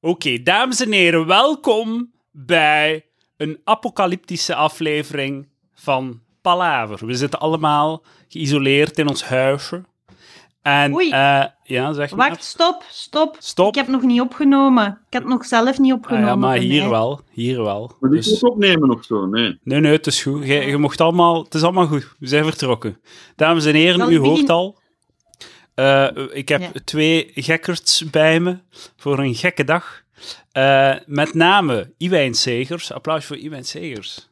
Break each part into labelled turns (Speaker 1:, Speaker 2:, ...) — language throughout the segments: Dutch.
Speaker 1: Oké, dames en heren, welkom bij een apocalyptische aflevering van Palaver. We zitten allemaal geïsoleerd in ons huisje. En,
Speaker 2: Oei.
Speaker 1: eh, ja, zeg maar.
Speaker 2: Wacht, stop, stop.
Speaker 1: Stop.
Speaker 2: Ik heb nog niet opgenomen. Ik heb het nog zelf niet
Speaker 1: Ah,
Speaker 2: opgenomen.
Speaker 1: ja, maar
Speaker 2: van
Speaker 1: hier
Speaker 2: mij.
Speaker 1: wel. Hier wel.
Speaker 3: Moet ik
Speaker 1: Dus,
Speaker 3: het opnemen of zo? Nee.
Speaker 1: nee, nee, het is goed. Je, je mocht allemaal, het is allemaal goed. We zijn vertrokken. Dames en
Speaker 2: Zal
Speaker 1: heren,
Speaker 2: ik
Speaker 1: u hoort
Speaker 2: beginnen?
Speaker 1: al. Eh, ik heb
Speaker 2: Ja.
Speaker 1: twee gekkerts bij me voor een gekke dag. Eh, met name Iwijn Segers. Applaus voor Iwijn Segers.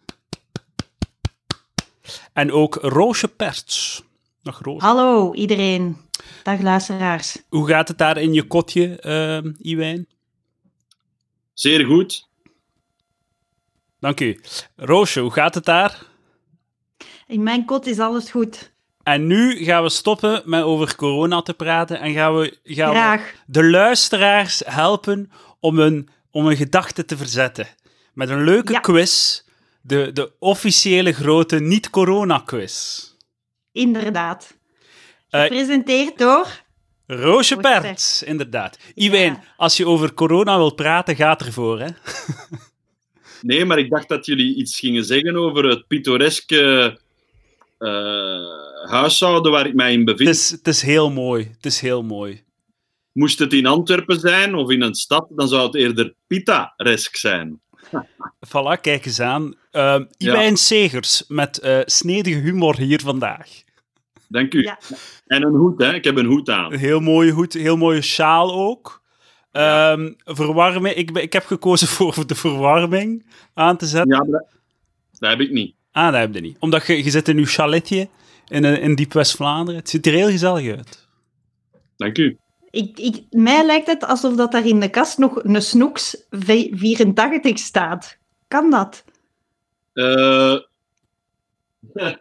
Speaker 1: En ook Roosje Perts. Nog
Speaker 2: Ah.
Speaker 1: Roosje.
Speaker 2: Hallo iedereen. Dag luisteraars.
Speaker 1: Hoe gaat het daar in je kotje, ehm Iwijn?
Speaker 3: Zeer goed.
Speaker 1: Dank u. Roosje, hoe gaat het daar?
Speaker 2: In mijn kot is alles goed.
Speaker 1: En nu gaan we stoppen met over corona te praten en gaan we, gaan we
Speaker 2: Graag.
Speaker 1: de luisteraars helpen om hun, om hun gedachten te verzetten. Met een leuke
Speaker 2: Ja.
Speaker 1: quiz, de, de officiële grote niet-corona-quiz.
Speaker 2: Inderdaad.
Speaker 1: Eh,
Speaker 2: Gepresenteerd door...
Speaker 1: Roosje
Speaker 2: Roosje
Speaker 1: Perts, inderdaad. Iwijn, als je over corona wilt praten, gaat ervoor, hè?
Speaker 3: Nee, maar ik dacht dat jullie iets gingen zeggen over het pittoreske eh, huishouden waar ik mij in
Speaker 1: Het
Speaker 3: bevind.
Speaker 1: is, het is heel mooi, het is heel mooi.
Speaker 3: Moest het in Antwerpen zijn of in een stad, dan zou het eerder pitaresk zijn.
Speaker 1: Voilà, kijk eens aan. Ehm Iwijn Segers, met eh, snedige humor hier vandaag.
Speaker 3: Dank u.
Speaker 2: Ja.
Speaker 3: En een hoed, hè? Ik heb een hoed aan.
Speaker 1: Een heel mooie hoed, heel mooie sjaal ook.
Speaker 3: Ja.
Speaker 1: Ehm, verwarming, ik, ben- ik heb gekozen voor de verwarming aan te zetten.
Speaker 3: Ja, maar dat, dat heb ik niet.
Speaker 1: Ah, dat heb je niet. Omdat je, je zit in je chaletje in, eh, in diep West-Vlaanderen. Het ziet er heel gezellig uit.
Speaker 3: Dank u.
Speaker 2: Ik, ik, mij lijkt het alsof dat daar in de kast nog een Snoeks v- 84 staat. Kan dat?
Speaker 3: Eh,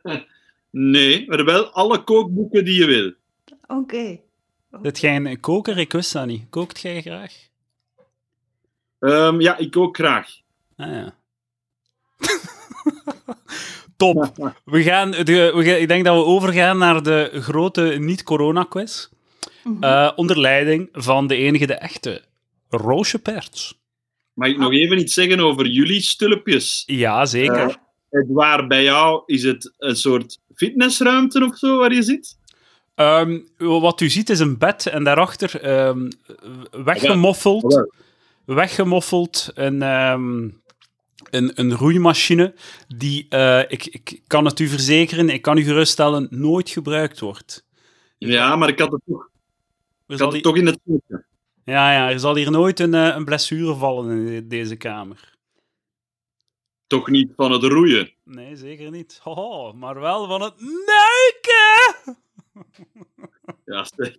Speaker 3: nee, maar wel alle kookboeken die je wil.
Speaker 2: Oké.
Speaker 1: Zit jij een koker? Ik wist dat niet. Kookt jij graag?
Speaker 3: Ehm, ja, ik ook graag.
Speaker 1: Ah ja. Top. We gaan, de, we gaan, ik denk dat we overgaan naar de grote niet-corona-quiz.
Speaker 2: Mhm.
Speaker 1: eh, onder leiding van de enige, de echte, Roosje Perts.
Speaker 3: Mag ik nog even iets zeggen over jullie stulpjes?
Speaker 1: Ja, zeker.
Speaker 2: Ja.
Speaker 3: Edouard, bij jou is het een soort fitnessruimte of zo waar je zit?
Speaker 1: Ehm, wat u ziet is een bed en daarachter ehm, weggemoffeld,
Speaker 3: Jawel.
Speaker 1: weggemoffeld een, ehm, een, een roeimachine die, eh, ik, ik kan het u verzekeren, ik kan u geruststellen, nooit gebruikt wordt.
Speaker 3: Ja, Dus maar ik had het toch,
Speaker 1: Er
Speaker 3: ik
Speaker 1: zal
Speaker 3: had
Speaker 1: hier,
Speaker 3: het toch in het zonnetje.
Speaker 1: ja, ja, er zal hier nooit een, eh, een blessure vallen in de- deze kamer.
Speaker 3: Toch niet van het roeien.
Speaker 1: Nee, zeker niet. Hoho, maar wel van het neuken!
Speaker 3: Ja, zeg.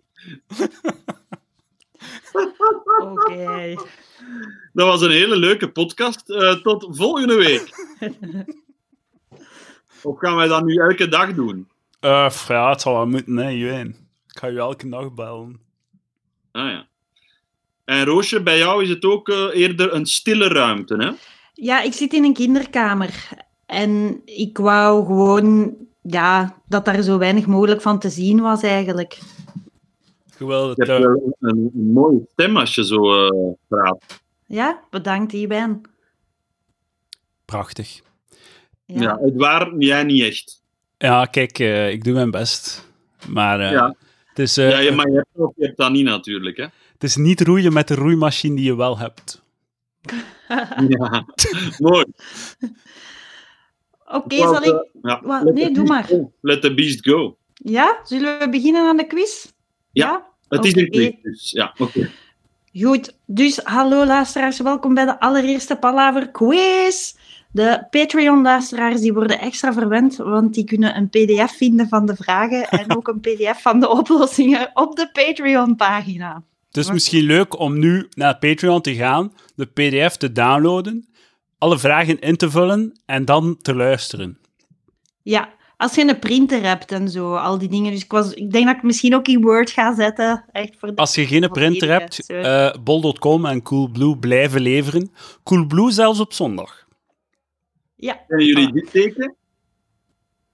Speaker 2: Oké.
Speaker 3: dat was een hele leuke podcast. Eh, tot volgende week. of gaan wij dat nu elke dag doen?
Speaker 1: Eh, pff, ja, het zal wel moeten, hè, Jwijn. Ik ga u elke dag bellen.
Speaker 3: Ah ja. En Roosje, bij jou is het ook eh, eerder een stille ruimte, hè?
Speaker 2: Ja, ik zit in een kinderkamer. En ik wou gewoon ja, dat daar zo weinig mogelijk van te zien was eigenlijk.
Speaker 1: Je wil het,
Speaker 3: Je
Speaker 1: eh,
Speaker 3: hebt wel een, een mooie stem als je zo eh, praat.
Speaker 2: Ja, bedankt Iwan.
Speaker 1: Prachtig.
Speaker 2: Ja.
Speaker 3: Ja. Edouard, jij niet echt.
Speaker 1: Ja, kijk, eh, ik doe mijn best. Maar eh,
Speaker 3: Ja.
Speaker 1: het, is, eh,
Speaker 3: ja, je, maar je hebt, ook- je hebt dat niet natuurlijk, hè?
Speaker 1: het is niet roeien met de roeimachine die je wel hebt.
Speaker 3: Ja, mooi.
Speaker 2: Oké,
Speaker 3: Wou, eh,
Speaker 2: zal ik...
Speaker 3: Ja.
Speaker 2: Wa-
Speaker 3: Let
Speaker 2: nee,
Speaker 3: the
Speaker 2: doe
Speaker 3: beast
Speaker 2: maar.
Speaker 3: go. Let the beast go.
Speaker 2: Ja, zullen we beginnen aan de quiz?
Speaker 3: Ja. Het is een
Speaker 2: Oké.
Speaker 3: quiz, dus ja, oké.
Speaker 2: Goed, dus hallo luisteraars, welkom bij de allereerste Palaver Quiz. De Patreon-luisteraars die worden extra verwend, want die kunnen een pdf vinden van de vragen en ook een pdf van de oplossingen op de Patreon-pagina.
Speaker 1: Het is
Speaker 2: Maar-
Speaker 1: misschien leuk om nu naar Patreon te gaan, de PDF te downloaden, alle vragen in te vullen en dan te luisteren.
Speaker 2: Ja, als je een printer hebt en zo, al die dingen. Dus ik, was, ik denk dat ik misschien ook in Word ga zetten. Echt voor de-
Speaker 3: Oh,
Speaker 1: Als je geen
Speaker 2: Wat
Speaker 1: printer
Speaker 2: eerlijk,
Speaker 1: hebt,
Speaker 2: hè,
Speaker 1: eh bol.com en Coolblue blijven leveren. Coolblue zelfs op zondag.
Speaker 2: Ja,
Speaker 3: Kennen jullie
Speaker 2: Ah.
Speaker 3: dit teken?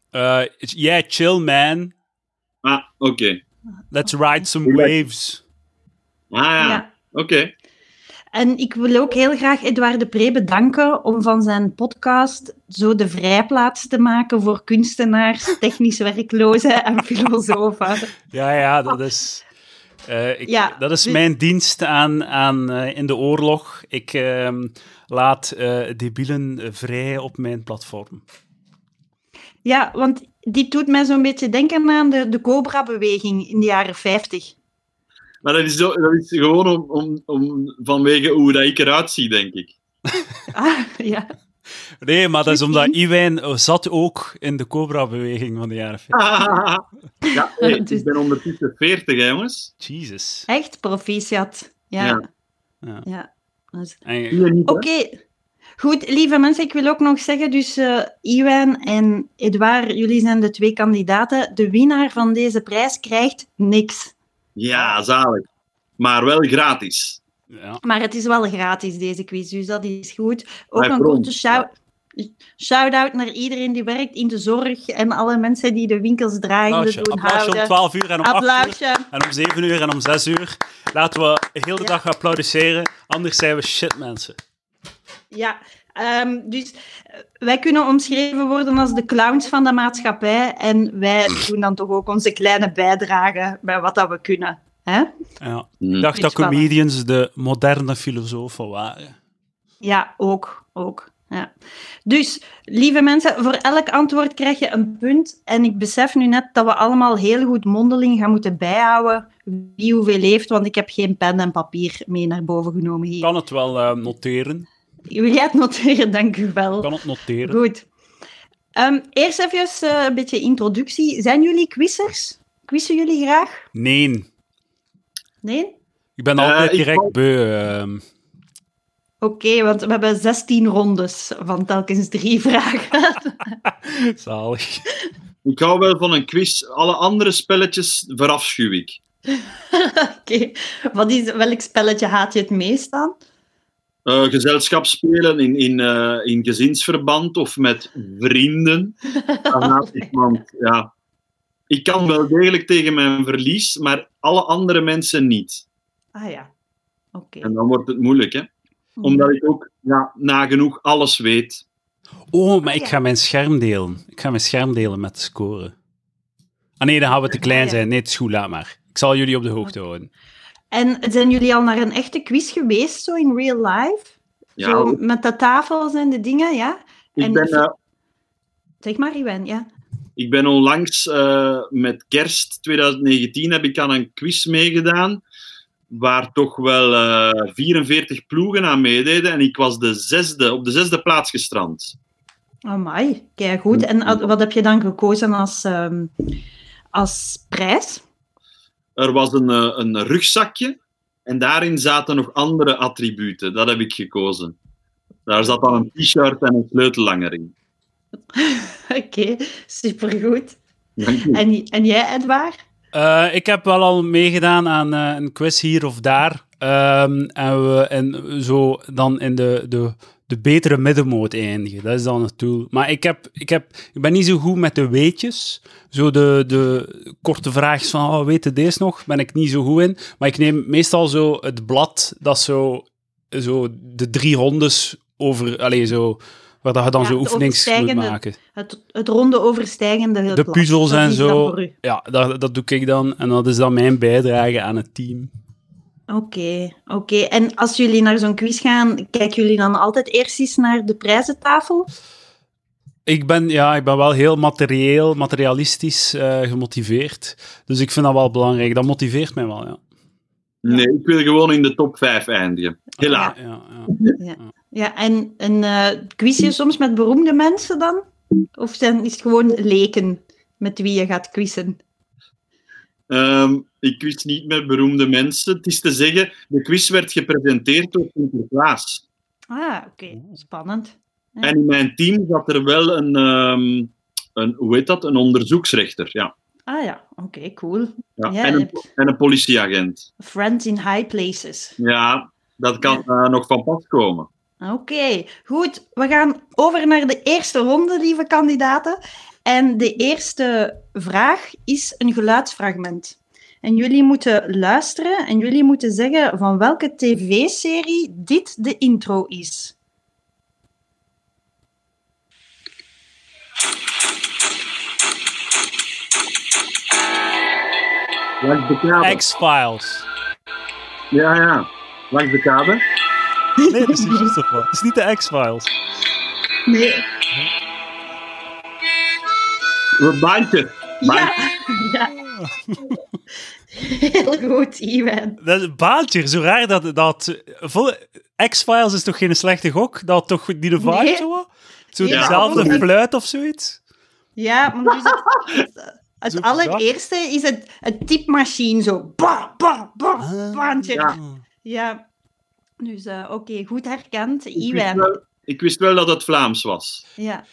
Speaker 1: Eh, yeah, chill man.
Speaker 3: Ah, oké.
Speaker 1: Let's ride some waves.
Speaker 3: Ah ja,
Speaker 2: ja.
Speaker 3: oké.
Speaker 2: En ik wil ook heel graag Edouard de Pre bedanken om van zijn podcast zo de vrijplaats te maken voor kunstenaars, technisch werklozen en filosofen.
Speaker 1: Ja, ja, dat is, eh, ik,
Speaker 2: Ja,
Speaker 1: dat is
Speaker 2: dus-
Speaker 1: mijn dienst aan, aan, eh, in de oorlog. Ik ehm, laat eh, debielen eh, vrij op mijn platform.
Speaker 2: Ja, want dit doet mij zo'n beetje denken aan de, de Cobra-beweging in de jaren 50.
Speaker 3: Maar dat is, zo- dat is gewoon om, om, om, vanwege hoe dat ik eruit zie, denk ik.
Speaker 2: Ah, ja.
Speaker 1: Nee, maar dat is
Speaker 2: Zit
Speaker 1: omdat
Speaker 2: die?
Speaker 1: Iwijn eh, zat ook in de Cobra-beweging van de jaren 50.
Speaker 3: Ja, hey,
Speaker 2: Het is-
Speaker 3: ik ben ondertussen 40, hè, jongens.
Speaker 1: Jesus.
Speaker 2: Echt proficiat. Ja.
Speaker 3: Ja.
Speaker 2: ja.
Speaker 1: Ja.
Speaker 2: Dat is-
Speaker 1: En-
Speaker 3: Hier niet, hè.
Speaker 2: Oké. Goed, lieve mensen, ik wil ook nog zeggen, dus eh Iwan en Edouard, jullie zijn de twee kandidaten. De winnaar van deze prijs krijgt niks.
Speaker 3: Ja, zalig. Maar wel gratis.
Speaker 1: ja.
Speaker 2: Maar het is wel gratis, deze quiz, dus dat is goed. Ook
Speaker 3: Maar
Speaker 2: een
Speaker 3: voor
Speaker 2: korte
Speaker 3: ons,
Speaker 2: shou- shout-out naar iedereen die werkt in de zorg en alle mensen die de winkels draaiende
Speaker 1: Applausje.
Speaker 2: doen
Speaker 1: Applausje om
Speaker 2: houden.
Speaker 1: 12 uur en om 8 uur.
Speaker 2: Applausje.
Speaker 1: En om 7 uur en om 6 uur. Laten we heel de
Speaker 2: Ja.
Speaker 1: dag applaudisseren, anders zijn we shit mensen.
Speaker 2: Ja, ehm, dus eh, wij kunnen omschreven worden als de clowns van de maatschappij. En wij doen dan toch ook onze kleine bijdrage bij wat dat we kunnen. Hè?
Speaker 1: Ja.
Speaker 3: Hm.
Speaker 1: Ik dacht dat
Speaker 2: Beetje vallen.
Speaker 1: comedians de moderne filosofen waren.
Speaker 2: Ja, ook. ook ja. Dus, lieve mensen, voor elk antwoord krijg je een punt. En ik besef nu net dat we allemaal heel goed mondeling gaan moeten bijhouden wie hoeveel heeft, want ik heb geen pen en papier mee naar boven genomen
Speaker 1: Ik
Speaker 2: hier.
Speaker 1: kan het wel eh, noteren.
Speaker 2: Wil jij het noteren? Dank u wel.
Speaker 1: Ik kan het noteren.
Speaker 2: Goed. Ehm, eerst even eh, een beetje introductie. Zijn jullie quizers? Quizzen jullie graag?
Speaker 1: Nee,
Speaker 2: Nee?
Speaker 1: ik ben
Speaker 3: Eh,
Speaker 1: altijd
Speaker 3: ik
Speaker 1: direct
Speaker 3: val-
Speaker 1: beu. ehm.
Speaker 2: Oké, want we hebben 16 rondes van telkens drie vragen.
Speaker 1: zalig.
Speaker 3: Ik hou wel van een quiz. Alle andere spelletjes verafschuw ik.
Speaker 2: Oké. Wat is, welk spelletje haat je het meest aan?
Speaker 3: Eh, gezelschapsspelen in, in, eh, in gezinsverband of met vrienden. Dan haat ik, want, ja. Ik kan wel degelijk tegen mijn verlies, maar alle andere mensen niet.
Speaker 2: Ah ja. Oké.
Speaker 3: En dan wordt het moeilijk, hè? Omdat ik ook ja, nagenoeg alles weet.
Speaker 1: Oh, maar
Speaker 2: Ah,
Speaker 1: ik
Speaker 2: ja.
Speaker 1: ga mijn scherm delen. Ik ga mijn scherm delen met de score. Ah nee, dan gaan we te klein
Speaker 2: Ah, ja.
Speaker 1: zijn. Nee, het is goed, laat maar. Ik zal jullie op de hoogte houden.
Speaker 2: En zijn jullie al naar een echte quiz geweest, zo in real life?
Speaker 3: Ja,
Speaker 2: zo met de tafels en de dingen, ja?
Speaker 3: ik,
Speaker 2: en-
Speaker 3: ben, eh,
Speaker 2: Zeg maar, Iwan, ja.
Speaker 3: ik ben onlangs eh, met kerst 2019 heb ik aan een quiz meegedaan. Waar toch wel eh, 44 ploegen aan meededen. En ik was de zesde, op de zesde plaats gestrand.
Speaker 2: Amai, kijk
Speaker 3: Mm.
Speaker 2: goed. En ad- wat heb je dan gekozen als, ehm, als prijs?
Speaker 3: Er was een, eh, een rugzakje en daarin zaten nog andere attributen. Dat heb ik gekozen. Daar zat dan een t-shirt en een sleutelhanger in.
Speaker 2: Oké, supergoed.
Speaker 3: Dank u.
Speaker 2: En, en jij, Edouard?
Speaker 1: Eh, ik heb wel al meegedaan aan eh, een quiz hier of daar. Ehm, en, we, en zo dan in de, de, de betere middenmoot eindigen. Dat is dan het doel. Maar ik, heb, ik, heb, ik ben niet zo goed met de weetjes. Zo de, de korte vraagjes van, oh, weet je deze nog? Ben ik niet zo goed in. Maar ik neem meestal zo het blad dat zo, zo de drie rondes over... Allez, zo, waar dat je dan
Speaker 2: Ja,
Speaker 1: zo
Speaker 2: het
Speaker 1: oefenings moet
Speaker 2: overstijgende-
Speaker 1: maken.
Speaker 2: Het, het ronde overstijgende
Speaker 1: De
Speaker 2: blad.
Speaker 1: puzzels
Speaker 2: Dat
Speaker 1: en
Speaker 2: is dan
Speaker 1: zo.
Speaker 2: voor u.
Speaker 1: Ja, dat, dat doe ik dan. En dat is dan mijn bijdrage aan het team.
Speaker 2: Oké, oké. En als jullie naar zo'n quiz gaan, kijken jullie dan altijd eerst eens naar de prijzentafel?
Speaker 1: Ik ben, ja, ik ben wel heel materieel, materialistisch eh, gemotiveerd. Dus ik vind dat wel belangrijk. Dat motiveert mij wel, ja.
Speaker 3: Nee, ik wil gewoon in de top 5 eindigen. Helaas.
Speaker 1: Ja, ja.
Speaker 2: Ja, en een eh quiz je soms met beroemde mensen dan? Of zijn, is het gewoon leken met wie je gaat quizzen?
Speaker 3: Ehm, ik wist niet met beroemde mensen. Het is te zeggen, de quiz werd gepresenteerd door Sinterklaas.
Speaker 2: Ah, oké. Spannend.
Speaker 3: En in mijn team zat er wel een, ehm, een hoe heet dat, een onderzoeksrechter. Ja.
Speaker 2: Ah ja, oké, cool. Ja,
Speaker 3: Ja. en,
Speaker 2: je
Speaker 3: een,
Speaker 2: hebt
Speaker 3: en een politieagent.
Speaker 2: friends in high places.
Speaker 3: Ja, dat kan eh, nog van pas komen.
Speaker 2: Oké, goed. We gaan over naar de eerste ronde, lieve kandidaten. En de eerste vraag is een geluidsfragment. En jullie moeten luisteren en jullie moeten zeggen van welke tv-serie dit de intro is.
Speaker 3: Langs de kabel.
Speaker 1: X-Files.
Speaker 3: Ja, ja. Langs de kabel.
Speaker 1: Nee, dat is niet juist of wat. Het is niet de X-Files.
Speaker 2: Nee.
Speaker 3: Een baantje.
Speaker 2: Ja. ja. Heel goed, Iwan.
Speaker 1: Dat is baantje. Zo raar dat... dat vol- X-Files is toch geen slechte gok? Dat toch niet de vibe
Speaker 2: Nee.
Speaker 1: zo? wat? Zo
Speaker 2: Ja,
Speaker 1: dezelfde
Speaker 3: absoluut.
Speaker 1: fluit of zoiets?
Speaker 2: Ja, maar dus het, het- het
Speaker 1: Zo
Speaker 2: allereerste is het, het typemachine zo. Bah, bah, bah,
Speaker 1: Ah.
Speaker 2: baantje.
Speaker 3: Ja.
Speaker 2: Ja. Dus eh, oké, goed herkend,
Speaker 3: Ik wist,
Speaker 2: Iwan.
Speaker 3: wel, ik wist wel dat het Vlaams was.
Speaker 2: Ja.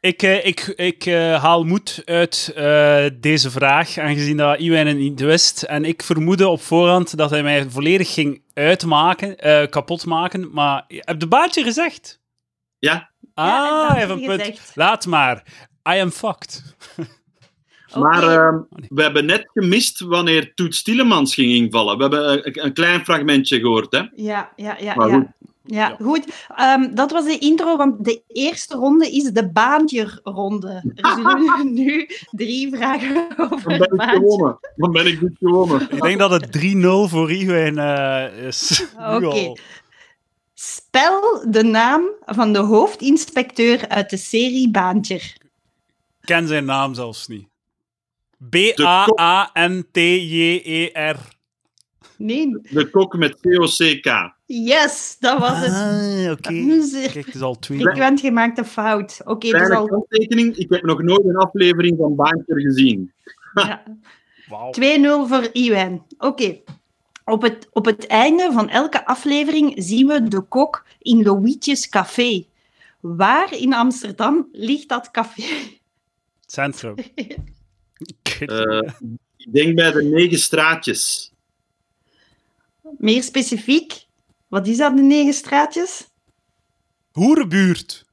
Speaker 1: Ik, eh, ik, ik eh, haal moed uit eh, deze vraag, aangezien dat Iwan het niet wist. En ik vermoedde op voorhand dat hij mij volledig ging uitmaken, eh kapotmaken. Maar heb de baantje gezegd?
Speaker 3: Ja.
Speaker 1: Ah,
Speaker 2: Ja, ik heb
Speaker 1: hij heeft een
Speaker 2: het
Speaker 1: punt.
Speaker 2: gezegd.
Speaker 1: Laat maar. I am fucked.
Speaker 2: Oké.
Speaker 3: Maar ehm,
Speaker 1: nee.
Speaker 3: we hebben net gemist wanneer Toet Stielemans ging invallen. We hebben een, een klein fragmentje gehoord. Hè?
Speaker 2: Ja, ja, ja.
Speaker 3: Maar
Speaker 2: ja.
Speaker 3: goed.
Speaker 2: Ja,
Speaker 1: Ja.
Speaker 2: goed. Ehm, dat was de intro, want de eerste ronde is de baantje-ronde. Er zullen nu drie vragen over
Speaker 3: Dan
Speaker 2: het
Speaker 3: ben ik
Speaker 2: baantje.
Speaker 3: gewonnen. Dan ben ik dus gewonnen.
Speaker 1: Ik denk dat het 3-0 voor Iwan eh, is. Nu
Speaker 2: Oké.
Speaker 1: al.
Speaker 2: Spel de naam van de hoofdinspecteur uit de serie Baantje.
Speaker 1: Ik ken zijn naam zelfs niet. B-A-A-N-T-J-E-R.
Speaker 2: Nee.
Speaker 3: De kok met COCK.
Speaker 2: Yes, dat was het.
Speaker 1: Ah, oké.
Speaker 2: Nu zeer.
Speaker 1: Kijk, het is al twee.
Speaker 2: Ik werd gemaakt een fout. Oké, dus
Speaker 3: Kleine
Speaker 2: al
Speaker 3: kanttekening. Ik heb nog nooit een aflevering van Baantje gezien.
Speaker 2: ja,
Speaker 1: Wauw.
Speaker 2: 2-0 voor Iwan. Oké. Op, het, op het einde van elke aflevering zien we de kok in Loïtjes Café. Waar in Amsterdam ligt dat café?
Speaker 1: Centrum. Ik weet het
Speaker 3: Eh, ik denk bij de negen straatjes.
Speaker 2: Meer specifiek, wat is dat, de negen straatjes?
Speaker 1: Hoerenbuurt.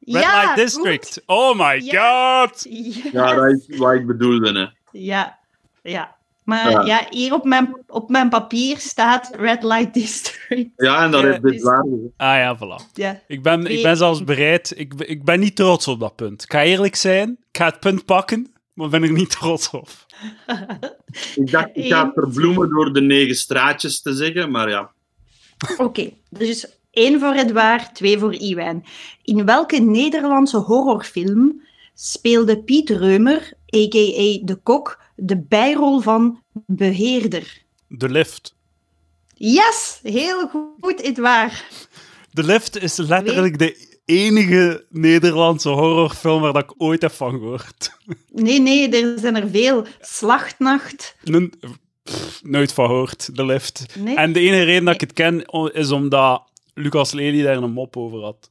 Speaker 1: Red Light District.
Speaker 2: goed.
Speaker 1: Oh my
Speaker 2: Ja.
Speaker 1: god.
Speaker 2: Yes.
Speaker 3: Ja, dat is wat ik bedoelde. Hè.
Speaker 2: Ja, ja. Maar
Speaker 3: Ja.
Speaker 2: ja, hier op mijn, op mijn papier staat Red Light District.
Speaker 3: Ja, en dat
Speaker 1: Ja,
Speaker 3: heeft dit
Speaker 2: dus-
Speaker 3: waar. gezegd.
Speaker 1: Ah ja, voilà.
Speaker 2: Ja.
Speaker 1: Ik ben, ik ben zelfs bereid. Ik, ben- ik ben niet trots op dat punt. Ik ga eerlijk zijn. Ik ga het punt pakken, maar ben er niet trots op.
Speaker 3: Ik dacht, ik ga het verbloemen door de negen straatjes te zeggen, maar ja.
Speaker 2: Oké, dus één voor Edouard, twee voor Iwijn. In welke Nederlandse horrorfilm speelde Piet Reumer, a.k.a. de kok, de bijrol van beheerder?
Speaker 1: De lift.
Speaker 2: Yes, heel goed, Edouard.
Speaker 1: De lift is letterlijk de enige Nederlandse horrorfilm waar dat ik ooit heb van gehoord.
Speaker 2: Nee, nee, er zijn er veel. Slachtnacht.
Speaker 1: Een- pff, nooit van gehoord, de lift.
Speaker 2: Nee.
Speaker 1: En de enige reden dat ik het ken o- is omdat Lucas Lely daar een mop over had.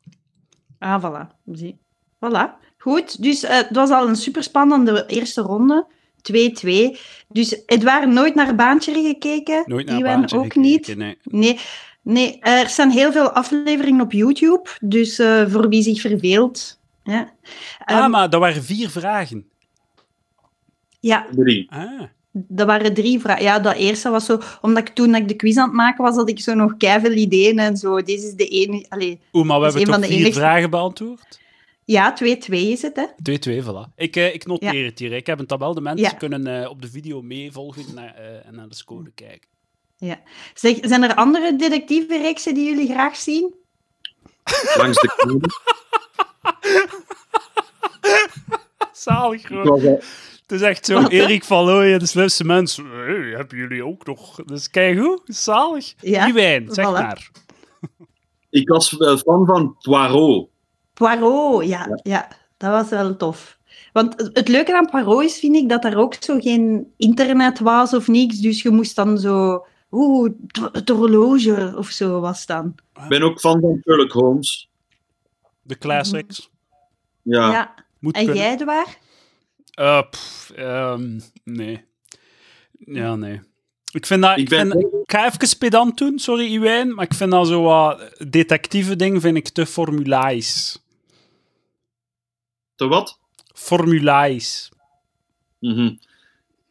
Speaker 2: Ah, voilà. Zie. Voilà. Goed, dus eh, het was al een superspannende eerste ronde. 2-2. Dus Edouard nooit naar Baantje gekeken.
Speaker 1: Nooit naar
Speaker 2: Iwan
Speaker 1: Baantje
Speaker 2: ook
Speaker 1: gekeken,
Speaker 2: niet.
Speaker 1: nee.
Speaker 2: Nee, nee, er staan heel veel afleveringen op YouTube, dus eh, voor wie zich verveelt. Ja.
Speaker 1: Ah,
Speaker 2: Ehm,
Speaker 1: maar dat waren vier vragen.
Speaker 2: ja,
Speaker 3: Drie.
Speaker 1: Ah.
Speaker 2: dat waren drie vragen. Ja, dat eerste was zo, omdat ik toen ik de quiz aan het maken was, had ik zo nog keiveel ideeën en zo. Deze is de ene. Allee,
Speaker 1: Oeh, maar we
Speaker 2: Dat is
Speaker 1: hebben
Speaker 2: een
Speaker 1: toch vier
Speaker 2: van de enigste-
Speaker 1: vragen beantwoord?
Speaker 2: ja, 2-2 is het, hè?
Speaker 1: 2-2, voilà. Ik, eh, ik noteer het hier. Ik heb een tabel. De mensen
Speaker 2: Ja.
Speaker 1: kunnen eh, op de video meevolgen naar, eh, en naar de score kijken.
Speaker 2: Zeg, zijn er andere detectieve reeksen die jullie graag zien?
Speaker 3: Langs de kabel.
Speaker 1: Zalig,
Speaker 3: Ik
Speaker 1: gewoon.
Speaker 3: was eh, al-
Speaker 1: Het is echt zo,
Speaker 2: Wat, hè?
Speaker 1: Erik van Looyen, de slimste mens. Hey, hebben jullie ook nog? Dus kijk hoe, zalig.
Speaker 2: Ja,
Speaker 1: Iwijn, zeg
Speaker 2: voilà.
Speaker 1: maar.
Speaker 3: Ik was eh, fan van Poirot.
Speaker 2: Poirot, ja, ja. dat was wel tof. Want het- het leuke aan Poirot is, vind ik, dat er ook zo geen internet was of niks. Dus je moest dan zo... Oeh, het- het horloge of zo was dan.
Speaker 3: Ik ben ook fan van Sherlock Holmes.
Speaker 1: De classics.
Speaker 3: Ja.
Speaker 2: Ja.
Speaker 1: Moet
Speaker 2: En
Speaker 1: kunnen.
Speaker 2: jij, Edouard?
Speaker 1: Eh, pff, ehm, nee. Ja, nee. Ik vind dat... Ik,
Speaker 3: Ik ben-
Speaker 1: vind- ik ga even pedant doen, sorry Iwijn, maar ik vind dat zo wat... Detectieve ding vind ik te formulaisch.
Speaker 3: Te wat?
Speaker 1: Formulaisch.
Speaker 3: Mhm.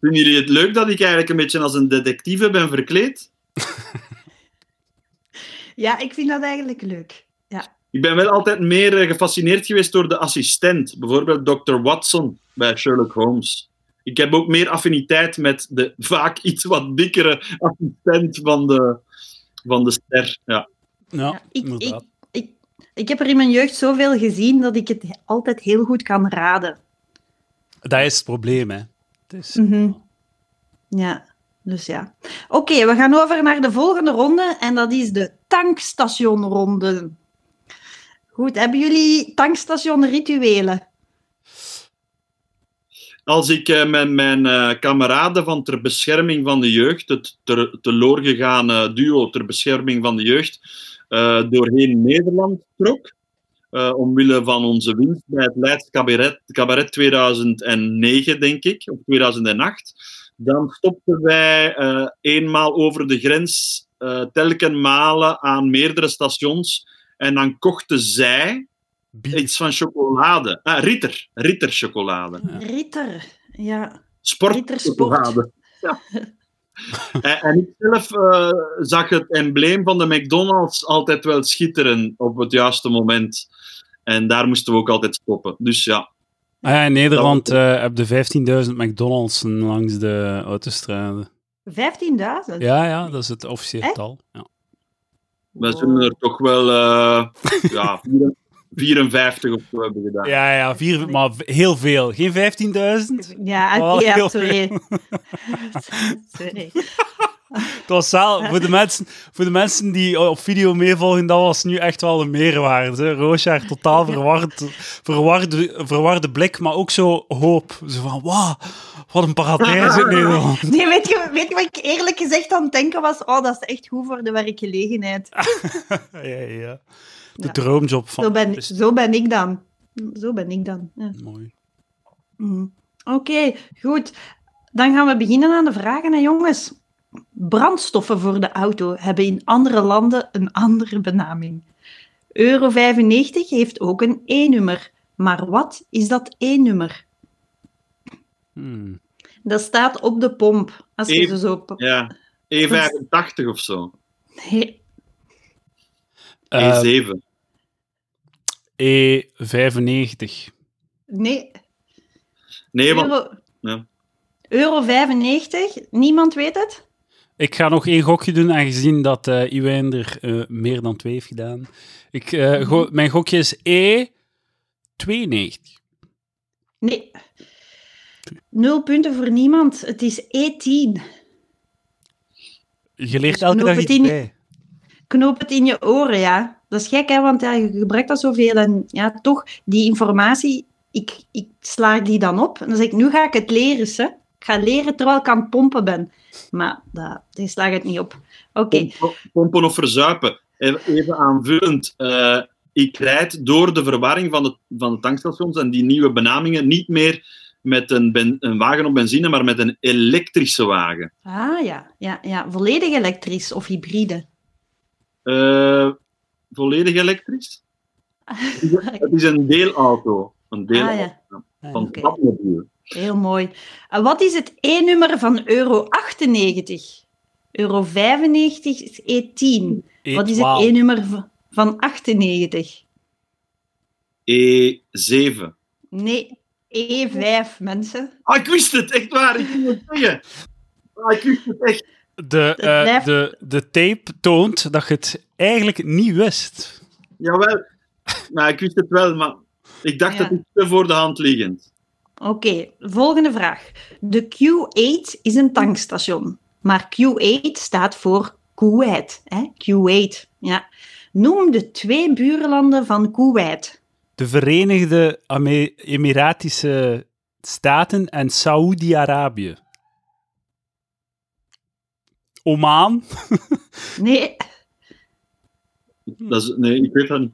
Speaker 3: Vinden jullie het leuk dat ik eigenlijk een beetje als een detectieve ben verkleed?
Speaker 2: Ja, ik vind dat eigenlijk leuk.
Speaker 3: Ik ben wel altijd meer eh, gefascineerd geweest door de assistent, bijvoorbeeld Dr. Watson bij Sherlock Holmes. Ik heb ook meer affiniteit met de vaak iets wat dikkere assistent van de, van de ster. Ja.
Speaker 1: Ja,
Speaker 2: Ja, ik, ik,
Speaker 1: inderdaad.
Speaker 2: ik, ik heb er in mijn jeugd zoveel gezien dat ik het he- altijd heel goed kan raden.
Speaker 1: Dat is het probleem, hè. Het is-
Speaker 2: Mhm. Ja, dus ja. Oké, we gaan over naar de volgende ronde en dat is de tankstationronde. Goed, hebben jullie tankstationrituelen?
Speaker 3: Als ik eh, met mijn eh, kameraden van ter bescherming van de jeugd, het ter, teloor gegaan duo ter bescherming van de jeugd, eh, doorheen Nederland trok, eh, omwille van onze winst bij het Leids Cabaret, Cabaret 2009, denk ik, of 2008, dan stopten wij eh, eenmaal over de grens, eh telken malen aan meerdere stations, en dan kochten zij
Speaker 1: Bier.
Speaker 3: iets van chocolade. Ah, Ritter, Ritter chocolade.
Speaker 1: Ja.
Speaker 2: Ritter, ja.
Speaker 3: Sport.
Speaker 2: Rittersport.
Speaker 3: Chocolade. Ja. en, en ik zelf eh, zag het embleem van de McDonald's altijd wel schitteren op het juiste moment. En daar moesten we ook altijd stoppen. Dus ja,
Speaker 1: Ah ja, in Nederland eh heb je 15.000 McDonald's langs de autostrade.
Speaker 2: 15.000?
Speaker 1: Ja, ja, dat is het officieel
Speaker 2: Echt?
Speaker 1: getal. Ja.
Speaker 3: we zijn er toch wel eh, ja, 54 54 of zo hebben gedaan.
Speaker 1: ja, ja, vier, maar v- heel veel. Geen 15.000?
Speaker 2: Ja, oké,
Speaker 1: Oh,
Speaker 2: ja,
Speaker 1: heel
Speaker 2: sorry. sorry.
Speaker 1: Het was wel, voor de, mensen, voor de mensen die op video meevolgen, dat was nu echt wel een meerwaarde. hè. Roosje haar totaal verward, verwarde, verwarde blik, maar ook zo hoop. Zo van, wauw, wat een paradijs in Nederland.
Speaker 2: Nee, weet je, weet je wat ik eerlijk gezegd aan het denken was? Oh, dat is echt goed voor de werkgelegenheid.
Speaker 1: Ah, Ja, ja, ja. De
Speaker 2: Ja.
Speaker 1: droomjob van...
Speaker 2: Zo ben,
Speaker 1: is-
Speaker 2: zo ben ik dan. Zo ben ik dan. Ja.
Speaker 1: Mooi.
Speaker 2: Mhm. Oké, goed. Dan gaan we beginnen aan de vragen, hè, jongens. Brandstoffen voor de auto hebben in andere landen een andere benaming. Euro 95 heeft ook een E-nummer. Maar wat is dat E-nummer?
Speaker 1: Hmm.
Speaker 2: Dat staat op de pomp. Als je
Speaker 3: E-
Speaker 2: ze zo... op-
Speaker 3: Ja. E85 of zo. E
Speaker 2: Nee,
Speaker 1: Eh, E
Speaker 3: E7.
Speaker 1: E95.
Speaker 2: nee.
Speaker 3: Nee, want
Speaker 2: Euro...
Speaker 3: Ja.
Speaker 2: Euro 95, niemand weet het?
Speaker 1: Ik ga nog één gokje doen, aangezien dat eh Iwijn er eh, meer dan twee heeft gedaan. Ik, eh, go-
Speaker 2: Mhm.
Speaker 1: mijn gokje is E E92.
Speaker 2: Nee. Nul punten voor niemand. Het is E E10.
Speaker 1: Je leert
Speaker 2: Dus
Speaker 1: elke dag iets
Speaker 2: 0,10.
Speaker 1: bij.
Speaker 2: knoop het in je oren, ja. Dat is gek, hè, want ja, je gebruikt dat zoveel. En ja, toch, die informatie, ik, ik sla die dan op. En dan zeg ik, nu ga ik het leren, ze. Ik ga leren terwijl ik aan het pompen ben. Maar dat, die sla ik het niet op. Oké,
Speaker 3: pompen, pompen of verzuipen. Even even aanvullend. eh, ik rijd door de verwarring van de, van de tankstations en die nieuwe benamingen niet meer met een, ben- een wagen op benzine, maar met een elektrische wagen.
Speaker 2: ah ja, ja, ja, volledig elektrisch of hybride.
Speaker 3: Eh, volledig elektrisch? Het is een deelauto. Een deelauto
Speaker 2: Ah,
Speaker 3: van
Speaker 2: Oké.
Speaker 3: het Batmobiel.
Speaker 2: Heel mooi. En wat is het E-nummer van euro 98? Euro 95 is E10.
Speaker 1: E
Speaker 2: Wat is het
Speaker 1: E12.
Speaker 2: E-nummer v- van 98?
Speaker 3: E E7.
Speaker 2: Nee, E5, mensen.
Speaker 3: Ah, ik wist het, echt waar. Ik ging het zeggen. Ah, ik wist het echt.
Speaker 1: De, eh,
Speaker 2: blijft-
Speaker 1: de, de tape toont dat je het eigenlijk niet wist.
Speaker 3: Jawel. Nou, ik wist het wel, maar ik dacht
Speaker 2: Ja.
Speaker 3: dat het te voor de hand liggend.
Speaker 2: Oké, volgende vraag. De Q8 is een tankstation, maar Q8 staat voor Kuwait. Hè? Q8, ja. Noem de twee buurlanden van Kuwait.
Speaker 1: De Verenigde Ame- Emiratische Staten en Saoedi-Arabië. Oman.
Speaker 2: Nee, Hmm.
Speaker 3: Dat is, nee, ik weet dat niet.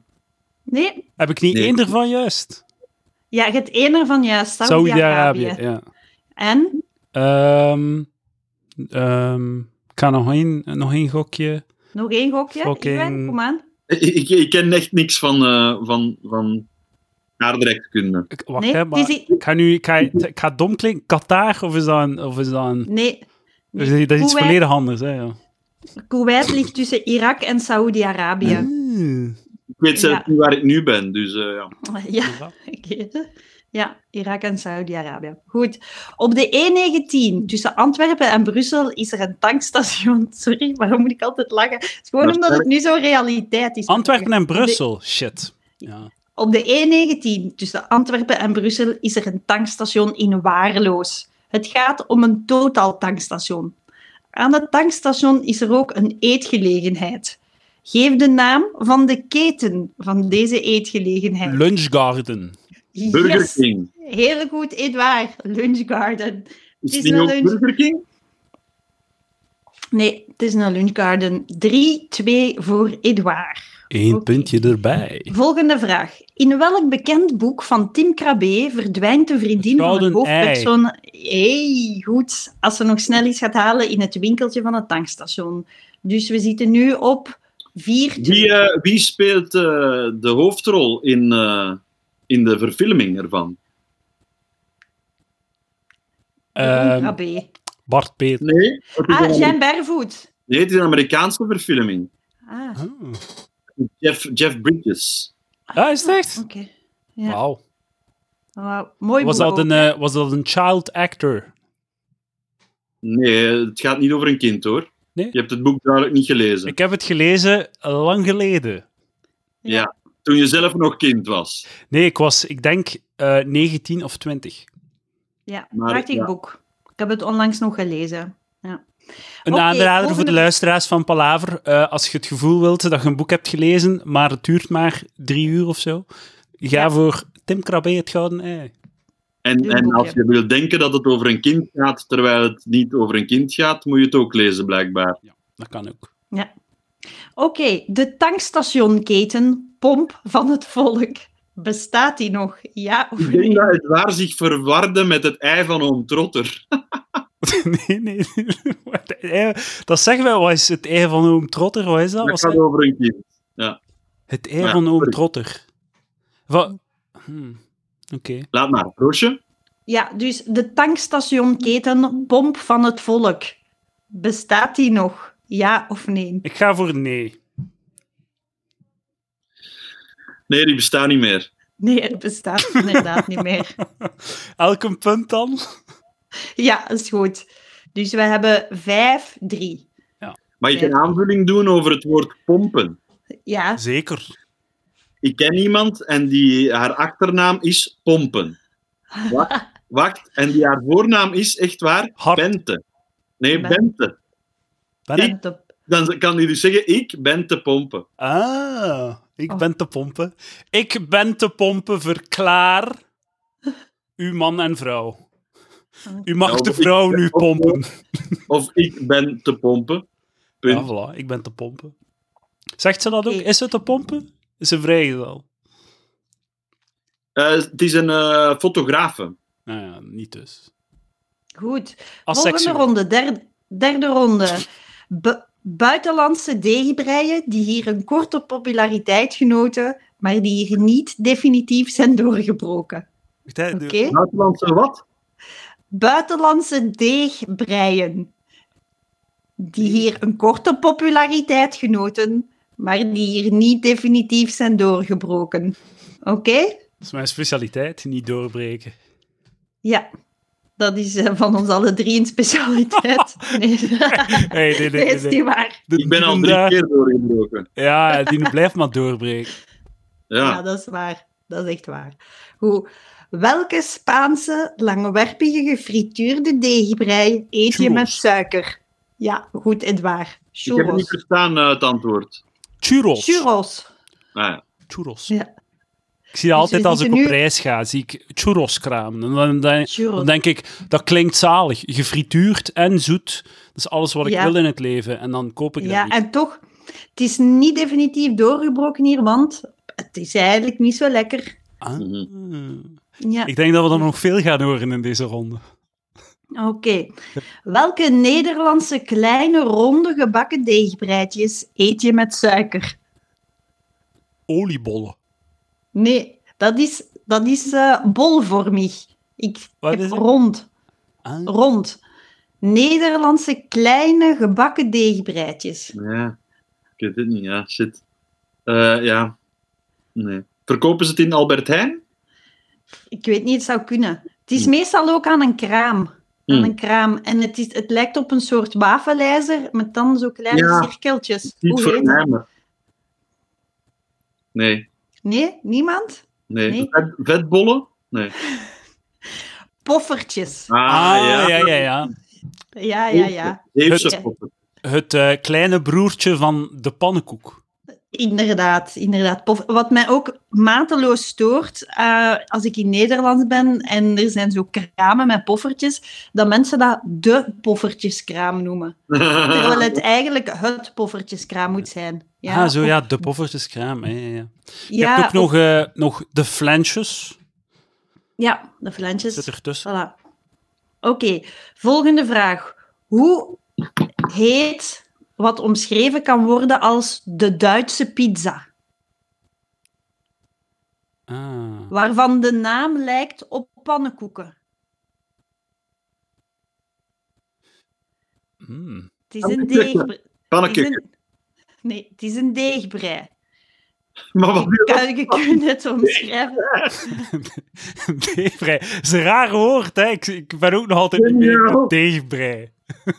Speaker 2: nee.
Speaker 1: Heb ik niet
Speaker 3: Nee.
Speaker 1: één ervan juist?
Speaker 2: Ja, je hebt één ervan juist,
Speaker 1: Saoedi-Arabië,
Speaker 2: Saudi-Arabië.
Speaker 1: ja.
Speaker 2: En?
Speaker 1: Ehm ehm, ik ga nog één, nog één gokje.
Speaker 2: Nog één gokje,
Speaker 1: Fucking-
Speaker 2: Iwan, kom aan.
Speaker 3: Ik, ik, ik ken echt niks van, eh, van, van aardrijkskunde.
Speaker 1: Ik- Wacht,
Speaker 2: Nee,
Speaker 1: hè,
Speaker 2: het
Speaker 1: maar
Speaker 2: is
Speaker 1: ik
Speaker 2: i-
Speaker 1: ga nu, ik ga, ik ga dom klinken. Qatar, of is dat een... Of is dat een
Speaker 2: Nee.
Speaker 1: dat is- Dus dat is iets
Speaker 2: Kuwait-
Speaker 1: volledig anders, hè. Ja.
Speaker 2: Kuwait ligt tussen Irak en Saoedi-Arabië.
Speaker 1: Hmm.
Speaker 3: Ik weet zelf
Speaker 2: Ja.
Speaker 3: niet waar ik nu ben, dus eh, ja.
Speaker 2: Ja,
Speaker 1: Is dat-
Speaker 2: oké. ja, Irak en Saoedi-Arabië. Goed. Op de E19 tussen Antwerpen en Brussel is er een tankstation. Sorry, waarom moet ik altijd lachen? Het is gewoon
Speaker 3: Dat is
Speaker 2: omdat het nu zo realiteit is.
Speaker 1: Antwerpen en Brussel, shit. Ja.
Speaker 2: Op de E19 tussen Antwerpen en Brussel is er een tankstation in Waarloos. Het gaat om een totaal tankstation. Aan het tankstation is er ook een eetgelegenheid. Geef de naam van de keten van deze eetgelegenheid.
Speaker 1: Lunchgarden.
Speaker 3: Burger
Speaker 2: Yes,
Speaker 3: King.
Speaker 2: heel goed, Edouard. Lunch Garden.
Speaker 3: Is
Speaker 2: Het
Speaker 3: het
Speaker 2: is
Speaker 3: niet
Speaker 2: een
Speaker 3: ook
Speaker 2: lunch.
Speaker 3: Burger King?
Speaker 2: Nee, het is een Lunch Garden. 3-2 voor Edouard.
Speaker 1: Eén
Speaker 2: Oké.
Speaker 1: puntje erbij.
Speaker 2: Volgende vraag. In welk bekend boek van Tim Krabbe verdwijnt de vriendin
Speaker 1: Het
Speaker 2: van
Speaker 1: gouden
Speaker 2: de hoofdpersoon... hey, goed. Als ze nog snel iets gaat halen in het winkeltje van het tankstation. Dus we zitten nu op 4
Speaker 3: Wie, eh, wie speelt eh, de hoofdrol in, eh, in de verfilming ervan?
Speaker 2: Tim
Speaker 1: Ehm
Speaker 2: Krabbe.
Speaker 1: Bart Peter.
Speaker 3: Nee, het is een
Speaker 2: Ah,
Speaker 3: Ameri-
Speaker 2: Jean Bervoet.
Speaker 3: nee, het is een Amerikaanse verfilming.
Speaker 2: Ah,
Speaker 1: Ah.
Speaker 3: Jeff, Jeff Bridges.
Speaker 1: Ja, Ah, is het echt?
Speaker 2: oké. Ja.
Speaker 1: Wauw.
Speaker 2: Wauw, Mooi
Speaker 1: Was
Speaker 2: boek
Speaker 1: dat, een,
Speaker 2: ook.
Speaker 1: eh, was dat een child actor?
Speaker 3: Nee, het gaat niet over een kind hoor.
Speaker 1: Nee?
Speaker 3: Je hebt het boek duidelijk niet gelezen.
Speaker 1: Ik heb het gelezen lang geleden.
Speaker 3: Toen je zelf nog kind was.
Speaker 1: Nee, ik was, ik denk, eh 19 of 20.
Speaker 2: Ja,
Speaker 3: Maar,
Speaker 2: prachtig
Speaker 3: ja.
Speaker 2: boek. Ik heb het onlangs nog gelezen.
Speaker 1: Een
Speaker 2: Oké,
Speaker 1: aanrader voor
Speaker 2: volgende-
Speaker 1: de luisteraars van Palaver. eh, als je het gevoel wilt dat je een boek hebt gelezen, maar het duurt maar drie uur of zo, ga
Speaker 2: Ja.
Speaker 1: voor Tim Krabbe het Gouden Ei.
Speaker 3: En,
Speaker 2: Duur
Speaker 3: en
Speaker 2: boekje.
Speaker 3: als je wil denken dat het over een kind gaat, terwijl het niet over een kind gaat, moet je het ook lezen, blijkbaar.
Speaker 1: Dat kan ook.
Speaker 2: Oké, de tankstationketen Pomp van het Volk. Bestaat die nog? Ja of
Speaker 3: Ik denk
Speaker 2: nee?
Speaker 3: dat het waar zich verwarde met het ei van Oom Trotter.
Speaker 1: nee, nee. Wat- eh, Dat zeggen wij, wat is het ei van oom Trotter? Wat is dat? Wat
Speaker 3: Dat gaat
Speaker 1: zeg-
Speaker 3: over een kind.
Speaker 1: Het ei
Speaker 3: Ja,
Speaker 1: van oom
Speaker 3: sorry.
Speaker 1: Trotter. Wat? Hmm, Oké.
Speaker 3: Laat maar, Roosje.
Speaker 2: Ja, dus de tankstationketen Pomp van het Volk. Bestaat die nog? Ja of nee?
Speaker 1: Ik ga voor nee.
Speaker 3: Nee, die bestaat niet meer.
Speaker 2: Nee, het bestaat inderdaad niet meer.
Speaker 1: Elk een punt dan?
Speaker 2: Ja, is goed. Dus we hebben 5-3.
Speaker 3: Mag ik
Speaker 2: Ja.
Speaker 3: een aanvulling doen over het woord pompen?
Speaker 2: Ja,
Speaker 1: Zeker.
Speaker 3: Ik ken iemand en die, haar achternaam is Pompen. Wacht, wacht. En die, haar voornaam is echt waar?
Speaker 1: Hart.
Speaker 3: Bente. Nee,
Speaker 2: Bente.
Speaker 3: Bente.
Speaker 1: Ben ik?
Speaker 2: bent op.
Speaker 3: Dan kan die dus zeggen, ik ben te pompen.
Speaker 1: Ah, ik
Speaker 2: Oh.
Speaker 1: ben te pompen. Ik ben te pompen, verklaar. Uw man en vrouw. U mag
Speaker 3: Nou,
Speaker 1: de
Speaker 3: ik
Speaker 1: vrouw
Speaker 3: ben
Speaker 1: nu
Speaker 3: ook
Speaker 1: pompen.
Speaker 3: Of ik ben te pompen.
Speaker 1: Ja,
Speaker 3: Punt.
Speaker 1: voilà, ik ben te pompen. Zegt ze dat ook?
Speaker 2: Ik-
Speaker 1: Is ze te pompen? Is ze vrijgezel?
Speaker 3: Eh, het is een eh fotografe.
Speaker 1: Nou ja, niet dus.
Speaker 2: Goed.
Speaker 1: Als
Speaker 2: Volgende
Speaker 1: seksueel.
Speaker 2: ronde, derde, derde ronde. Bu- buitenlandse deegbreien die hier een korte populariteit genoten, maar die hier niet definitief zijn doorgebroken.
Speaker 1: Wacht, hè,
Speaker 2: Oké?
Speaker 1: de-
Speaker 3: Buitenlandse wat?
Speaker 2: Buitenlandse deegbreien die hier een korte populariteit genoten, maar die hier niet definitief zijn doorgebroken. Oké?
Speaker 1: Dat is mijn specialiteit, niet doorbreken.
Speaker 2: Ja. Dat is eh, van ons alle drie een specialiteit. Nee,
Speaker 1: Hey, nee, nee,
Speaker 2: nee,
Speaker 1: nee,
Speaker 2: is niet waar.
Speaker 1: De-
Speaker 3: Ik ben al
Speaker 1: die
Speaker 3: drie
Speaker 1: daar-
Speaker 3: keer doorgebroken.
Speaker 1: Ja, die blijft maar doorbreken.
Speaker 3: Ja.
Speaker 2: Ja. dat is waar. Dat is echt waar. Hoe, welke Spaanse langwerpige gefrituurde deegbrei eet je met
Speaker 1: Churros.
Speaker 2: suiker? Ja, goed en waar.
Speaker 3: Ik heb het niet
Speaker 2: Churros.
Speaker 3: verstaan, eh, het antwoord.
Speaker 1: Churros.
Speaker 2: Churros.
Speaker 3: Ah, ja.
Speaker 1: Churros.
Speaker 2: Ja.
Speaker 1: Ik zie dat
Speaker 2: Dus
Speaker 1: altijd
Speaker 2: we
Speaker 1: als ik
Speaker 2: zitten
Speaker 1: op
Speaker 2: nu-
Speaker 1: reis ga, zie ik churros kraam. En dan, dan, dan
Speaker 2: Churros.
Speaker 1: denk ik, dat klinkt zalig. Gefrituurd en zoet. Dat is alles wat ik
Speaker 2: Ja.
Speaker 1: wil in het leven. En dan koop ik dat
Speaker 2: Ja,
Speaker 1: niet.
Speaker 2: en toch, het is niet definitief doorgebroken hier, want het is eigenlijk niet zo lekker.
Speaker 1: Ah.
Speaker 3: Mhm.
Speaker 2: Ja,
Speaker 1: Ik denk dat we dan nog veel gaan horen in deze ronde.
Speaker 2: oké. Welke Nederlandse kleine ronde gebakken deegbreidjes eet je met suiker?
Speaker 1: Oliebollen.
Speaker 2: Nee, dat is Dat is eh, bolvormig. Ik
Speaker 1: Wat
Speaker 2: heb
Speaker 1: is het?
Speaker 2: rond,
Speaker 1: Ah.
Speaker 2: rond. Nederlandse kleine gebakken deegbreidjes.
Speaker 3: Ja, ik weet het niet. Ja, shit. Eh, ja. Nee. Verkopen ze het in Albert Heijn?
Speaker 2: Ik weet niet, het zou kunnen. Het is
Speaker 3: Hmm.
Speaker 2: meestal ook aan een kraam. Aan
Speaker 3: Hmm.
Speaker 2: een kraam. En het, is, het lijkt op een soort wafelijzer met dan zo kleine
Speaker 3: Ja.
Speaker 2: cirkeltjes.
Speaker 3: Niet
Speaker 2: Hoe
Speaker 3: voor
Speaker 2: heet dat?
Speaker 3: mij, maar... Nee,
Speaker 2: Nee, niemand?
Speaker 3: nee.
Speaker 2: Nee.
Speaker 3: Vet- vetbollen? Nee.
Speaker 2: Poffertjes.
Speaker 3: Ah,
Speaker 1: Ah, ja, ja, ja.
Speaker 2: Ja, ja, ja.
Speaker 3: Zeefse
Speaker 2: Het-
Speaker 3: poppen.
Speaker 1: Het eh, kleine broertje van de pannenkoek.
Speaker 2: Inderdaad, inderdaad. Pof- Wat mij ook mateloos stoort eh, als ik in Nederland ben en er zijn zo kramen met poffertjes, dat mensen dat de poffertjeskraam noemen. Terwijl het eigenlijk het poffertjeskraam moet zijn.
Speaker 1: Ja, Ah, zo
Speaker 2: of-
Speaker 1: ja, de poffertjeskraam. hè, Ja, ja. Je
Speaker 2: ja,
Speaker 1: hebt ook
Speaker 2: of-
Speaker 1: nog, eh, nog de flensjes.
Speaker 2: ja, de flensjes.
Speaker 1: Zit ertussen.
Speaker 2: Voilà. Oké, volgende vraag. Hoe heet wat omschreven kan worden als de Duitse pizza,
Speaker 1: Ah.
Speaker 2: waarvan de naam lijkt op pannenkoeken?
Speaker 1: Hmm.
Speaker 2: Het is een deegbrei. Het is
Speaker 3: Pannenkoeken.
Speaker 2: een- Nee, het is een deegbrei.
Speaker 3: Maar wat
Speaker 2: Je, kan- je kunt het omschrijven.
Speaker 1: Deegbrei. Dat is een raar woord, hè. Ik, ik ben ook nog altijd niet meer
Speaker 3: Ja.
Speaker 1: met deegbrei.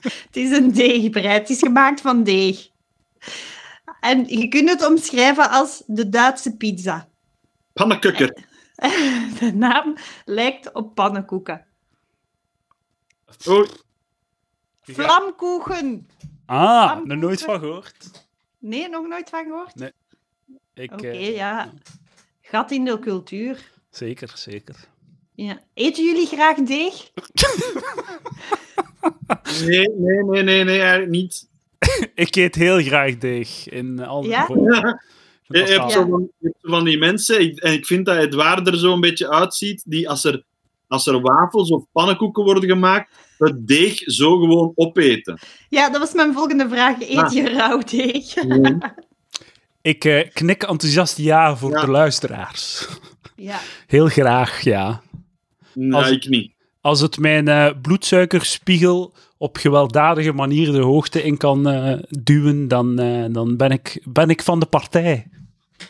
Speaker 2: Het is een deegbrei. Het is gemaakt van deeg. En je kunt het omschrijven als de Duitse pizza.
Speaker 3: Pannenkukker.
Speaker 2: De naam lijkt op pannenkoeken.
Speaker 3: Oh,
Speaker 2: Vlamkoeken.
Speaker 1: Ah,
Speaker 2: Pannenkoeken.
Speaker 1: nog nooit van gehoord.
Speaker 2: Nee, nog nooit van gehoord?
Speaker 1: Ik,
Speaker 2: Oké,
Speaker 1: eh,
Speaker 2: ja. Gat in de cultuur.
Speaker 1: Zeker, zeker.
Speaker 2: Ja. Eten jullie graag deeg?
Speaker 3: nee, nee, nee, nee, nee, eigenlijk niet.
Speaker 1: Ik eet heel graag deeg in eh, al die
Speaker 2: Ja?
Speaker 1: vormen.
Speaker 3: Je
Speaker 1: Dat
Speaker 3: hebt
Speaker 1: is
Speaker 3: zo van, je hebt zo van die mensen, ik- en ik vind dat Edouard er zo een beetje uitziet, die als er, als er wafels of pannenkoeken worden gemaakt, het deeg zo gewoon opeten.
Speaker 2: Ja, dat was mijn volgende vraag. Eet
Speaker 3: Ah.
Speaker 2: je rauw deeg?
Speaker 1: Ik eh, knik enthousiast ja voor
Speaker 3: Ja.
Speaker 1: de luisteraars.
Speaker 2: Ja.
Speaker 1: Heel graag, ja.
Speaker 3: Nee,
Speaker 1: Als-
Speaker 3: ik niet.
Speaker 1: Als het mijn eh, bloedsuikerspiegel op gewelddadige manier de hoogte in kan eh, duwen, dan, eh, dan ben, ik, ben ik van de partij.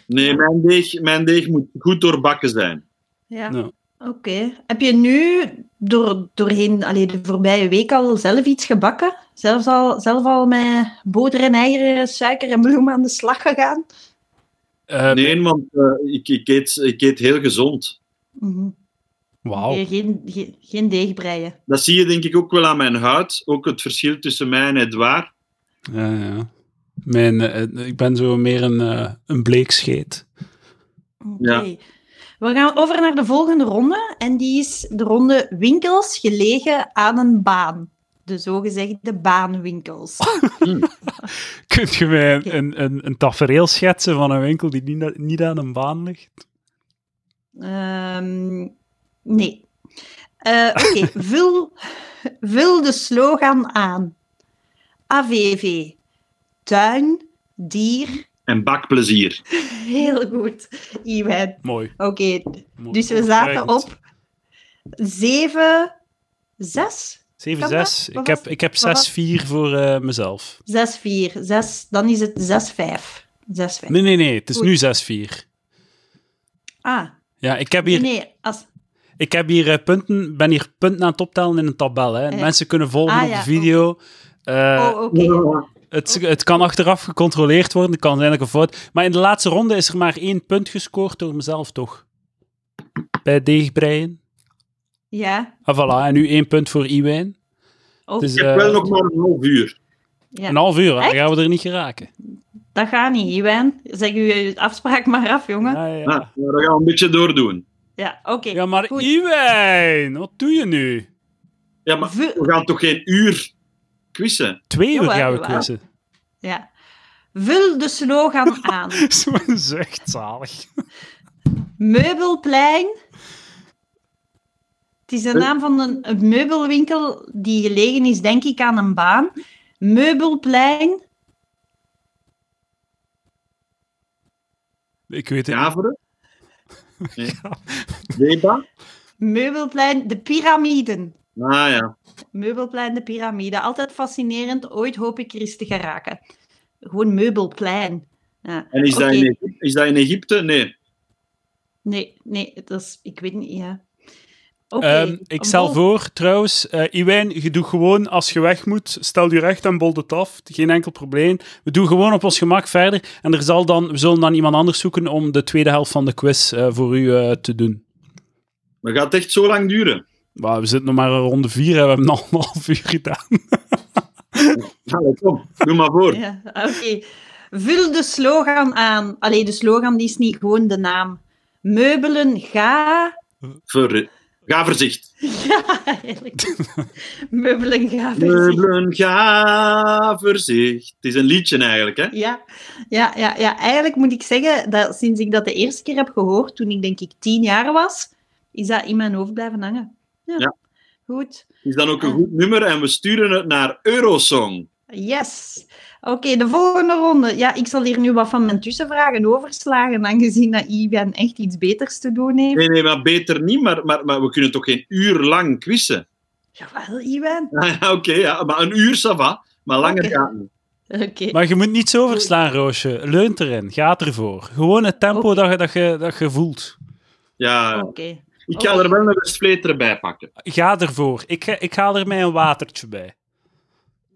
Speaker 3: Nee, mijn deeg, mijn deeg moet goed doorbakken zijn.
Speaker 2: ja.
Speaker 1: Nou.
Speaker 2: Oké. Heb je nu door, doorheen allee, de voorbije week al zelf iets gebakken? Zelfs al, zelf al met boter en eieren, suiker en bloem aan de slag gegaan?
Speaker 1: Eh,
Speaker 3: Nee, want eh, ik, ik, eet, ik eet heel gezond.
Speaker 2: Mhm.
Speaker 1: Wauw.
Speaker 2: Nee, geen, geen, geen deeg breien.
Speaker 3: Dat zie je denk ik ook wel aan mijn huid. Ook het verschil tussen mij en Edouard.
Speaker 1: Ja, ja. Mijn, eh, ik ben zo meer een, eh, een bleekscheet.
Speaker 2: Oké. We gaan over naar de volgende ronde. En die is de ronde winkels gelegen aan een baan. De zogezegde baanwinkels.
Speaker 1: Kunt je mij een, een, een, een tafereel schetsen van een winkel die niet, niet aan een baan ligt?
Speaker 2: Ehm, nee. Eh, Oké, vul, vul de slogan aan. AVV. Tuin, dier.
Speaker 3: En bakplezier.
Speaker 2: Heel goed, Iwan.
Speaker 1: Mooi.
Speaker 2: Oké,
Speaker 1: mooi.
Speaker 2: dus we zaten
Speaker 1: Overtuigend.
Speaker 2: op 7, 6,
Speaker 1: 7-6.
Speaker 2: Kan dat? Wat
Speaker 1: Ik heb,
Speaker 2: was-
Speaker 1: ik heb 6-4
Speaker 2: wat was-
Speaker 1: voor eh, mezelf.
Speaker 2: 6, 4, 6. Dan is het 6, 5. 6, 5.
Speaker 1: Nee, nee, nee. Het is
Speaker 2: Oei.
Speaker 1: nu 6-4.
Speaker 2: Ah,
Speaker 1: Ja, ik heb
Speaker 2: nee,
Speaker 1: hier,
Speaker 2: nee. Als,
Speaker 1: ik heb hier eh, punten, ben hier punten aan het optellen in een tabel. Hè.
Speaker 2: Eh.
Speaker 1: Mensen kunnen volgen
Speaker 2: Ah,
Speaker 1: op
Speaker 2: ja,
Speaker 1: de video. Eh,
Speaker 2: oh, oké.
Speaker 1: het, het kan achteraf gecontroleerd worden. Het kan zijn dat ik een fout... Maar in de laatste ronde is er maar één punt gescoord door mezelf, toch? Bij deegbreien.
Speaker 2: Ja.
Speaker 1: Ah, voilà. En nu één punt voor Iwijn.
Speaker 2: Oh,
Speaker 1: Dus,
Speaker 3: Ik
Speaker 1: eh,
Speaker 3: heb wel nog maar een half uur.
Speaker 2: ja.
Speaker 1: Een half uur, hè. dan
Speaker 2: Echt?
Speaker 1: gaan we er niet geraken.
Speaker 2: Dat gaat niet, Iwan. Zeg je afspraak maar af, jongen. Ja,
Speaker 1: Ja, ja.
Speaker 3: Ah, maar we gaan een beetje doordoen.
Speaker 2: oké.
Speaker 1: Ja, maar
Speaker 2: Goed.
Speaker 1: Iwijn, wat doe je nu?
Speaker 3: Ja, maar
Speaker 2: Vu-
Speaker 3: we gaan toch geen uur quizzen?
Speaker 1: Twee uur
Speaker 2: Jawel,
Speaker 1: gaan we
Speaker 2: jawel.
Speaker 1: quizzen.
Speaker 2: ja. Vul de slogan aan.
Speaker 1: Zo'n zucht, zalig.
Speaker 2: Meubelplein. Het is de naam van een, een meubelwinkel die gelegen is, denk ik, aan een baan. Meubelplein.
Speaker 1: Ik weet het niet.
Speaker 3: Daveren? Deba?
Speaker 2: Meubelplein, de piramiden.
Speaker 3: Ah ja.
Speaker 2: Meubelplein, de piramide. Altijd fascinerend. Ooit hoop ik er eens te geraken. Gewoon meubelplein. Ja.
Speaker 3: En is, dat
Speaker 2: Oké.
Speaker 3: in Egypte, is dat in Egypte? Nee.
Speaker 2: Nee, nee, dat is... Ik weet niet, ja. Oké.
Speaker 1: Ehm,
Speaker 2: een
Speaker 1: ik stel
Speaker 2: bol.
Speaker 1: voor, trouwens, eh Iwijn, je doet gewoon als je weg moet, stel je recht en bold het af. Geen enkel probleem. We doen gewoon op ons gemak verder. En er zal dan, we zullen dan iemand anders zoeken om de tweede helft van de quiz eh, voor u eh, te doen.
Speaker 3: Maar gaat het echt zo lang duren?
Speaker 1: Maar we zitten nog maar rond vier en we hebben al een half uur gedaan.
Speaker 3: Allee, kom, doe maar voor.
Speaker 2: Ja, oké. Vul de slogan aan. Allee, de slogan die is niet gewoon de naam. Meubelen ga...
Speaker 3: Ver- ga verzicht.
Speaker 2: Ja, eigenlijk. Meubelen ga verziekt.
Speaker 3: Meubelen, ga verzicht. Het is een liedje eigenlijk, hè?
Speaker 2: Ja, ja, ja, ja, eigenlijk moet ik zeggen dat sinds ik dat de eerste keer heb gehoord, toen ik denk ik tien jaar was, is dat in mijn hoofd blijven hangen. Ja.
Speaker 3: Ja.
Speaker 2: Goed.
Speaker 3: Het is dan ook een goed nummer en we sturen het naar Eurosong.
Speaker 2: Yes. Oké, de volgende ronde. Ja, ik zal hier nu wat van mijn tussenvragen overslagen, aangezien dat Ivan echt iets beters te doen heeft.
Speaker 3: Nee, nee, maar beter niet, maar, maar, maar we kunnen toch geen uur lang quizzen?
Speaker 2: Jawel, Ivan.
Speaker 3: Ah, ja, Oké, ja, maar een uur, ça va. Maar langer
Speaker 2: Oké.
Speaker 3: gaat het niet.
Speaker 2: Oké.
Speaker 1: Maar je moet niets overslaan, Roosje. Leunt erin, gaat ervoor. Gewoon het tempo dat, je, dat, je, dat je voelt.
Speaker 3: Ja,
Speaker 2: Oké.
Speaker 3: Oh. ik ga
Speaker 2: Oké.
Speaker 3: er wel een Westvleter bij pakken.
Speaker 1: Ga ervoor. Ik, ga- ik haal er mij een watertje bij.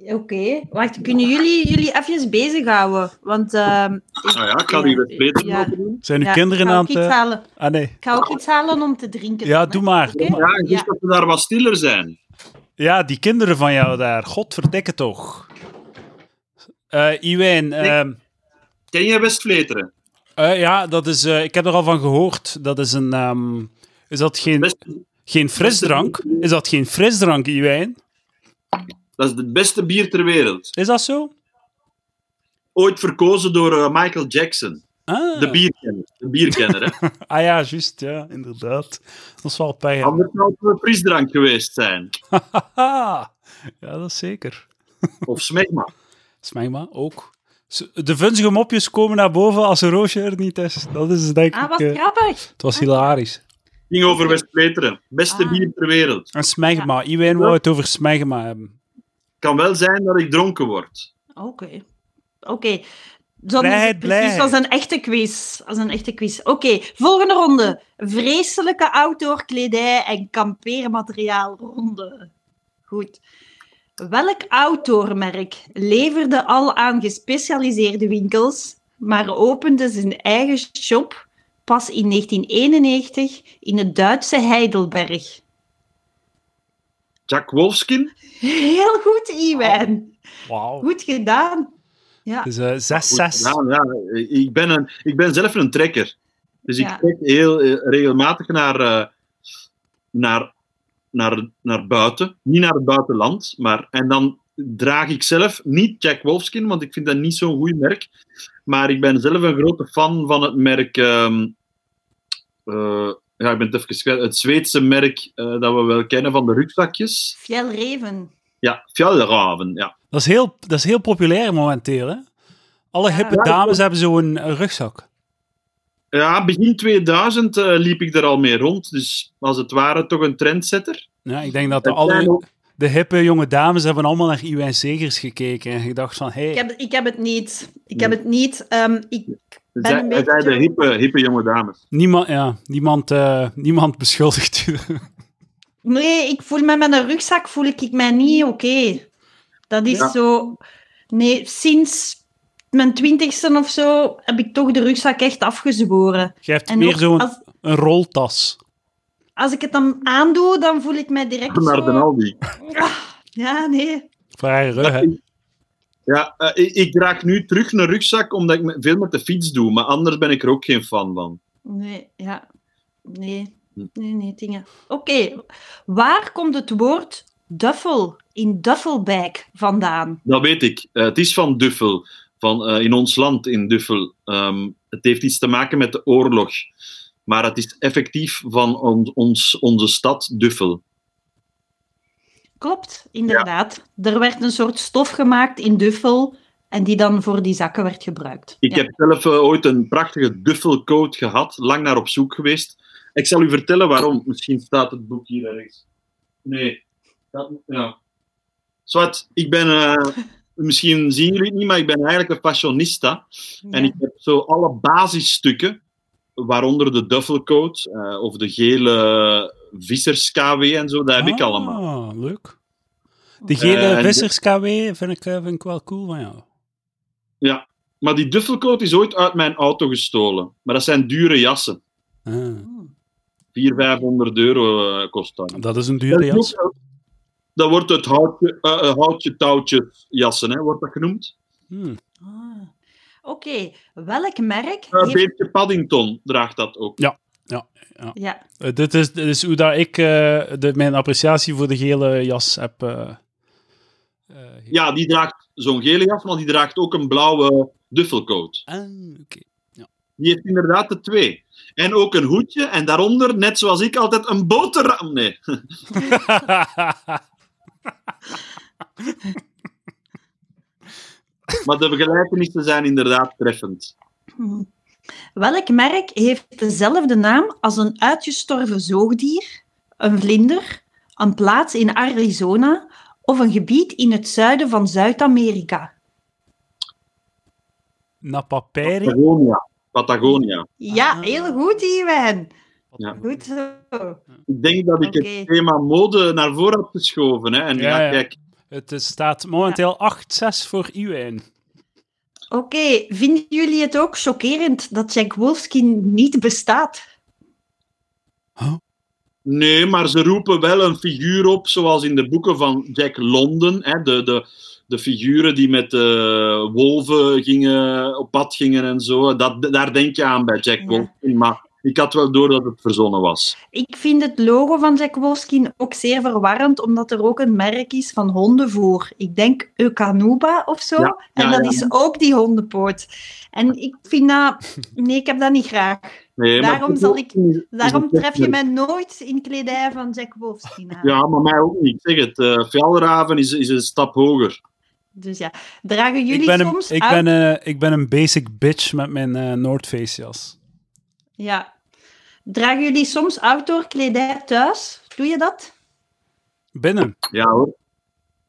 Speaker 2: Oké. Wacht, kunnen jullie jullie even bezighouden? Want... ehm ik-
Speaker 3: Nou ja, ik ga die Westvleter
Speaker 2: Ja.
Speaker 3: lopen doen.
Speaker 1: Zijn uw
Speaker 2: ja,
Speaker 1: kinderen
Speaker 2: ik ga
Speaker 1: aan
Speaker 2: ook
Speaker 1: het...
Speaker 2: iets
Speaker 1: eh,
Speaker 2: halen.
Speaker 1: Ah, nee.
Speaker 2: Ik ga ook iets halen om te drinken.
Speaker 1: Ja,
Speaker 2: dan, hè.
Speaker 1: doe maar. doe
Speaker 2: Oké.
Speaker 1: maar.
Speaker 3: Ja, ik wist
Speaker 2: Oh. Ja.
Speaker 3: dat we daar wat stiller zijn.
Speaker 1: Ja, die kinderen van jou daar. Godverdikke toch. Eh Iwijn, ehm,
Speaker 3: Ken je Westvleteren?
Speaker 1: eh, ja, dat is... eh, ik heb er al van gehoord. Dat is een... ehm, is dat geen,
Speaker 3: Best-
Speaker 1: geen frisdrank? Is dat geen frisdrank, Iwijn?
Speaker 3: Dat is het beste bier ter wereld.
Speaker 1: Is dat zo?
Speaker 3: Ooit verkozen door eh, Michael Jackson.
Speaker 1: Ah,
Speaker 3: De bierkenner. De bierkenner, hè.
Speaker 1: ah ja, juist. Ja, inderdaad. Dat is wel pijn.
Speaker 3: Anders zou het een frisdrank geweest zijn.
Speaker 1: Haha. ja, dat is zeker.
Speaker 3: Of smegma.
Speaker 1: Smegma ook. Ze- De vunzige mopjes komen naar boven als een roosje er niet is. Dat is denk
Speaker 2: Ah,
Speaker 1: ik...
Speaker 2: wat
Speaker 1: eh,
Speaker 2: grappig.
Speaker 1: het was hilarisch.
Speaker 3: ging over West-Peteren. Beste
Speaker 2: Ah.
Speaker 3: bier ter wereld.
Speaker 1: En smegma. Iwijn wou het over smegma hebben.
Speaker 3: kan wel zijn dat ik dronken word.
Speaker 2: Oké. Oké. Dan is
Speaker 1: Blijheid,
Speaker 2: het precies
Speaker 1: blijheid.
Speaker 2: als een echte quiz. Als een echte quiz. Oké, volgende ronde. Vreselijke outdoor kledij en kampeermateriaal ronde. Goed. Welk outdoormerk leverde al aan gespecialiseerde winkels, maar opende zijn eigen shop pas in 1991 in het Duitse Heidelberg?
Speaker 3: Jack Wolfskin?
Speaker 2: Heel goed, Iwan.
Speaker 1: Wauw.
Speaker 2: Goed gedaan. Ja.
Speaker 1: Het is eh, 6-6.
Speaker 3: Ja, ja, ik, ben een, ik ben zelf een trekker. Dus
Speaker 2: Ja.
Speaker 3: ik trek heel eh, regelmatig naar, eh, naar, naar, naar buiten. Niet naar het buitenland. Maar, en dan draag ik zelf niet Jack Wolfskin, want ik vind dat niet zo'n goed merk. Maar ik ben zelf een grote fan van het merk... ehm, eh, ja, ik ben het even kwijt. Het Zweedse merk eh, dat we wel kennen van de rugzakjes.
Speaker 2: Fjellreven.
Speaker 3: Ja, Fjallraven, ja.
Speaker 1: Dat is heel, dat is heel populair momenteel, hè? Alle
Speaker 2: Ja.
Speaker 1: hippe dames hebben zo'n eh, rugzak.
Speaker 3: Ja, begin 2000 eh, liep ik er al mee rond. Dus als het ware toch een trendsetter.
Speaker 1: Ja, ik denk dat de,
Speaker 3: Het zijn
Speaker 1: alle,
Speaker 3: ook-
Speaker 1: de hippe jonge dames hebben allemaal naar Iwijn Segers gekeken en gedacht van, hé,
Speaker 2: Ik
Speaker 1: hey,
Speaker 2: heb, ik heb het niet. Ik heb het niet. Ehm, ik,
Speaker 3: het
Speaker 2: Ben
Speaker 3: zijn,
Speaker 2: een
Speaker 3: het zijn
Speaker 2: beetje-
Speaker 3: de hippe, hippe jonge dames.
Speaker 1: niemand, ja, niemand, eh, niemand beschuldigt u.
Speaker 2: nee, ik voel me met een rugzak voel ik mij niet oké. Dat is
Speaker 3: Ja.
Speaker 2: zo. Nee, sinds mijn twintigste of zo heb ik toch de rugzak echt afgezworen.
Speaker 1: Je hebt
Speaker 2: En
Speaker 1: meer
Speaker 2: ook
Speaker 1: zo'n
Speaker 2: als,
Speaker 1: een roltas.
Speaker 2: als ik het dan aandoe, dan voel ik mij direct
Speaker 3: Naar
Speaker 2: zo...
Speaker 3: de Aldi.
Speaker 2: Ja, nee.
Speaker 1: Vrij rug, hè.
Speaker 3: Ja, eh, ik, ik draag nu terug een rugzak omdat ik me- veel met de fiets doe. Maar anders ben ik er ook geen fan van.
Speaker 2: Nee, ja. Nee.
Speaker 3: Hm.
Speaker 2: Nee, nee, dingen. Oké. Waar komt het woord duffel in duffelbag vandaan?
Speaker 3: Dat weet ik. Eh, het is van Duffel. Van, eh, in ons land, in Duffel. Ehm, het heeft iets te maken met de oorlog. Maar het is effectief van on- ons, onze stad, Duffel.
Speaker 2: Klopt, inderdaad. Er werd een soort stof gemaakt in Duffel en die dan voor die zakken werd gebruikt.
Speaker 3: Ik
Speaker 2: Ja.
Speaker 3: heb zelf eh, ooit een prachtige duffelcoat gehad, lang naar op zoek geweest. Ik zal u vertellen waarom. Misschien staat het boek hier ergens. Nee. Dat, ja. Zwart, ik ben... eh, misschien zien jullie het niet, maar ik ben eigenlijk een fashionista. En
Speaker 2: Ja.
Speaker 3: ik heb zo alle basisstukken, waaronder de duffelcoat eh, of de gele vissers-KW en zo, dat heb ik allemaal.
Speaker 1: Ah, leuk. De gele
Speaker 3: Eh, en-
Speaker 1: vissers-KW vind ik, eh, vind ik wel cool van jou.
Speaker 3: Maar die duffelcoat is ooit uit mijn auto gestolen. Maar dat zijn dure jassen.
Speaker 1: Ah,
Speaker 3: 400, 500 euro eh, kost dat.
Speaker 1: dat is een dure jas.
Speaker 3: Dat wordt het houtje, eh, eh, houtje touwtje jassen, hè, wordt dat genoemd.
Speaker 1: Hmm.
Speaker 2: Ah. Oké, welk merk
Speaker 3: Eh,
Speaker 2: heeft...
Speaker 3: Beertje Paddington draagt dat ook.
Speaker 2: Ja,
Speaker 1: Eh, dit, is, dit is hoe dat ik eh, de, mijn appreciatie voor de gele jas heb. eh, eh,
Speaker 3: Ja, die draagt zo'n gele jas, maar die draagt ook een blauwe duffelcoat.
Speaker 1: Ah, oké.
Speaker 3: Die heeft inderdaad de twee. En ook een hoedje en daaronder, net zoals ik, altijd een boterham. Nee, maar de gelijkenissen zijn inderdaad treffend.
Speaker 2: Hm. Welk merk heeft dezelfde naam als een uitgestorven zoogdier, een vlinder, een plaats in Arizona of een gebied in het zuiden van Zuid-Amerika?
Speaker 1: Napaperi.
Speaker 3: Patagonia. Patagonia.
Speaker 2: Ja,
Speaker 1: Ah.
Speaker 2: heel goed, Iwan.
Speaker 3: Ja.
Speaker 2: Goed zo.
Speaker 3: Ik denk dat ik
Speaker 2: Oké.
Speaker 3: het thema mode naar voren heb geschoven. Hè. En
Speaker 1: Ja,
Speaker 3: ja,
Speaker 1: ja.
Speaker 3: kijk,
Speaker 1: Het is- staat momenteel 8-6 voor Iwijn.
Speaker 2: Oké, vinden jullie het ook chockerend dat Jack Wolfskin niet bestaat?
Speaker 3: Nee, maar ze roepen wel een figuur op, zoals in de boeken van Jack London. Hè, de, de, de figuren die met eh, wolven gingen, op pad gingen en zo. Dat, daar denk je aan bij Jack
Speaker 2: Ja.
Speaker 3: London. Maar ik had wel door dat het verzonnen was.
Speaker 2: Ik vind het logo van Jack Wolfskin ook zeer verwarrend, omdat er ook een merk is van hondenvoer. Ik denk Eukanuba of zo.
Speaker 3: Ja,
Speaker 2: en
Speaker 3: ja,
Speaker 2: dat
Speaker 3: ja.
Speaker 2: is ook die hondenpoot. En ik vind dat... Nee, ik heb dat niet graag.
Speaker 3: Nee,
Speaker 2: Daarom zal ik-
Speaker 3: Is een
Speaker 2: Daarom tref je
Speaker 3: techmerk.
Speaker 2: mij nooit in kledij van Jack Wolfskin aan.
Speaker 3: Ja, maar mij ook niet. Ik Zeg het, eh Fjallraven is, is een stap hoger.
Speaker 2: Dus ja, dragen jullie
Speaker 1: ik ben,
Speaker 2: soms
Speaker 1: een, ik,
Speaker 2: uit-
Speaker 1: ben, eh, ik ben een basic bitch met mijn eh North Face jas.
Speaker 2: Ja. Dragen jullie soms outdoor kledij thuis? Doe je dat?
Speaker 1: Binnen.
Speaker 3: Ja hoor.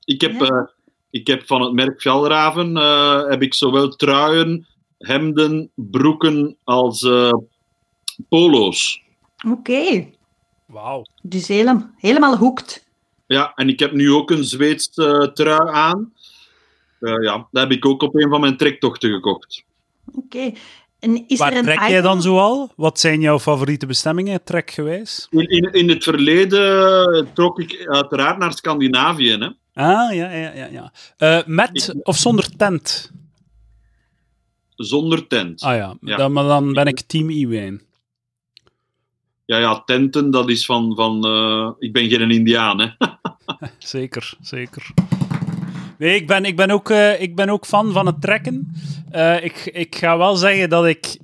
Speaker 3: Ik heb,
Speaker 2: Ja.
Speaker 3: eh, ik heb van het merk Fjallraven eh, heb ik zowel truien, hemden, broeken als eh, polo's.
Speaker 2: Oké.
Speaker 1: Wauw.
Speaker 2: Dus helemaal, helemaal hoekt.
Speaker 3: Ja, en ik heb nu ook een Zweeds eh, trui aan. Eh, ja, dat heb ik ook op een van mijn trektochten gekocht.
Speaker 2: Oké. En is
Speaker 1: Waar
Speaker 2: er een
Speaker 1: trek jij
Speaker 2: item-
Speaker 1: dan zoal? Wat zijn jouw favoriete bestemmingen trekgewijs?
Speaker 3: In, in, in het verleden eh, trok ik uiteraard naar Scandinavië. Hè.
Speaker 1: Ah, ja, ja, ja. ja. Eh, met of zonder tent?
Speaker 3: Zonder tent.
Speaker 1: Ah ja,
Speaker 3: Ja.
Speaker 1: Dan, maar dan ben ik team Iwijn.
Speaker 3: Ja, ja, tenten, dat is van... van eh, ik ben geen Indiaan, hè.
Speaker 1: Zeker, zeker. Nee, ik ben, ik ben, ook, eh, ik ben ook fan van het trekken. Eh, ik, ik ga wel zeggen dat ik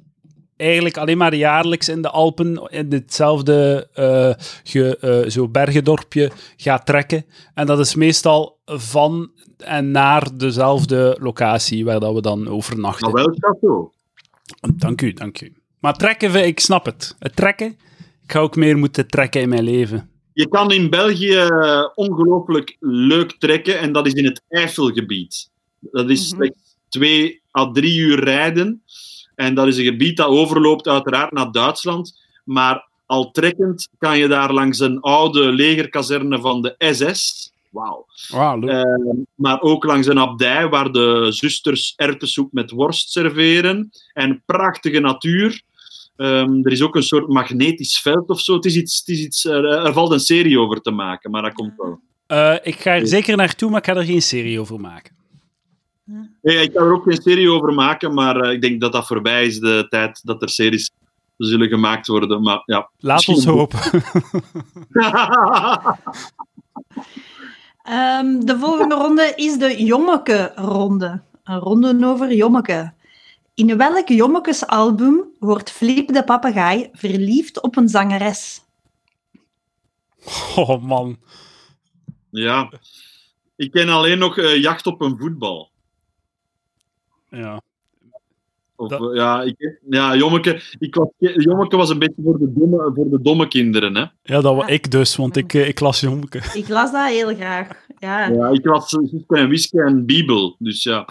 Speaker 1: eigenlijk alleen maar jaarlijks in de Alpen, in hetzelfde eh, ge- eh, zo bergendorpje, ga trekken. En dat is meestal van en naar dezelfde locatie waar dat we dan overnachten.
Speaker 3: Maar wel château.
Speaker 1: Dank u, dank u. Maar trekken, vind ik snap het. Het trekken, ik ga ook meer moeten trekken in mijn leven.
Speaker 3: Je kan in België eh, ongelooflijk leuk trekken en dat is in het Eifelgebied. Dat is
Speaker 2: Mhm.
Speaker 3: slechts twee à drie uur rijden. En dat is een gebied dat overloopt uiteraard naar Duitsland. Maar al trekkend kan je daar langs een oude legerkazerne van de SS. Wauw.
Speaker 1: Wauw, leuk.
Speaker 3: Eh, Maar ook langs een abdij waar de zusters erwtensoep met worst serveren. En prachtige natuur. Ehm, er is ook een soort magnetisch veld of zo. Het is iets, het is iets, eh, er valt een serie over te maken, maar dat komt wel.
Speaker 1: Eh, ik ga er zeker naartoe, maar ik ga er geen serie over maken.
Speaker 3: Nee, ik kan er ook geen serie over maken, maar eh, ik denk dat dat voorbij is, de tijd dat er series zullen gemaakt worden. Maar ja.
Speaker 1: Laat
Speaker 3: Misschien
Speaker 1: ons
Speaker 3: een boek.
Speaker 1: hopen.
Speaker 2: Ehm, de volgende ronde is de Jommeke-ronde. Een ronde over Jommeke. In welk Jommekesalbum wordt Flip de papegaai verliefd op een zangeres?
Speaker 1: Oh man.
Speaker 3: ja. Ik ken alleen nog eh, Jacht op een voetbal.
Speaker 1: Ja.
Speaker 3: Of,
Speaker 1: Dat-
Speaker 3: eh, ja, ik, ja Jommeke, ik was, Jommeke was een beetje voor de domme, voor de domme kinderen. Hè.
Speaker 1: ja, dat was ik dus, want ik, eh, ik las Jonke.
Speaker 2: Ik las dat heel graag. Ja.
Speaker 3: Ja, ik was eh, Suske en Wiske en Bibel. Dus ja,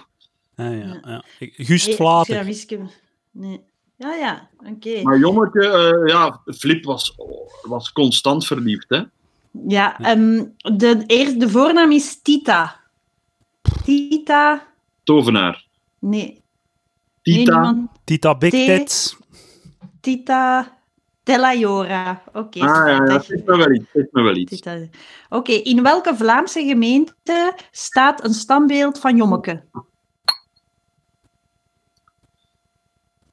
Speaker 1: Ja, ja,
Speaker 2: Ja.
Speaker 1: ja. Ik- Guust
Speaker 2: Nee,
Speaker 1: Vlater.
Speaker 2: journalistke. Nee. Ja, ja, oké.
Speaker 3: Maar Jommeke, eh, ja, Flip was, was constant verliefd, hè?
Speaker 2: Ja, ehm, de, eerst, de voornaam is Tita. Tita?
Speaker 3: Tovenaar.
Speaker 2: Nee. Nee,
Speaker 3: Tita.
Speaker 2: niemand.
Speaker 1: Tita Big
Speaker 2: Thee.
Speaker 1: Tits.
Speaker 2: Tita Telajora. Oké.
Speaker 3: ah ja, ja,
Speaker 2: schattig.
Speaker 3: zegt me wel iets. Zegt me wel iets.
Speaker 2: Tita. Oké, in welke Vlaamse gemeente staat een standbeeld van Jommeke?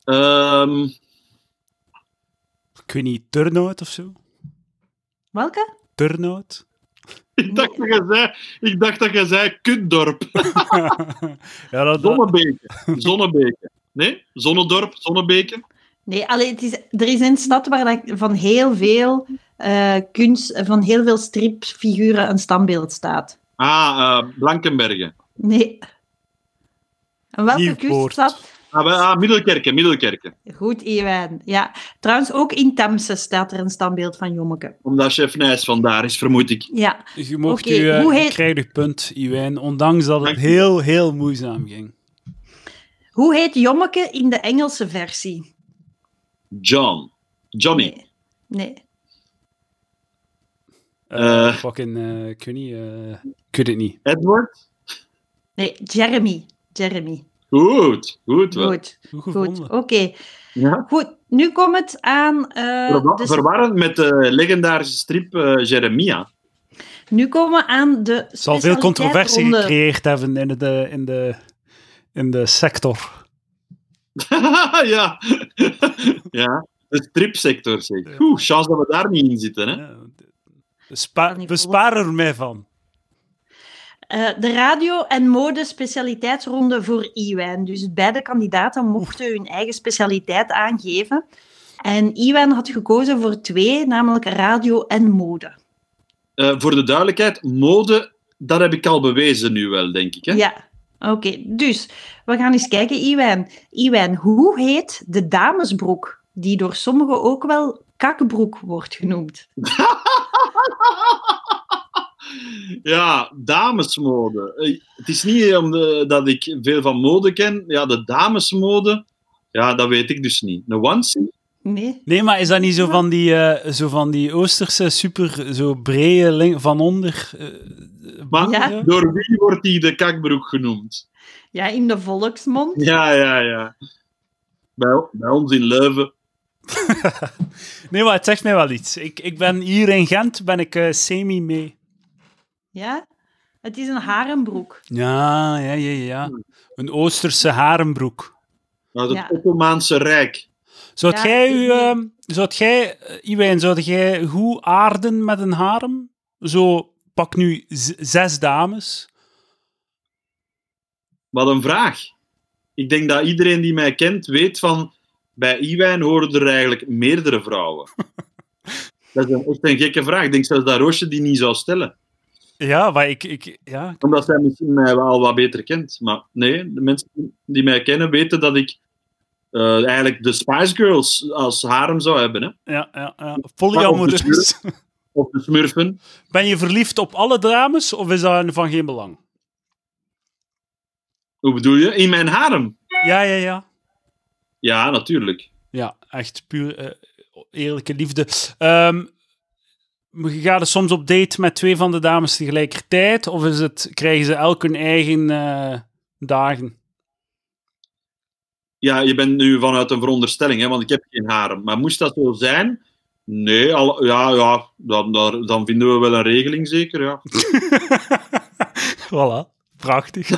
Speaker 3: Ehm,
Speaker 1: Ik weet niet, Turnhout of zo?
Speaker 2: Welke?
Speaker 1: Turnhout?
Speaker 3: ik, dacht dat je zei, ik dacht dat je zei Kutdorp.
Speaker 1: ja, dat, dat,
Speaker 3: Zonnebeke. Zonnebeke. Nee? Zonnedorp, Zonnebeke.
Speaker 2: Nee, allee, het is, er is een stad waar dat van heel veel eh, kunst, van heel veel stripfiguren een standbeeld staat.
Speaker 3: Ah, eh, Blankenbergen.
Speaker 2: Nee. En welke
Speaker 1: Nieuwpoort.
Speaker 2: kuststad?
Speaker 3: Ah, wel, ah, Middelkerken, Middelkerken.
Speaker 2: Goed, Iwijn. Ja, trouwens ook in Temse staat er een standbeeld van Jommeke.
Speaker 3: Omdat chef Nijs vandaar is, vermoed ik.
Speaker 2: Ja,
Speaker 1: je mocht
Speaker 2: Oké,
Speaker 1: u, eh,
Speaker 2: hoe
Speaker 1: je
Speaker 2: heet-
Speaker 1: krijgt uw punt, Iwijn, ondanks dat het
Speaker 3: Dank je.
Speaker 1: heel, heel moeizaam ging.
Speaker 2: hoe heet Jommeke in de Engelse versie?
Speaker 3: John. Johnny.
Speaker 2: Nee. Nee.
Speaker 1: Eh,
Speaker 3: Eh.
Speaker 1: fucking, eh, ik weet niet, eh, ik weet het niet.
Speaker 3: Edward.
Speaker 2: Nee, Jeremy. Jeremy.
Speaker 3: Goed, goed wel.
Speaker 2: Goed,
Speaker 1: Goed
Speaker 2: goed.
Speaker 1: gevonden.
Speaker 2: Oké,
Speaker 3: Ja.
Speaker 2: goed. Nu komt het aan... eh,
Speaker 3: Verwa-
Speaker 2: de-
Speaker 3: Verwarrend met de legendarische strip eh, Jeremia.
Speaker 2: nu komen we aan de
Speaker 1: Het zal veel controversie
Speaker 2: specialiteitsronde. Eh,
Speaker 1: gecreëerd hebben in de, in de, in de sector.
Speaker 3: ja. ja, de stripsector zeg. Oeh, chance dat we daar niet in zitten. Hè?
Speaker 1: Ja, we spa-
Speaker 2: Kan niet
Speaker 1: we sparen er mij van.
Speaker 2: Eh, de radio- en mode-specialiteitsronde voor Iwijn. Dus beide kandidaten mochten hun eigen specialiteit aangeven. En Iwijn had gekozen voor twee, namelijk radio en mode.
Speaker 3: Eh, voor de duidelijkheid, mode, dat heb ik al bewezen nu wel, denk ik. Hè?
Speaker 2: Ja, oké. Dus, we gaan eens kijken, Iwijn. Iwijn, hoe heet de damesbroek, die door sommigen ook wel kakbroek wordt genoemd?
Speaker 3: Ja, damesmode. Eh, Het is niet omdat ik veel van mode ken. Ja, de damesmode, ja, dat weet ik dus niet. Een onesie?
Speaker 2: Nee?
Speaker 1: Nee, maar is dat niet zo van die, eh, zo van die Oosterse super zo brede link van onder? eh,
Speaker 3: Maar
Speaker 2: Ja.
Speaker 3: door wie wordt die de kakbroek genoemd?
Speaker 2: Ja, in de volksmond.
Speaker 3: Ja, ja, ja. Bij, bij ons in Leuven.
Speaker 1: Nee, maar het zegt mij wel iets. Ik, ik ben hier in Gent, ben ik eh, semi mee.
Speaker 2: Ja? Het is een harenbroek.
Speaker 1: Ja, ja, ja, ja. Een Oosterse harenbroek.
Speaker 3: Nou, het
Speaker 2: Ja.
Speaker 3: Ottomaanse Rijk.
Speaker 1: Zou
Speaker 2: Ja,
Speaker 1: jij, u,
Speaker 2: ik-
Speaker 1: eh, zou jij, eh, Iwijn, zou jij goed aarden met een harem? Zo, pak nu z- zes dames.
Speaker 3: Wat een vraag. Ik denk dat iedereen die mij kent weet van... Bij Iwijn horen er eigenlijk meerdere vrouwen. Dat is een, echt een gekke vraag. Ik denk zelfs dat Roosje die niet zou stellen.
Speaker 1: Ja, maar ik, ik, ja,
Speaker 3: Omdat zij misschien mij wel wat beter kent. Maar nee, de mensen die mij kennen weten dat ik eh, eigenlijk de Spice Girls als harem zou hebben. Hè?
Speaker 1: ja, ja, ja. dus.
Speaker 3: Maar ook de
Speaker 1: polyamoreus.
Speaker 3: Of de Smurfen.
Speaker 1: Ben je verliefd op alle dames of is dat van geen belang?
Speaker 3: Hoe bedoel je? In mijn harem?
Speaker 1: Ja, ja, ja.
Speaker 3: Ja, natuurlijk.
Speaker 1: Ja, echt puur eh, eerlijke liefde. Ehm, maar je gaat er soms op date met twee van de dames tegelijkertijd of is het, krijgen ze elk hun eigen eh, dagen?
Speaker 3: Ja, je bent nu vanuit een veronderstelling, hè, want ik heb geen harem. Maar moest dat zo zijn? Nee, al, ja, ja dan, dan, dan vinden we wel een regeling zeker. Ja,
Speaker 1: voilà, prachtig.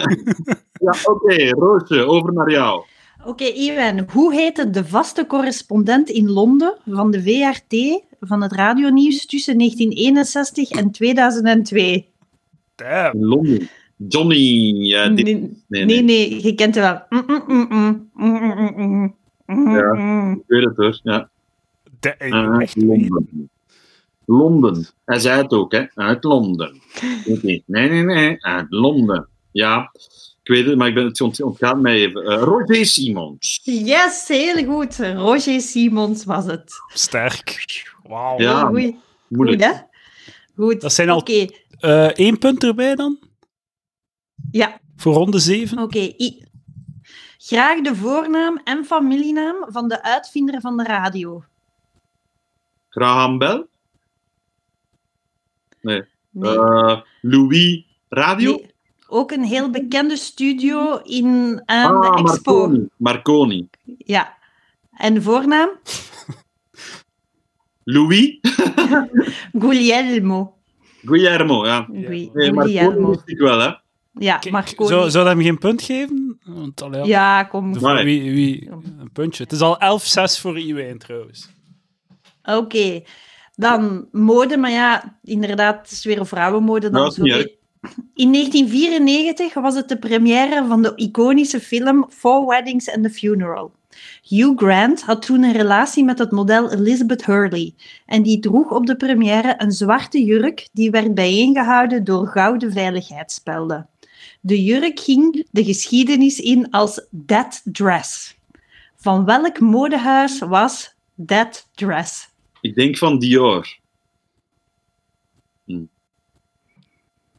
Speaker 3: ja oké, Roosje, over naar jou.
Speaker 2: Oké, Iwan, hoe heette de vaste correspondent in Londen van de VRT van het radionieuws tussen 1961 en 2002?
Speaker 1: Damn.
Speaker 3: In Londen. Johnny. eh, dit-
Speaker 2: nee,
Speaker 3: nee,
Speaker 2: nee,
Speaker 3: nee.
Speaker 2: nee, je kent hem wel. Mm, mm, mm, mm, mm, mm, mm, mm, mm,
Speaker 3: Ja.
Speaker 2: mm.
Speaker 3: ik weet het hoor. Ja.
Speaker 1: Da-
Speaker 3: Ah,
Speaker 1: echt weten.
Speaker 3: Londen. Londen. Hij zei het ook, hè? Uit Londen. Oké, Nee, nee, nee, uit Londen. Ja. Ik weet het, maar ik ben, het ont- ontgaat mij even. Eh, Roger Simons.
Speaker 2: Yes, heel goed. Roger Simons was het.
Speaker 1: Sterk. Wauw.
Speaker 3: Ja.
Speaker 2: Oei, oei.
Speaker 3: Moeilijk.
Speaker 2: Goed, hè? Goed.
Speaker 1: Dat zijn al-
Speaker 2: Oké,
Speaker 1: Eh, Eén punt erbij dan?
Speaker 2: ja.
Speaker 1: Voor ronde 7?
Speaker 2: Oké. I- Graag de voornaam en familienaam van de uitvinder van de radio.
Speaker 3: Graham Bell.
Speaker 2: Nee.
Speaker 3: Eh, Louis Radio.
Speaker 2: Nee. Ook een heel bekende studio in aan de
Speaker 3: ah,
Speaker 2: Expo.
Speaker 3: Marconi. Marconi.
Speaker 2: Ja. En voornaam?
Speaker 3: Louis
Speaker 2: Guglielmo.
Speaker 3: Guillermo, ja.
Speaker 2: Gui-
Speaker 3: Nee, Marconi
Speaker 2: Guglielmo.
Speaker 3: wist ik wel, hè.
Speaker 2: Ja, Marconi.
Speaker 1: Zou, zou dat hem geen punt geven? Want, allee, ja.
Speaker 2: Ja, kom.
Speaker 1: De-
Speaker 2: Oké.
Speaker 3: Nee.
Speaker 1: Wie, wie, een puntje. Het is al 11-6 voor Iwijn trouwens.
Speaker 2: Dan mode, maar ja, inderdaad, het is weer een vrouwenmode. Dan
Speaker 3: Ja, dat is niet
Speaker 2: sorry. In 1994 was het de première van de iconische film Four Weddings and a Funeral. Hugh Grant had toen een relatie met het model Elizabeth Hurley en die droeg op de première een zwarte jurk die werd bijeengehouden door gouden veiligheidsspelden. De jurk ging de geschiedenis in als That Dress. Van welk modehuis was That Dress?
Speaker 3: Ik denk van Dior. Hm.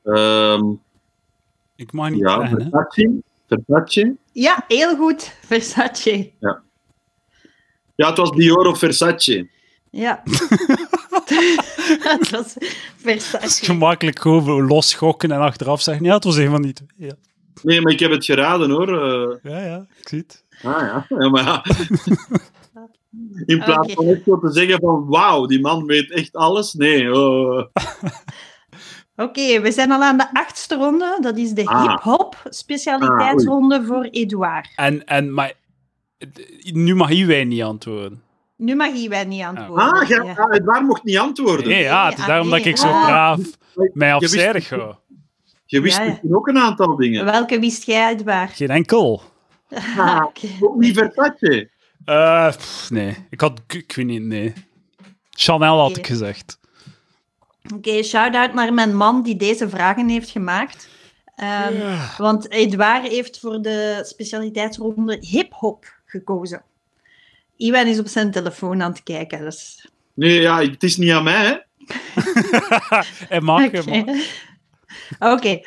Speaker 3: Ehm,
Speaker 1: Ik mag niet
Speaker 3: ja,
Speaker 1: zeggen, hè.
Speaker 3: Versace. Versace.
Speaker 2: Ja, heel goed, Versace.
Speaker 3: Ja, het was Dior of Versace.
Speaker 2: Ja. Het was
Speaker 1: Het is
Speaker 2: Versace.
Speaker 1: gemakkelijk gewoon losgokken en achteraf zeggen, ja, het was een van die twee. Ja,
Speaker 3: Nee, maar ik heb het geraden, hoor. Eh,
Speaker 1: ja, ja ik zie het.
Speaker 3: ah, ja. ja, maar ja. In plaats van echt zo te zeggen van, wauw, die man weet echt alles. Nee, eh,
Speaker 2: Oké, we zijn al aan de achtste ronde. Dat is de
Speaker 3: Ah.
Speaker 2: hip-hop specialiteitsronde voor Edouard.
Speaker 1: En, en, maar d- nu mag Iwijn niet antwoorden.
Speaker 2: Nu mag hij niet antwoorden.
Speaker 3: ah, ja,
Speaker 2: Ja.
Speaker 3: ah, Edouard mocht niet antwoorden.
Speaker 1: Nee, ja, het is
Speaker 2: ah,
Speaker 1: daarom dat
Speaker 2: nee,
Speaker 1: ik zo
Speaker 2: ah.
Speaker 1: braaf mij
Speaker 3: wist-
Speaker 1: afzijdig hou.
Speaker 3: Je wist
Speaker 2: Ja, ja.
Speaker 3: misschien ook een aantal dingen.
Speaker 2: Welke wist jij, Edouard?
Speaker 1: Geen enkel.
Speaker 3: Ah, ook niet Versace.
Speaker 1: Eh, pff, nee, ik had, ik, ik weet niet, nee. Chanel had
Speaker 2: Oké.
Speaker 1: ik gezegd.
Speaker 2: Oké, shout-out naar mijn man die deze vragen heeft gemaakt. Ehm,
Speaker 1: Ja.
Speaker 2: Want Edouard heeft voor de specialiteitsronde hip-hop gekozen. Iwan is op zijn telefoon aan het kijken. Dus...
Speaker 3: Nee, ja, het is niet aan mij, hè.
Speaker 1: en mag
Speaker 2: Oké.
Speaker 1: hem. hoor.
Speaker 2: Oké.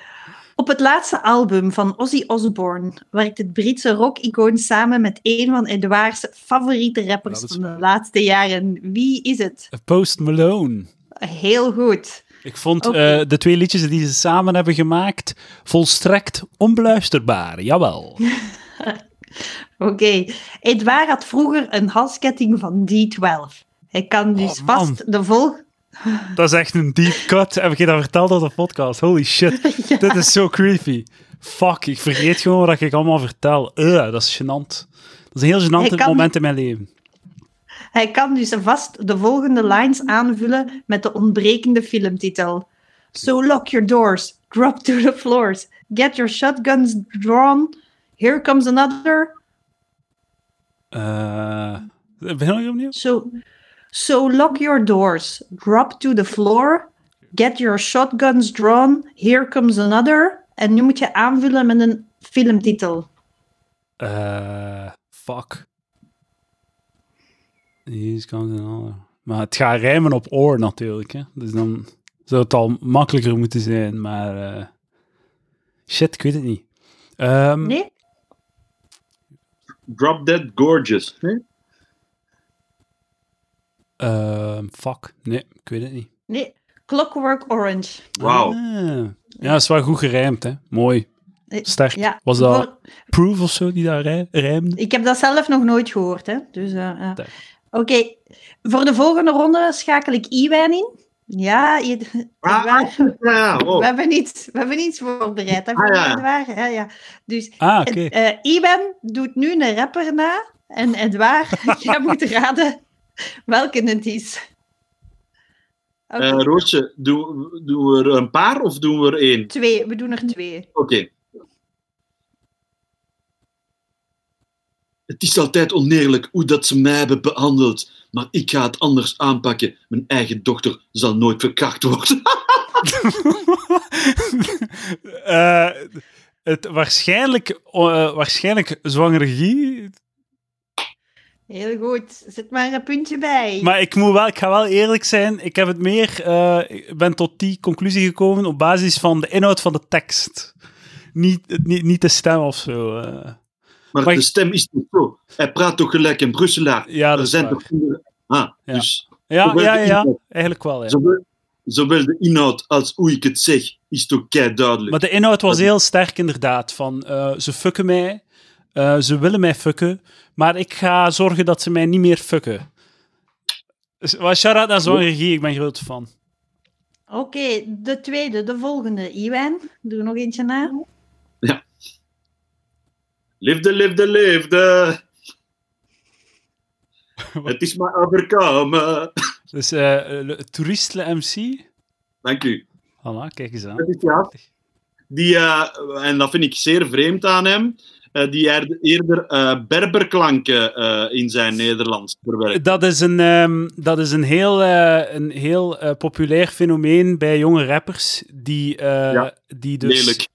Speaker 2: Op het laatste album van Ozzy Osbourne werkt het Britse rock-icoon samen met een van Edouard's favoriete rappers
Speaker 1: Dat is
Speaker 2: van de
Speaker 1: waar.
Speaker 2: laatste jaren. Wie is het?
Speaker 1: Post Malone.
Speaker 2: Heel goed.
Speaker 1: Ik vond
Speaker 2: Oké.
Speaker 1: eh, de twee liedjes die ze samen hebben gemaakt volstrekt onbeluisterbaar. Jawel.
Speaker 2: Oké. Edouard had vroeger een halsketting van D12. Hij kan dus
Speaker 1: Oh, man.
Speaker 2: vast de volgende...
Speaker 1: Dat is echt een deep cut. Heb ik je dat verteld op de podcast? Holy shit. Dit is zo creepy. Fuck, ik vergeet gewoon wat ik allemaal vertel. Eh, dat is gênant. Dat is een heel gênant
Speaker 2: Hij kan-
Speaker 1: moment in mijn leven.
Speaker 2: Hij kan dus vast de volgende lines aanvullen met de ontbrekende filmtitel. So lock your doors, drop to the floors, get your shotguns drawn, here comes another.
Speaker 1: Eh begin ik opnieuw?
Speaker 2: So, so lock your doors, drop to the floor, get your shotguns drawn, here comes another. En nu moet je aanvullen met een filmtitel.
Speaker 1: Eh, fuck. Jezus, kan het ander. Maar het gaat rijmen op oor natuurlijk. Hè? Dus dan zou het al makkelijker moeten zijn. Maar eh, shit, ik weet het niet. Ehm,
Speaker 2: Nee?
Speaker 3: Drop Dead Gorgeous. Nee?
Speaker 1: ehm, fuck, nee, ik weet het niet.
Speaker 2: Nee. Clockwork Orange.
Speaker 3: Wauw.
Speaker 1: Ah. Ja, dat is wel goed gerijmd, hè. Mooi.
Speaker 2: Eh,
Speaker 1: Sterk.
Speaker 2: Ja,
Speaker 1: Was dat
Speaker 2: voor-
Speaker 1: Proof of zo die daar rij- rijmde?
Speaker 2: Ik heb dat zelf nog nooit gehoord. Hè? Dus, eh, ja.
Speaker 1: Daar.
Speaker 2: Oké, voor de volgende ronde schakel ik Iwijn in. Ja, je-
Speaker 3: Ah,
Speaker 2: Edouard,
Speaker 3: Ja, ja, oh.
Speaker 2: we, hebben iets, we hebben iets voorbereid. Hè, voor
Speaker 3: Ah, ja.
Speaker 2: Edouard, hè, ja. Dus
Speaker 1: Ah, oké.
Speaker 2: okay. Iwan doet nu een rapper na. En Edouard, jij moet raden welke het is. Oké,
Speaker 3: Eh, Roosje, doen we- doen we er een paar of doen we er één?
Speaker 2: twee, we doen er twee.
Speaker 3: Oké. Het is altijd oneerlijk hoe dat ze mij hebben behandeld, maar ik ga het anders aanpakken. Mijn eigen dochter zal nooit verkracht worden.
Speaker 1: Eh, het waarschijnlijk, eh, waarschijnlijk zwangere Guy.
Speaker 2: Heel goed. Zet maar een puntje bij.
Speaker 1: Maar ik, moet wel, ik ga wel eerlijk zijn, ik heb het meer... eh, ik ben tot die conclusie gekomen op basis van de inhoud van de tekst. Niet, niet, niet de stem of zo. eh.
Speaker 3: Maar,
Speaker 1: Maar
Speaker 3: de
Speaker 1: ik-
Speaker 3: stem is niet zo. Hij praat toch gelijk in Brusselaar.
Speaker 1: Ja, dat
Speaker 3: er
Speaker 1: is
Speaker 3: zijn
Speaker 1: waar.
Speaker 3: toch kinderen. Ah,
Speaker 1: Ja.
Speaker 3: dus
Speaker 1: Ja,
Speaker 3: Zowel
Speaker 1: ja,
Speaker 3: de
Speaker 1: ja, ja,
Speaker 3: inhoud.
Speaker 1: eigenlijk wel. Ja.
Speaker 3: zowel, zowel de inhoud als hoe ik het zeg is toch kei duidelijk.
Speaker 1: Maar de inhoud was heel sterk, inderdaad. Van eh, ze fucken mij, eh, ze willen mij fucken, maar ik ga zorgen dat ze mij niet meer fucken. Dus, Maar shout-out naar Zwanger Guy, ik ben groot fan.
Speaker 2: Oké, de tweede, de volgende. Iwan, doe er nog eentje na.
Speaker 3: Liefde, liefde, liefde. het is maar overkomen.
Speaker 1: Dus eh eh, Toeristle MC.
Speaker 3: Dank u.
Speaker 1: Voilà, kijk eens aan.
Speaker 3: Dat is ja. Die, eh, en dat vind ik zeer vreemd aan hem, eh, die er- eerder eh, berberklanken eh, in zijn Nederlands verwerkt.
Speaker 1: Dat is een, ehm, dat is een heel, eh, een heel eh, populair fenomeen bij jonge rappers. Die, eh,
Speaker 3: Ja,
Speaker 1: die dus...
Speaker 3: Lelijk.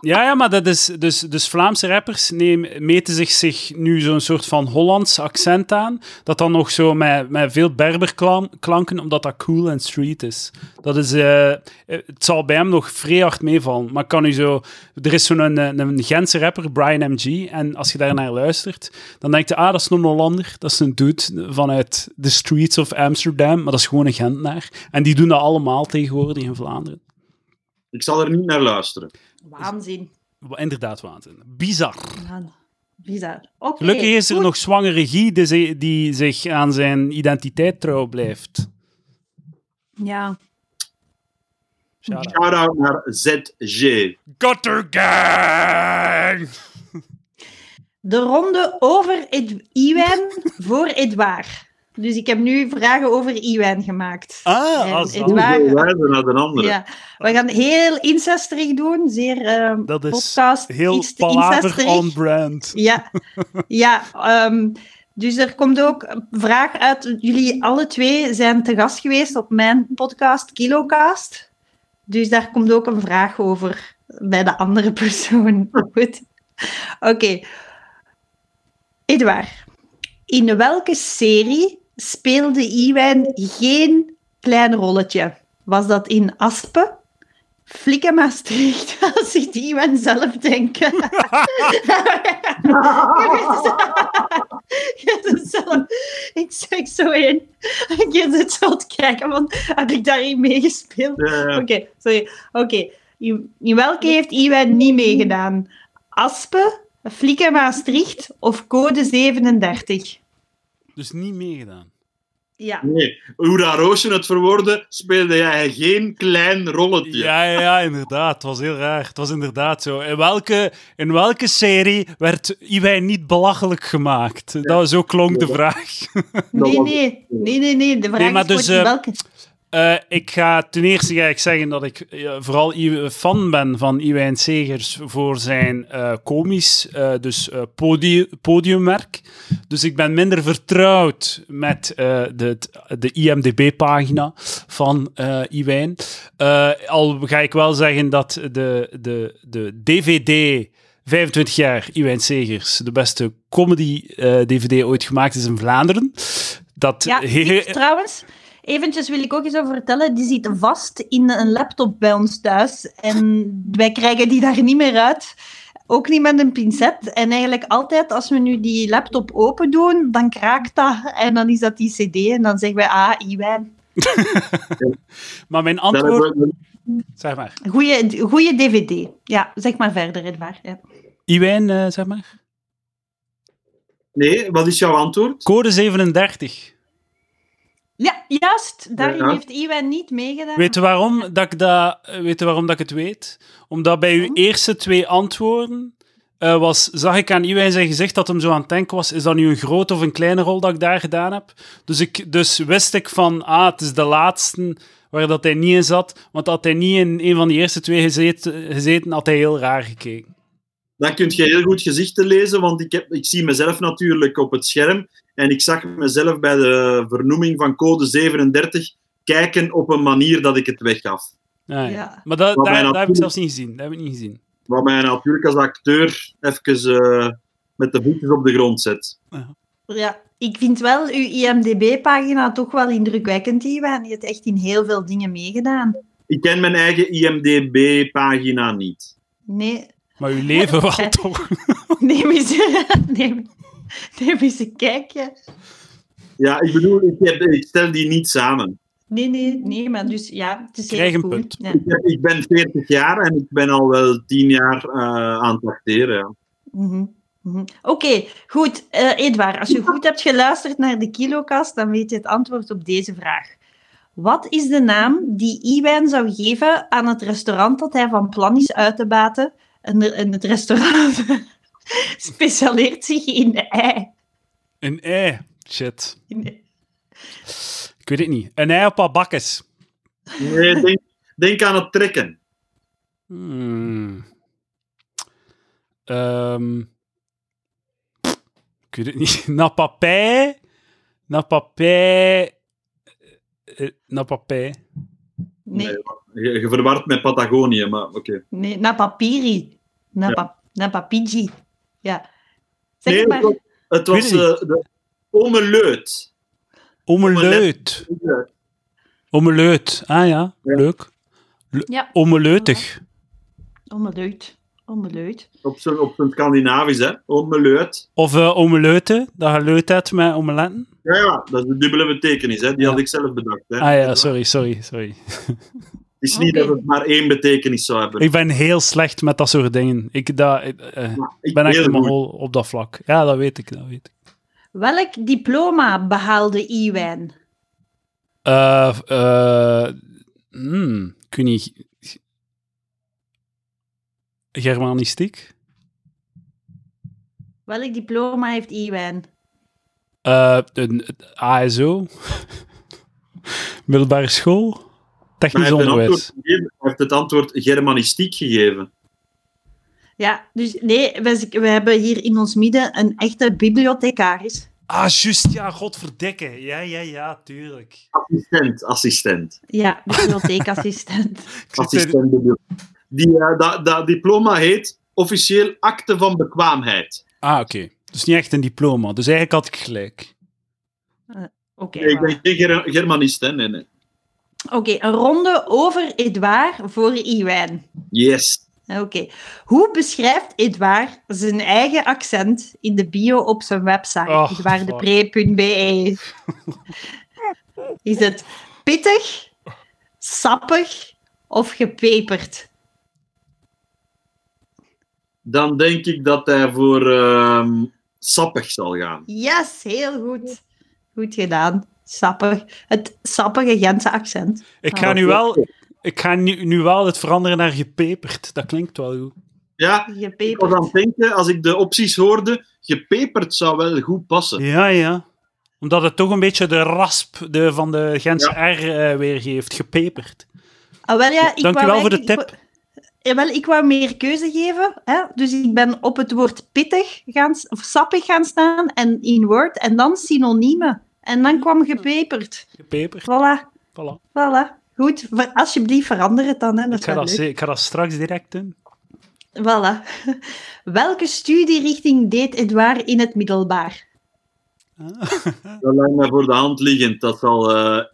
Speaker 1: Ja, ja, maar dat is dus, dus Vlaamse rappers neem, meten zich, zich nu zo'n soort van Hollands accent aan. Dat dan nog zo met, met veel berberklanken, omdat dat cool en street is. Dat is eh, eh, het zal bij hem nog vrij hard meevallen. Maar kan u zo. Er is zo'n eh, een, een Gentse rapper, Brian MG. En als je daarnaar luistert, dan denk je: ah, dat is een Hollander. Dat is een dude vanuit de streets of Amsterdam. Maar dat is gewoon een Gentenaar. En die doen dat allemaal tegenwoordig in Vlaanderen.
Speaker 3: Ik zal er niet naar luisteren.
Speaker 2: Waanzin.
Speaker 1: Wa- Inderdaad, waanzin. Bizar.
Speaker 2: Waan- Bizar. Oké.
Speaker 1: Gelukkig is er
Speaker 2: goed.
Speaker 1: nog zwangere Guy die, zi- die zich aan zijn identiteit trouw blijft.
Speaker 2: Ja.
Speaker 1: Shout out.
Speaker 3: Shout-out naar ZG.
Speaker 1: Gutter Gang!
Speaker 2: De ronde over Ed- Iwan voor Edouard. Dus ik heb nu vragen over Iwan gemaakt.
Speaker 1: Ah,
Speaker 2: En
Speaker 1: als
Speaker 2: het
Speaker 1: al.
Speaker 2: wa- Waar-
Speaker 3: Hoeveel wijzen naar de andere.
Speaker 2: Ja, we gaan heel incesterig doen, zeer ehm
Speaker 1: Dat is
Speaker 2: podcast,
Speaker 1: heel
Speaker 2: iets te
Speaker 1: palaver
Speaker 2: incesterig.
Speaker 1: on brand.
Speaker 2: Ja, ja ehm, dus er komt ook een vraag uit. Jullie alle twee zijn te gast geweest op mijn podcast Kilocast. Dus daar komt ook een vraag over bij de andere persoon. Goed. Oké. Edouard, in welke serie speelde Iwijn geen klein rolletje? Was dat in Aspen? Flikken Maastricht, als ik Iwijn zelf denken. Je zit zo- ik zeg zo in. Je zit zo te kijken, want heb ik daarin meegespeeld?
Speaker 3: Eh,
Speaker 2: Oké, sorry. Oké. In, in welke heeft Iwan niet meegedaan? Aspen, Flikken Maastricht of Code 37?
Speaker 1: Dus niet meegedaan.
Speaker 2: Ja.
Speaker 3: nee. Hoe dat Roosje het verwoordde, speelde jij geen klein rolletje.
Speaker 1: Ja, ja, ja, inderdaad. Het was heel raar. Het was inderdaad zo. In welke, in welke serie werd Iwijn niet belachelijk gemaakt? Dat, zo klonk de vraag.
Speaker 2: Nee,
Speaker 3: was-
Speaker 2: nee. Nee, nee, nee. De vraag
Speaker 1: Nee, maar dus,
Speaker 2: is voor in
Speaker 1: eh,
Speaker 2: welke...
Speaker 1: Eh, ik ga ten eerste ga ik zeggen dat ik eh, vooral i- fan ben van Iwijn Segers voor zijn eh komisch, eh, dus eh, podi- podiumwerk. Dus ik ben minder vertrouwd met eh, de, de IMDB-pagina van eh Iwijn. Eh, al ga ik wel zeggen dat de, de, de DVD 25 jaar Iwijn Segers de beste eh, comedy-DVD ooit gemaakt is in Vlaanderen. Dat
Speaker 2: Ja,
Speaker 1: Eh,
Speaker 2: ik, trouwens, eventjes wil ik ook eens over vertellen. Die zit vast in een laptop bij ons thuis. En wij krijgen die daar niet meer uit. Ook niet met een pincet. En eigenlijk altijd als we nu die laptop open doen, dan kraakt dat. En dan is dat die cd. En dan zeggen wij, ah, Iwijn.
Speaker 1: Maar mijn
Speaker 3: Daar
Speaker 1: antwoord...
Speaker 3: hebben we-
Speaker 1: Zeg maar.
Speaker 2: Goeie, goeie dvd. Ja, zeg maar verder, Edouard. Ja.
Speaker 1: Iwijn, eh, zeg maar.
Speaker 3: Nee, wat is jouw antwoord?
Speaker 1: Code 37.
Speaker 2: ja, juist. Daarin
Speaker 3: Ja.
Speaker 2: heeft Iwijn niet meegedaan.
Speaker 1: Weet je waarom dat ik, dat, eh, weet je waarom dat ik het weet? Omdat bij uw eerste twee antwoorden eh, was, zag ik aan Iwijn zijn gezicht dat hem zo aan het denken was. Is dat nu een grote of een kleine rol dat ik daar gedaan heb? Dus, ik, dus wist ik van, ah, het is de laatste waar dat hij niet in zat. Want had hij niet in een van die eerste twee gezeten, gezeten had hij heel raar gekeken.
Speaker 3: Dan kun je heel goed gezichten lezen, want ik, heb, ik zie mezelf natuurlijk op het scherm. En ik zag mezelf bij de vernoeming van code 37 kijken op een manier dat ik het weggaf.
Speaker 1: Ah, ja.
Speaker 2: Ja.
Speaker 1: Maar dat,
Speaker 3: Wat
Speaker 1: daar,
Speaker 3: mij
Speaker 1: dat heb ik
Speaker 3: natuurlijk-
Speaker 1: zelfs niet gezien. Dat heb ik niet gezien.
Speaker 3: Wat mij natuurlijk als acteur even eh, met de voetjes op de grond zet.
Speaker 2: Ja, ik vind wel uw IMDB-pagina toch wel indrukwekkend, Iwan. Je hebt echt in heel veel dingen meegedaan.
Speaker 3: Ik ken mijn eigen IMDB-pagina niet.
Speaker 2: Nee,
Speaker 1: Maar uw leven wel toch?
Speaker 2: neem eens, neem, neem eens een kijkje.
Speaker 3: Ja, ik bedoel, ik, heb, ik stel die niet samen.
Speaker 2: Nee, nee, nee, maar dus ja, het is heel
Speaker 1: Krijg een
Speaker 2: goed.
Speaker 1: punt.
Speaker 2: Ja.
Speaker 3: Ik, heb- ik ben 40 jaar en ik ben al wel 10 jaar eh, aan het acteren. Ja.
Speaker 2: Mhm, mhm. Oké, goed. Eh Edouard, als je goed hebt geluisterd naar de kilokast, dan weet je het antwoord op deze vraag. Wat is de naam die Iwijn zou geven aan het restaurant dat hij van plan is uit te baten? En, er- en het restaurant specialiseert zich in ei.
Speaker 1: Een ei. Shit.
Speaker 2: In-
Speaker 1: Ik weet het niet. Een ei op abakkes.
Speaker 3: Nee, denk, denk aan het trekken.
Speaker 1: Hmm. Ehm. ik weet het niet. Na papij. Na papij. eh, Na papij.
Speaker 2: Nee,
Speaker 3: Je, je verward met Patagonië, maar oké.
Speaker 2: nee, na papiri. Na,
Speaker 3: Ja.
Speaker 2: pap- na papigi. Ja. Zeg
Speaker 3: Nee,
Speaker 2: maar.
Speaker 3: het was, het was
Speaker 1: Weet het
Speaker 3: eh, de omeleut.
Speaker 1: Omeleut. Omeleut. Ah ja,
Speaker 3: Ja.
Speaker 1: leuk.
Speaker 2: Ja,
Speaker 1: Omeleutig.
Speaker 2: omeleut. Omeleut.
Speaker 3: Op zijn, op zijn Scandinavisch, hè. Omeleut.
Speaker 1: Of eh omeleuten, dat je leut hebt met omeletten.
Speaker 3: Ja, ja, dat is de dubbele betekenis, hè. Die
Speaker 1: Ja.
Speaker 3: had ik zelf bedacht, hè.
Speaker 1: Ah ja, sorry, sorry, sorry.
Speaker 3: Het is niet
Speaker 2: Oké.
Speaker 3: dat het maar één betekenis zou hebben.
Speaker 1: Ik ben heel slecht met dat soort dingen. Ik dat, eh, eh,
Speaker 3: Maar
Speaker 1: ben echt
Speaker 3: heel
Speaker 1: helemaal
Speaker 3: goed.
Speaker 1: hol op dat vlak. Ja, dat weet ik, dat weet ik.
Speaker 2: Welk diploma behaalde Iwijn?
Speaker 1: Eh, eh, hmm, ik weet niet. Germanistiek?
Speaker 2: Welk diploma heeft Iwan?
Speaker 1: Eh, een een ASO? Middelbare school?
Speaker 3: Maar hij,
Speaker 1: Technisch
Speaker 3: heeft een
Speaker 1: onderwijs?
Speaker 3: antwoord gegeven. hij heeft het antwoord germanistiek gegeven.
Speaker 2: Ja, dus nee, we, we hebben hier in ons midden een echte bibliothecaris.
Speaker 1: Ah, juist, ja, godverdikke. Ja, ja, ja, tuurlijk.
Speaker 3: Assistent, assistent.
Speaker 2: Ja, bibliotheekassistent.
Speaker 1: Ik zit hier-
Speaker 3: assistent bedoel. Die, eh, dat, dat diploma heet officieel akte van bekwaamheid.
Speaker 1: Ah, oké. Dus niet echt een diploma. Dus eigenlijk had ik gelijk.
Speaker 2: Oké,
Speaker 3: Nee, ik
Speaker 2: voilà.
Speaker 3: ben geen Ger- germanist, hè. Nee, nee.
Speaker 2: Oké, een ronde over Edouard voor Iwan.
Speaker 3: Yes.
Speaker 2: Ah, Oké. Hoe beschrijft Edouard zijn eigen accent in de bio op zijn website,
Speaker 1: Oh,
Speaker 2: edouardepre.be? E. Is het pittig, sappig of gepeperd?
Speaker 3: Dan denk ik dat hij voor ehm, sappig zal gaan.
Speaker 2: Yes, heel goed. Goed gedaan. Sappig. Het sappige Gentse accent.
Speaker 1: Ik ga nu wel, ik ga nu, nu wel het veranderen naar gepeperd. Dat klinkt wel goed.
Speaker 3: Ja, ik was aan
Speaker 2: Gepeperd.
Speaker 3: het denken, als ik de opties hoorde, gepeperd zou wel goed passen.
Speaker 1: Ja, ja. Omdat het toch een beetje de rasp de, van de Gentse R eh, weergeeft. Gepeperd.
Speaker 2: Ah, wel, ja, ik
Speaker 1: Dank
Speaker 2: wou
Speaker 1: u wel voor de
Speaker 2: eigenlijk-
Speaker 1: tip.
Speaker 2: Ik, wou- jawel, ik wou meer keuze geven. Hè? Dus ik ben op het woord pittig gaan, s- of sappig gaan staan en in woord en dan synoniemen. En dan kwam gepeperd.
Speaker 1: Gepeperd,
Speaker 2: Voilà,
Speaker 1: voilà.
Speaker 2: voilà. Goed, Ver- alsjeblieft verander het dan. Hè? Dat
Speaker 1: Ik
Speaker 2: is
Speaker 1: ga
Speaker 2: wel
Speaker 1: dat,
Speaker 2: leuk.
Speaker 1: ze- ik ga dat straks direct doen.
Speaker 2: Voilà. Welke studierichting deed Edouard in het middelbaar?
Speaker 3: Dat lijkt mij voor de hand liggend. Dat zal, eh,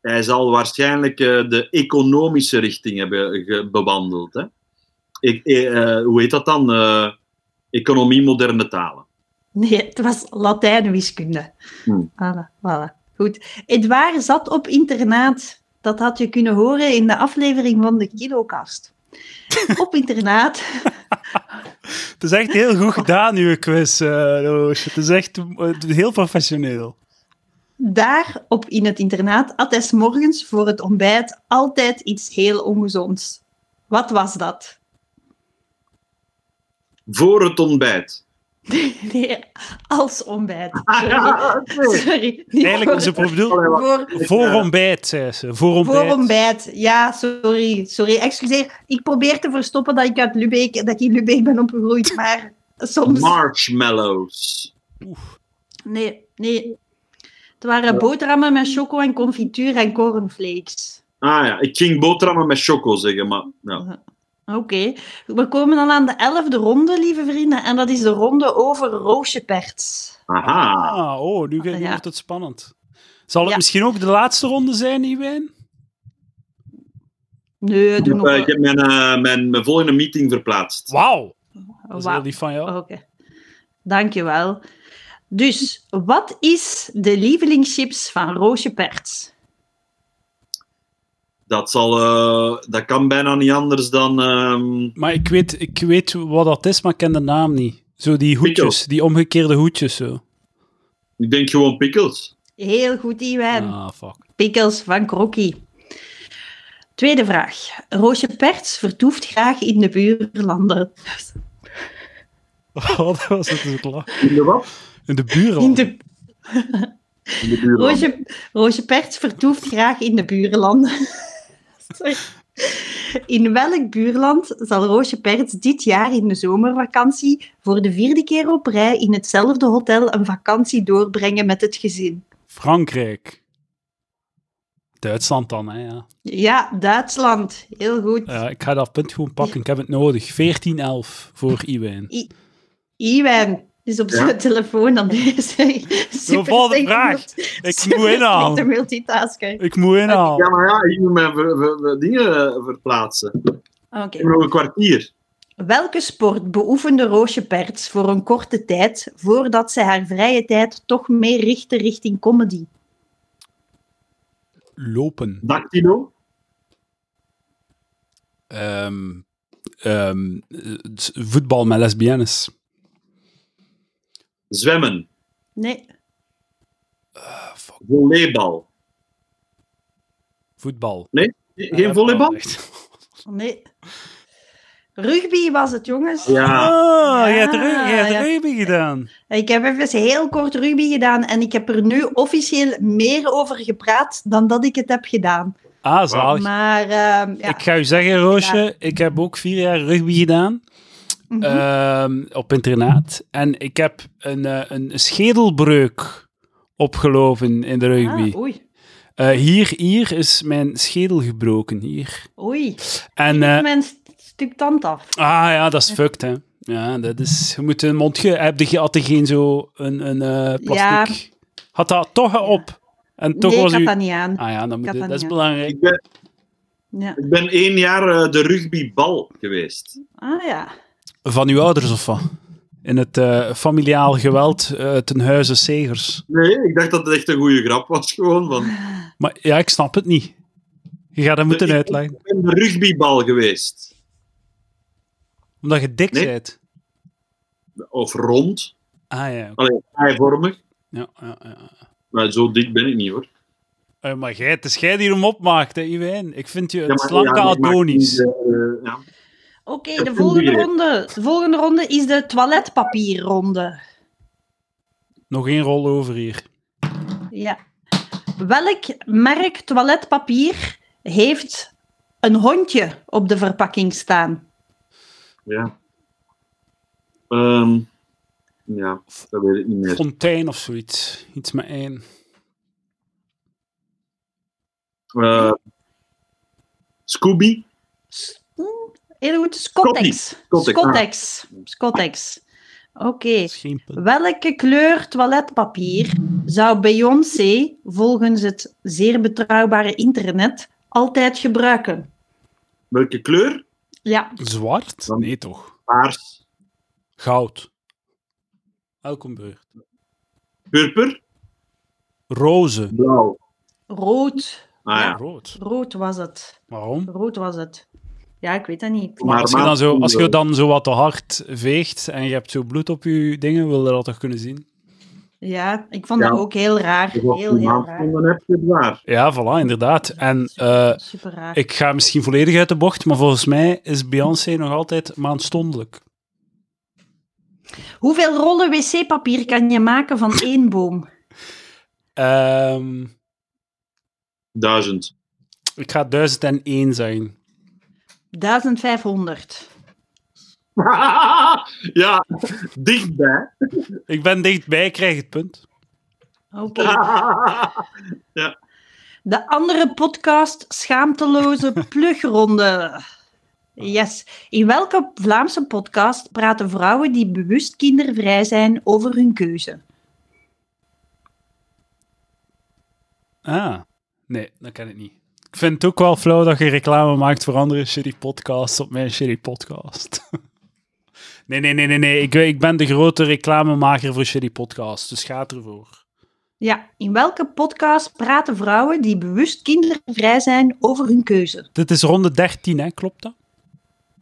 Speaker 3: hij zal waarschijnlijk eh, de economische richting hebben ge- bewandeld. Hè? Ik, eh, eh, hoe heet dat dan? Eh, economie moderne talen.
Speaker 2: Nee, het was Latijnwiskunde.
Speaker 3: Hmm.
Speaker 2: Voilà, voilà. Goed. Edouard zat op internaat. Dat had je kunnen horen in de aflevering van de Kilokast. op internaat.
Speaker 1: Het is echt heel goed gedaan, uw quiz, eh, Roosje. Het is echt eh, heel professioneel.
Speaker 2: Daar op in het internaat at hij 's morgens voor het ontbijt altijd iets heel ongezonds. Wat was dat?
Speaker 3: Voor het ontbijt.
Speaker 2: Nee, als ontbijt.
Speaker 3: Ah, ja, oké.
Speaker 2: Sorry. niet
Speaker 1: Eigenlijk is het
Speaker 2: voor,
Speaker 1: bedoel...
Speaker 2: voor,
Speaker 1: Voor ontbijt, zei ze. Voor
Speaker 2: Voor
Speaker 1: ontbijt.
Speaker 2: ontbijt, ja, sorry. Sorry, excuseer. Ik probeer te verstoppen dat ik uit Lubeek, dat ik in Lubeek ben opgegroeid, maar soms...
Speaker 3: Marshmallows.
Speaker 2: Nee, nee. Het waren boterhammen met choco en confituur en cornflakes.
Speaker 3: Ah ja, ik ging boterhammen met choco zeggen, maar ja.
Speaker 2: Oké, we komen dan aan de elfde ronde, lieve vrienden. En dat is de ronde over roosjeperts.
Speaker 3: Aha.
Speaker 1: Ah, oh, nu, ge- nu
Speaker 2: Ja.
Speaker 1: wordt het spannend. Zal het
Speaker 2: Ja.
Speaker 1: misschien ook de laatste ronde zijn, Iwijn?
Speaker 2: Nee, doe nog
Speaker 3: Eh, ik
Speaker 2: wel.
Speaker 3: heb mijn, eh, mijn, mijn volgende meeting verplaatst.
Speaker 1: Wauw, dat is
Speaker 2: Wauw. Oh,
Speaker 1: heel lief van jou.
Speaker 2: Oké, dankjewel. Dus, wat is de lievelingschips van Roosje Perts?
Speaker 3: Dat, zal, eh, dat kan bijna niet anders dan... ehm,
Speaker 1: Maar ik weet, ik weet wat dat is, maar ik ken de naam niet. Zo die hoedjes, die omgekeerde hoedjes zo.
Speaker 3: ik denk gewoon pickles.
Speaker 2: Heel goed, Iwijn.
Speaker 1: Ah, fuck.
Speaker 2: Pickles van Krokkie. Tweede vraag. Roosje Perts vertoeft graag in de buurlanden.
Speaker 1: Oh, dat was het dus lach.
Speaker 3: In de wat?
Speaker 1: In de buren.
Speaker 2: In de...
Speaker 3: In de buurt.
Speaker 2: Roosje, Roosje Perts vertoeft graag in de buurlanden. Sorry. In welk buurland zal Roosje Perts dit jaar in de zomervakantie voor de vierde keer op rij in hetzelfde hotel een vakantie doorbrengen met het gezin?
Speaker 1: Frankrijk. Duitsland dan, hè, ja.
Speaker 2: Ja, Duitsland. Heel goed.
Speaker 1: Ja, ik ga dat punt gewoon pakken. Ik heb het nodig. 14-11 voor Iwijn.
Speaker 2: Iwan is op
Speaker 3: Ja.
Speaker 2: zijn telefoon dan bezig. Super
Speaker 1: volgende
Speaker 2: slinkend-
Speaker 1: vraag. Ik
Speaker 2: super
Speaker 1: moet inhalen.
Speaker 2: slinkende multitasker.
Speaker 1: Ik moet inhalen.
Speaker 3: Ja, maar ja, ik moet mijn ver- ver- ver- dingen eh, verplaatsen. Ik
Speaker 2: Ah, Oké.
Speaker 3: heb nog een kwartier.
Speaker 2: Welke sport beoefende Roosje Perts voor een korte tijd, voordat zij haar vrije tijd toch meer richtte richting comedy?
Speaker 1: Lopen.
Speaker 3: Dactylo.
Speaker 1: Ehm, ehm, eh, voetbal met lesbiennes.
Speaker 3: Zwemmen.
Speaker 2: Nee,
Speaker 3: Volleybal.
Speaker 1: Voetbal.
Speaker 3: Ge- Geen volleybal?
Speaker 2: nee. Rugby was het, jongens.
Speaker 3: Ja.
Speaker 1: Ah, je hebt
Speaker 2: Ja,
Speaker 1: ru- je hebt
Speaker 2: ja.
Speaker 1: rugby gedaan.
Speaker 2: Ik heb even heel kort rugby gedaan en ik heb er nu officieel meer over gepraat dan dat ik het heb gedaan.
Speaker 1: Ah, zalig.
Speaker 2: Maar ehm, ja.
Speaker 1: Ik ga u zeggen, Roosje, ik heb ook vier jaar rugby gedaan.
Speaker 2: Mhm.
Speaker 1: ehm, op internaat. En ik heb een, eh, een schedelbreuk opgelopen in de rugby.
Speaker 2: Ah, oei,
Speaker 1: Eh, hier, hier is mijn schedel gebroken. Hier.
Speaker 2: oei.
Speaker 1: En,
Speaker 2: Ik
Speaker 1: eh,
Speaker 2: mijn st- stuk tand af.
Speaker 1: ah ja, dat is fucked, hè. Ja, dat is... Je moet een mondje... Heb je, had je geen zo een, een eh, plastic... Had dat toch op. En toch
Speaker 2: nee,
Speaker 1: was
Speaker 2: ik had
Speaker 1: u...
Speaker 2: dat niet aan.
Speaker 1: Ah ja, dan moet
Speaker 2: had
Speaker 1: je-
Speaker 2: dat
Speaker 1: dat is
Speaker 2: niet,
Speaker 1: belangrijk.
Speaker 3: Ik ben,
Speaker 2: Ja.
Speaker 3: ik ben één jaar eh, de rugbybal geweest.
Speaker 2: Ah ja.
Speaker 1: Van uw ouders of wat? In het eh, familiaal geweld eh, ten huize Segers.
Speaker 3: Nee, ik dacht dat het echt een goede grap was. Gewoon van, ik
Speaker 1: Maar ja, ik snap het niet. Je gaat dat moeten
Speaker 3: Nee, ik-
Speaker 1: uitleggen.
Speaker 3: ben de rugbybal geweest.
Speaker 1: Omdat je dik
Speaker 3: Nee.
Speaker 1: bent.
Speaker 3: Of rond.
Speaker 1: Ah ja, oké.
Speaker 3: Allee, eivormig.
Speaker 1: ja, ja, ja.
Speaker 3: Maar zo dik ben ik niet hoor.
Speaker 1: Eh, maar jij, het is jij die hem opmaakt, hè, Iwijn. Ik vind je een
Speaker 3: maar-
Speaker 1: slanke
Speaker 3: ja, ik maak
Speaker 1: Adonis.
Speaker 3: niet, eh, ja.
Speaker 2: Oké,
Speaker 3: heb
Speaker 2: de
Speaker 3: een
Speaker 2: volgende
Speaker 3: idee.
Speaker 2: ronde. De volgende ronde is de toiletpapierronde.
Speaker 3: eh,
Speaker 1: Nog één rol over hier.
Speaker 2: Ja. Welk merk toiletpapier heeft een hondje op de verpakking staan?
Speaker 3: Ja. Ehm, ja, dat weet ik niet meer.
Speaker 1: Fontein of zoiets. Iets met één.
Speaker 3: Eh, Scooby?
Speaker 2: S- hm, Heel goed, Scottex.
Speaker 3: Scottex, ah.
Speaker 2: Scottex. Scottex. Oké.
Speaker 1: Dat is geen punt.
Speaker 2: Welke kleur toiletpapier zou Beyoncé, volgens het zeer betrouwbare internet, altijd gebruiken?
Speaker 3: Welke kleur?
Speaker 2: Ja,
Speaker 1: Zwart?
Speaker 3: Dan-
Speaker 1: Nee, toch.
Speaker 3: Paars.
Speaker 1: Goud. Welkom beurt.
Speaker 3: Purper?
Speaker 1: Roze.
Speaker 3: Blauw.
Speaker 2: rood.
Speaker 3: Ah
Speaker 1: Ja,
Speaker 3: ja.
Speaker 1: Rood.
Speaker 2: Rood was het.
Speaker 1: Waarom?
Speaker 2: Rood was het. Ja, ik weet dat niet.
Speaker 1: Maar als je,
Speaker 3: maar-
Speaker 1: dan zo, als je dan zo wat te hard veegt en je hebt zo bloed op je dingen, wil je dat toch kunnen zien?
Speaker 2: Ja, ik vond
Speaker 3: Ja.
Speaker 2: dat ook heel raar.
Speaker 3: Dus als je
Speaker 2: Heel, heel raar.
Speaker 3: maandstonden hebt, is het waar.
Speaker 1: Ja, voilà, inderdaad. En eh,
Speaker 2: Super, super raar.
Speaker 1: ik ga misschien volledig uit de bocht, maar volgens mij is Beyoncé nog altijd maandstondelijk.
Speaker 2: Hoeveel rollen wc-papier kan je maken van één boom?
Speaker 1: Ehm,
Speaker 3: Duizend.
Speaker 1: ik ga 1001 zeggen.
Speaker 2: 1500.
Speaker 3: ja, dichtbij.
Speaker 1: Ik ben dichtbij, ik krijg het punt.
Speaker 2: Oké.
Speaker 3: ja,
Speaker 2: De andere podcast, Schaamteloze Plugronde. Yes. In welke Vlaamse podcast praten vrouwen die bewust kindervrij zijn over hun keuze?
Speaker 1: Ah, nee, dat ken ik niet. Ik vind het ook wel flauw dat je reclame maakt voor andere shitty podcasts op mijn shitty podcast. nee, nee, nee, nee, nee. Ik, ik ben de grote reclamemaker voor shitty podcasts, dus ga ervoor.
Speaker 2: Ja, in welke podcast praten vrouwen die bewust kindervrij zijn over hun keuze?
Speaker 1: Dit is ronde 13, hè? Klopt dat?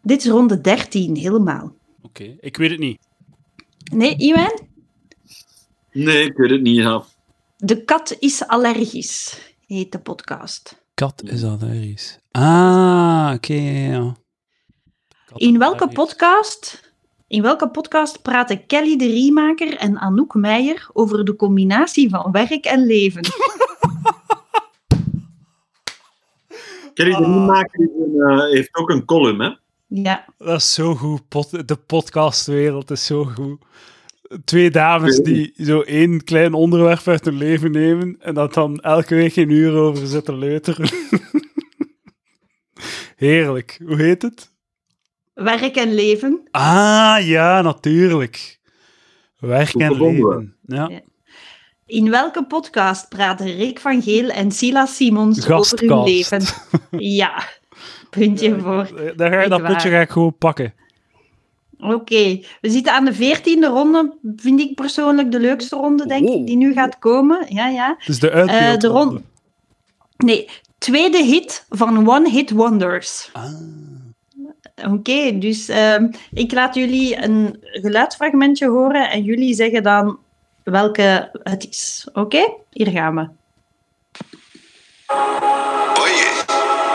Speaker 2: Dit is ronde 13, helemaal.
Speaker 1: Oké, ik weet het niet.
Speaker 2: Nee, Iwan?
Speaker 3: Nee, ik weet het niet. Ja.
Speaker 2: De kat is allergisch, heet de podcast.
Speaker 1: Kat is allergisch. Ah, oké, ja, ja. Kat
Speaker 2: In welke
Speaker 1: allergisch.
Speaker 2: podcast, in welke podcast praten Kelly de Riemaker en Anouk Meijer over de combinatie van werk en leven?
Speaker 3: Kelly de
Speaker 1: Ah.
Speaker 3: Nieuwmaker is een, eh, heeft ook een column, hè?
Speaker 2: Ja,
Speaker 1: Dat is zo goed. Pod- de podcastwereld is zo goed. Twee dames die zo één klein onderwerp uit hun leven nemen en dat dan elke week een uur over zitten leuteren. Heerlijk. Hoe heet het?
Speaker 2: werk en leven.
Speaker 1: Ah, ja, natuurlijk. Werk
Speaker 3: Goed
Speaker 1: en
Speaker 3: gevonden.
Speaker 1: leven. Ja.
Speaker 2: Ja. In welke podcast praten Rick van Geel en Sila Simons dus over hun
Speaker 1: Gastkast.
Speaker 2: leven? Ja, puntje voor.
Speaker 1: Daar ga je
Speaker 2: Niet
Speaker 1: dat puntje
Speaker 2: waar.
Speaker 1: ga ik gewoon pakken.
Speaker 2: Oké, we zitten aan de veertiende ronde. Vind ik persoonlijk de leukste ronde, denk
Speaker 1: Oh.
Speaker 2: ik, die nu gaat komen. Ja, ja.
Speaker 1: Dus de
Speaker 2: Eh,
Speaker 1: uitbeeld.
Speaker 2: de ronde. Nee, tweede hit van One Hit Wonders.
Speaker 1: Ah,
Speaker 2: Oké, dus ehm, ik laat jullie een geluidsfragmentje horen en jullie zeggen dan welke het is. Oké, hier gaan we.
Speaker 4: Oye,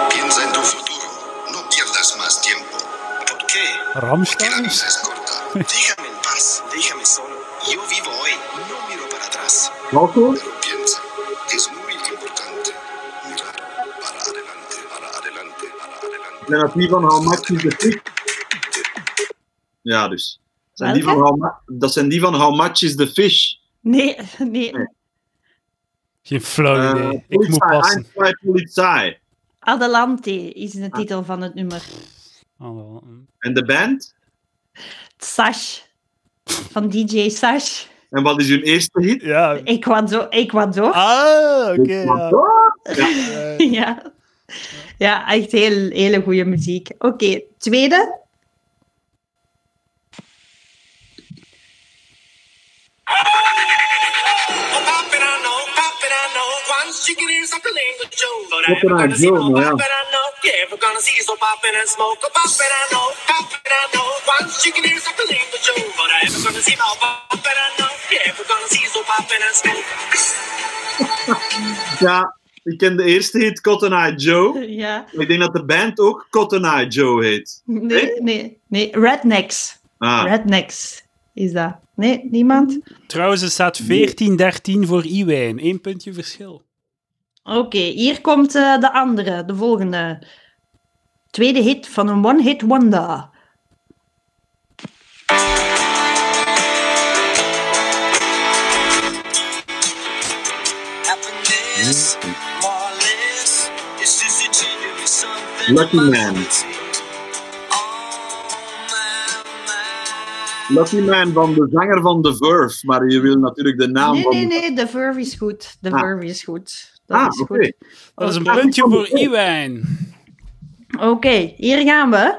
Speaker 4: piensa en tu futuro. No pierdas más tiempo.
Speaker 5: ¿Por qué?
Speaker 4: Porque la
Speaker 1: Ramstein?
Speaker 4: vida es corta.
Speaker 5: Déjame en paz, déjame solo. Yo vivo hoy, no miro para atrás.
Speaker 3: Welke?
Speaker 4: Pero piensa, es muy importante mirar para adelante, para adelante, para adelante.
Speaker 3: Zijn dat die van How Much is the Fish? Ja, dus. Zijn die van
Speaker 2: Welke?
Speaker 3: How Mu- dat zijn die van How Much is the Fish?
Speaker 2: Nee, nee.
Speaker 1: Geen flauw
Speaker 3: Eh,
Speaker 1: idee. Oh, ik moet
Speaker 3: Polizei,
Speaker 1: passen.
Speaker 3: Einstein, Polizei.
Speaker 2: Adelante is de titel van het nummer.
Speaker 1: Ah, wel, hm.
Speaker 3: En de band?
Speaker 2: Sash. Van DJ Sash.
Speaker 3: En wat is hun eerste hit?
Speaker 1: Ja.
Speaker 2: Ik zo, ik zo.
Speaker 1: Ah, oké. ja. Eh,
Speaker 2: Ja. ja, echt heel, hele goede muziek. Oké, tweede.
Speaker 5: Oh, pop it, I know, pop it, I know. One chicken in something language show. But I
Speaker 3: Pop it,
Speaker 5: ain't
Speaker 3: I
Speaker 5: gonna see
Speaker 3: know,
Speaker 5: no
Speaker 3: yeah.
Speaker 5: pop it, I know. Yeah, we're gonna see so pop it and smoke. Oh, pop it, I know, pop it, I know. One chicken in something language show. But I ain't gonna see no pop it, I know. Yeah, we're gonna see so pop it and smoke.
Speaker 3: Ja, ik ken de eerste hit Cotton Eye Joe.
Speaker 2: Ja.
Speaker 3: Ik denk dat de band ook Cotton Eye Joe heet.
Speaker 2: Nee, nee, nee. Rednecks.
Speaker 3: Ah,
Speaker 2: Rednecks is dat. Nee, niemand?
Speaker 1: Trouwens, het staat 14-13 voor Iwijn. Eén puntje verschil.
Speaker 2: Oké, hier komt eh, de andere, de volgende. Tweede hit van een one-hit wonder.
Speaker 5: Happiness, more or less, it's just a genuine something.
Speaker 3: Lucky man. Lucky Man van de zanger van The Verve. Maar je wil natuurlijk de naam
Speaker 2: Nee,
Speaker 3: van...
Speaker 2: nee, nee, de verve is goed. De
Speaker 3: Ah.
Speaker 2: verve is goed. Dat
Speaker 3: Ah,
Speaker 2: is
Speaker 3: oké.
Speaker 2: goed.
Speaker 1: Oh, Dat is een
Speaker 2: Oké.
Speaker 1: puntje voor Iwijn.
Speaker 2: Oké, hier gaan we.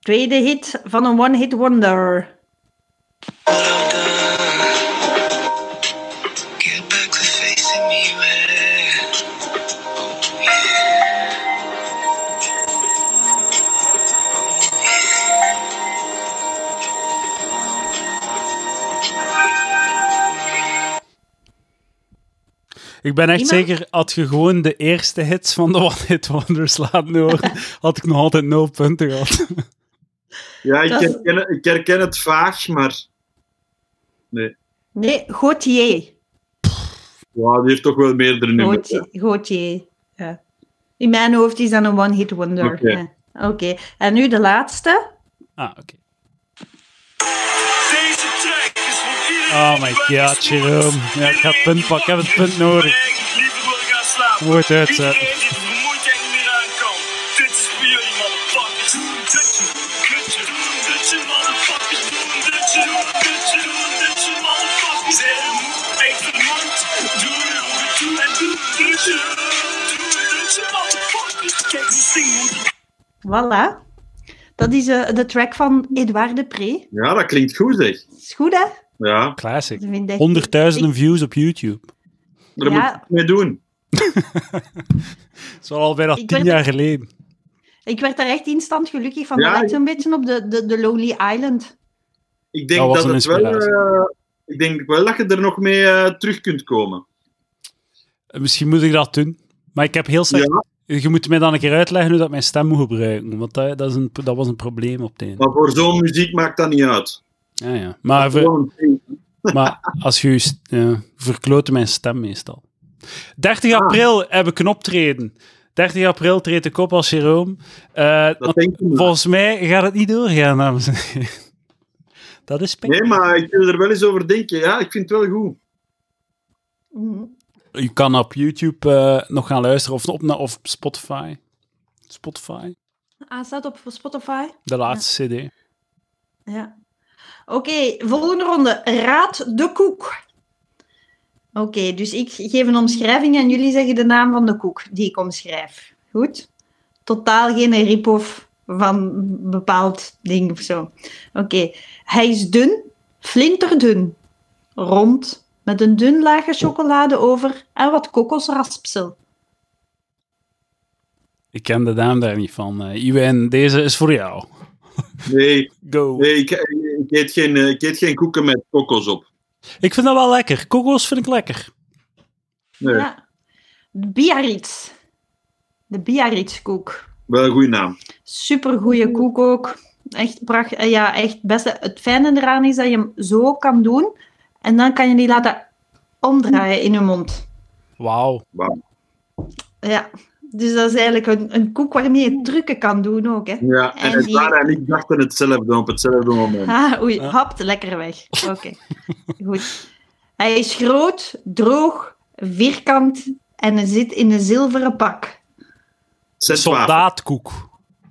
Speaker 2: Tweede hit van een one-hit wonder.
Speaker 5: Get back to facing me, man. Oh, yeah.
Speaker 1: Ik ben echt
Speaker 2: Iemand?
Speaker 1: zeker, had je gewoon de eerste hits van de One Hit Wonders laten horen, had ik nog altijd nul punten gehad.
Speaker 3: Ja, ik
Speaker 2: Dat is-
Speaker 3: herken, het- ik herken het vaag, maar... Nee.
Speaker 2: Nee, Gautier.
Speaker 3: Ja, die heeft toch wel meerdere nummers. hè.
Speaker 2: Gautier. Gautier, Ja. In mijn hoofd is dat een one-hit wonder.
Speaker 3: Oké.
Speaker 2: Ja. Oké, en nu de laatste.
Speaker 1: Ah, oké.
Speaker 5: Deze track is voor iedereen.
Speaker 1: Oh my god, Jerome. Ja, ik ga het punt pakken. Ik heb het punt nodig.
Speaker 5: Liever wil ik gaan slapen.
Speaker 1: Moet het uitzetten.
Speaker 5: Iedereen die er vermoeid en niet meer aankomt. Dit is voor jullie, motherfuckers.
Speaker 2: Voilà. Dat is eh, de track van Edouard Depree.
Speaker 3: Ja, dat klinkt goed, zeg.
Speaker 2: Is goed, hè?
Speaker 3: Ja,
Speaker 1: Classic.
Speaker 2: Dat vind ik-
Speaker 1: Honderdduizenden views op YouTube.
Speaker 3: daar moet
Speaker 2: Ja.
Speaker 3: je iets mee doen.
Speaker 1: Dat is wel al bijna
Speaker 2: Ik
Speaker 1: tien
Speaker 2: werd-
Speaker 1: jaar geleden.
Speaker 2: Ik werd daar echt instant gelukkig van.
Speaker 3: Ja,
Speaker 2: dat
Speaker 3: ik-
Speaker 2: lijkt zo'n beetje op de, de, de Lonely Island.
Speaker 3: Ik denk
Speaker 1: Dat
Speaker 3: dat,
Speaker 1: was een
Speaker 3: het wel,
Speaker 1: inspiratie.
Speaker 3: eh, ik denk wel dat je er nog mee eh, terug kunt komen.
Speaker 1: Misschien moet ik dat doen. Maar ik heb heel slecht...
Speaker 3: Ja,
Speaker 1: Je moet mij dan een keer uitleggen hoe dat ik mijn stem moet gebruiken. Want dat, dat, is een, dat was een probleem op het einde.
Speaker 3: maar voor zo'n muziek maakt dat niet uit.
Speaker 1: Ja, ja. Maar, ver-
Speaker 3: Gewoon,
Speaker 1: maar als je... je st- ja, verkloten mijn stem meestal. 30
Speaker 3: Ah.
Speaker 1: april heb ik een optreden. 30 april treedt ik op als Jeroen. Eh,
Speaker 3: dat denk ik niet.
Speaker 1: volgens mij gaat het niet doorgaan, dames en heren. Dat is pijn.
Speaker 3: Nee, maar ik wil er wel eens over denken. Ja, ik vind het wel goed.
Speaker 2: Mhm.
Speaker 1: Je kan op YouTube eh, nog gaan luisteren of, op, of Spotify. Spotify,
Speaker 2: Ah, staat op Spotify.
Speaker 1: de laatste CD.
Speaker 2: Ja. Oké, volgende ronde. Raad de koek. Oké, dus ik geef een omschrijving en jullie zeggen de naam van de koek die ik omschrijf. Goed? Totaal geen rip-off van een bepaald ding of zo. Oké, hij is dun, flinterdun, rond, met een dun laagje chocolade over en wat kokosraspsel.
Speaker 1: Ik ken de naam daar niet van. Eh Iwan, deze is voor jou.
Speaker 3: Nee,
Speaker 1: Go.
Speaker 3: nee ik, ik, eet geen, eh, ik eet geen koeken met kokos op.
Speaker 1: Ik vind dat wel lekker. Kokos vind ik lekker.
Speaker 3: Nee,
Speaker 2: Ja. Biarritz. De Biarritz-koek.
Speaker 3: wel een goede naam.
Speaker 2: Supergoeie koek ook. Echt prachtig. Ja, echt beste. Het fijne eraan is dat je hem zo kan doen. En dan kan je die laten omdraaien in je mond.
Speaker 1: Wauw.
Speaker 2: Ja. Dus dat is eigenlijk een, een koek waarmee je trucken kan doen ook. Hè.
Speaker 3: Ja, en,
Speaker 2: En
Speaker 3: het
Speaker 2: die-
Speaker 3: waren en ik dachten hetzelfde op hetzelfde moment.
Speaker 2: Ah, oei,
Speaker 1: Ja.
Speaker 2: hapt lekker weg. Oké. Goed. Hij is groot, droog, vierkant en zit in een zilveren pak.
Speaker 3: Zes wapen.
Speaker 1: Soldaatkoek.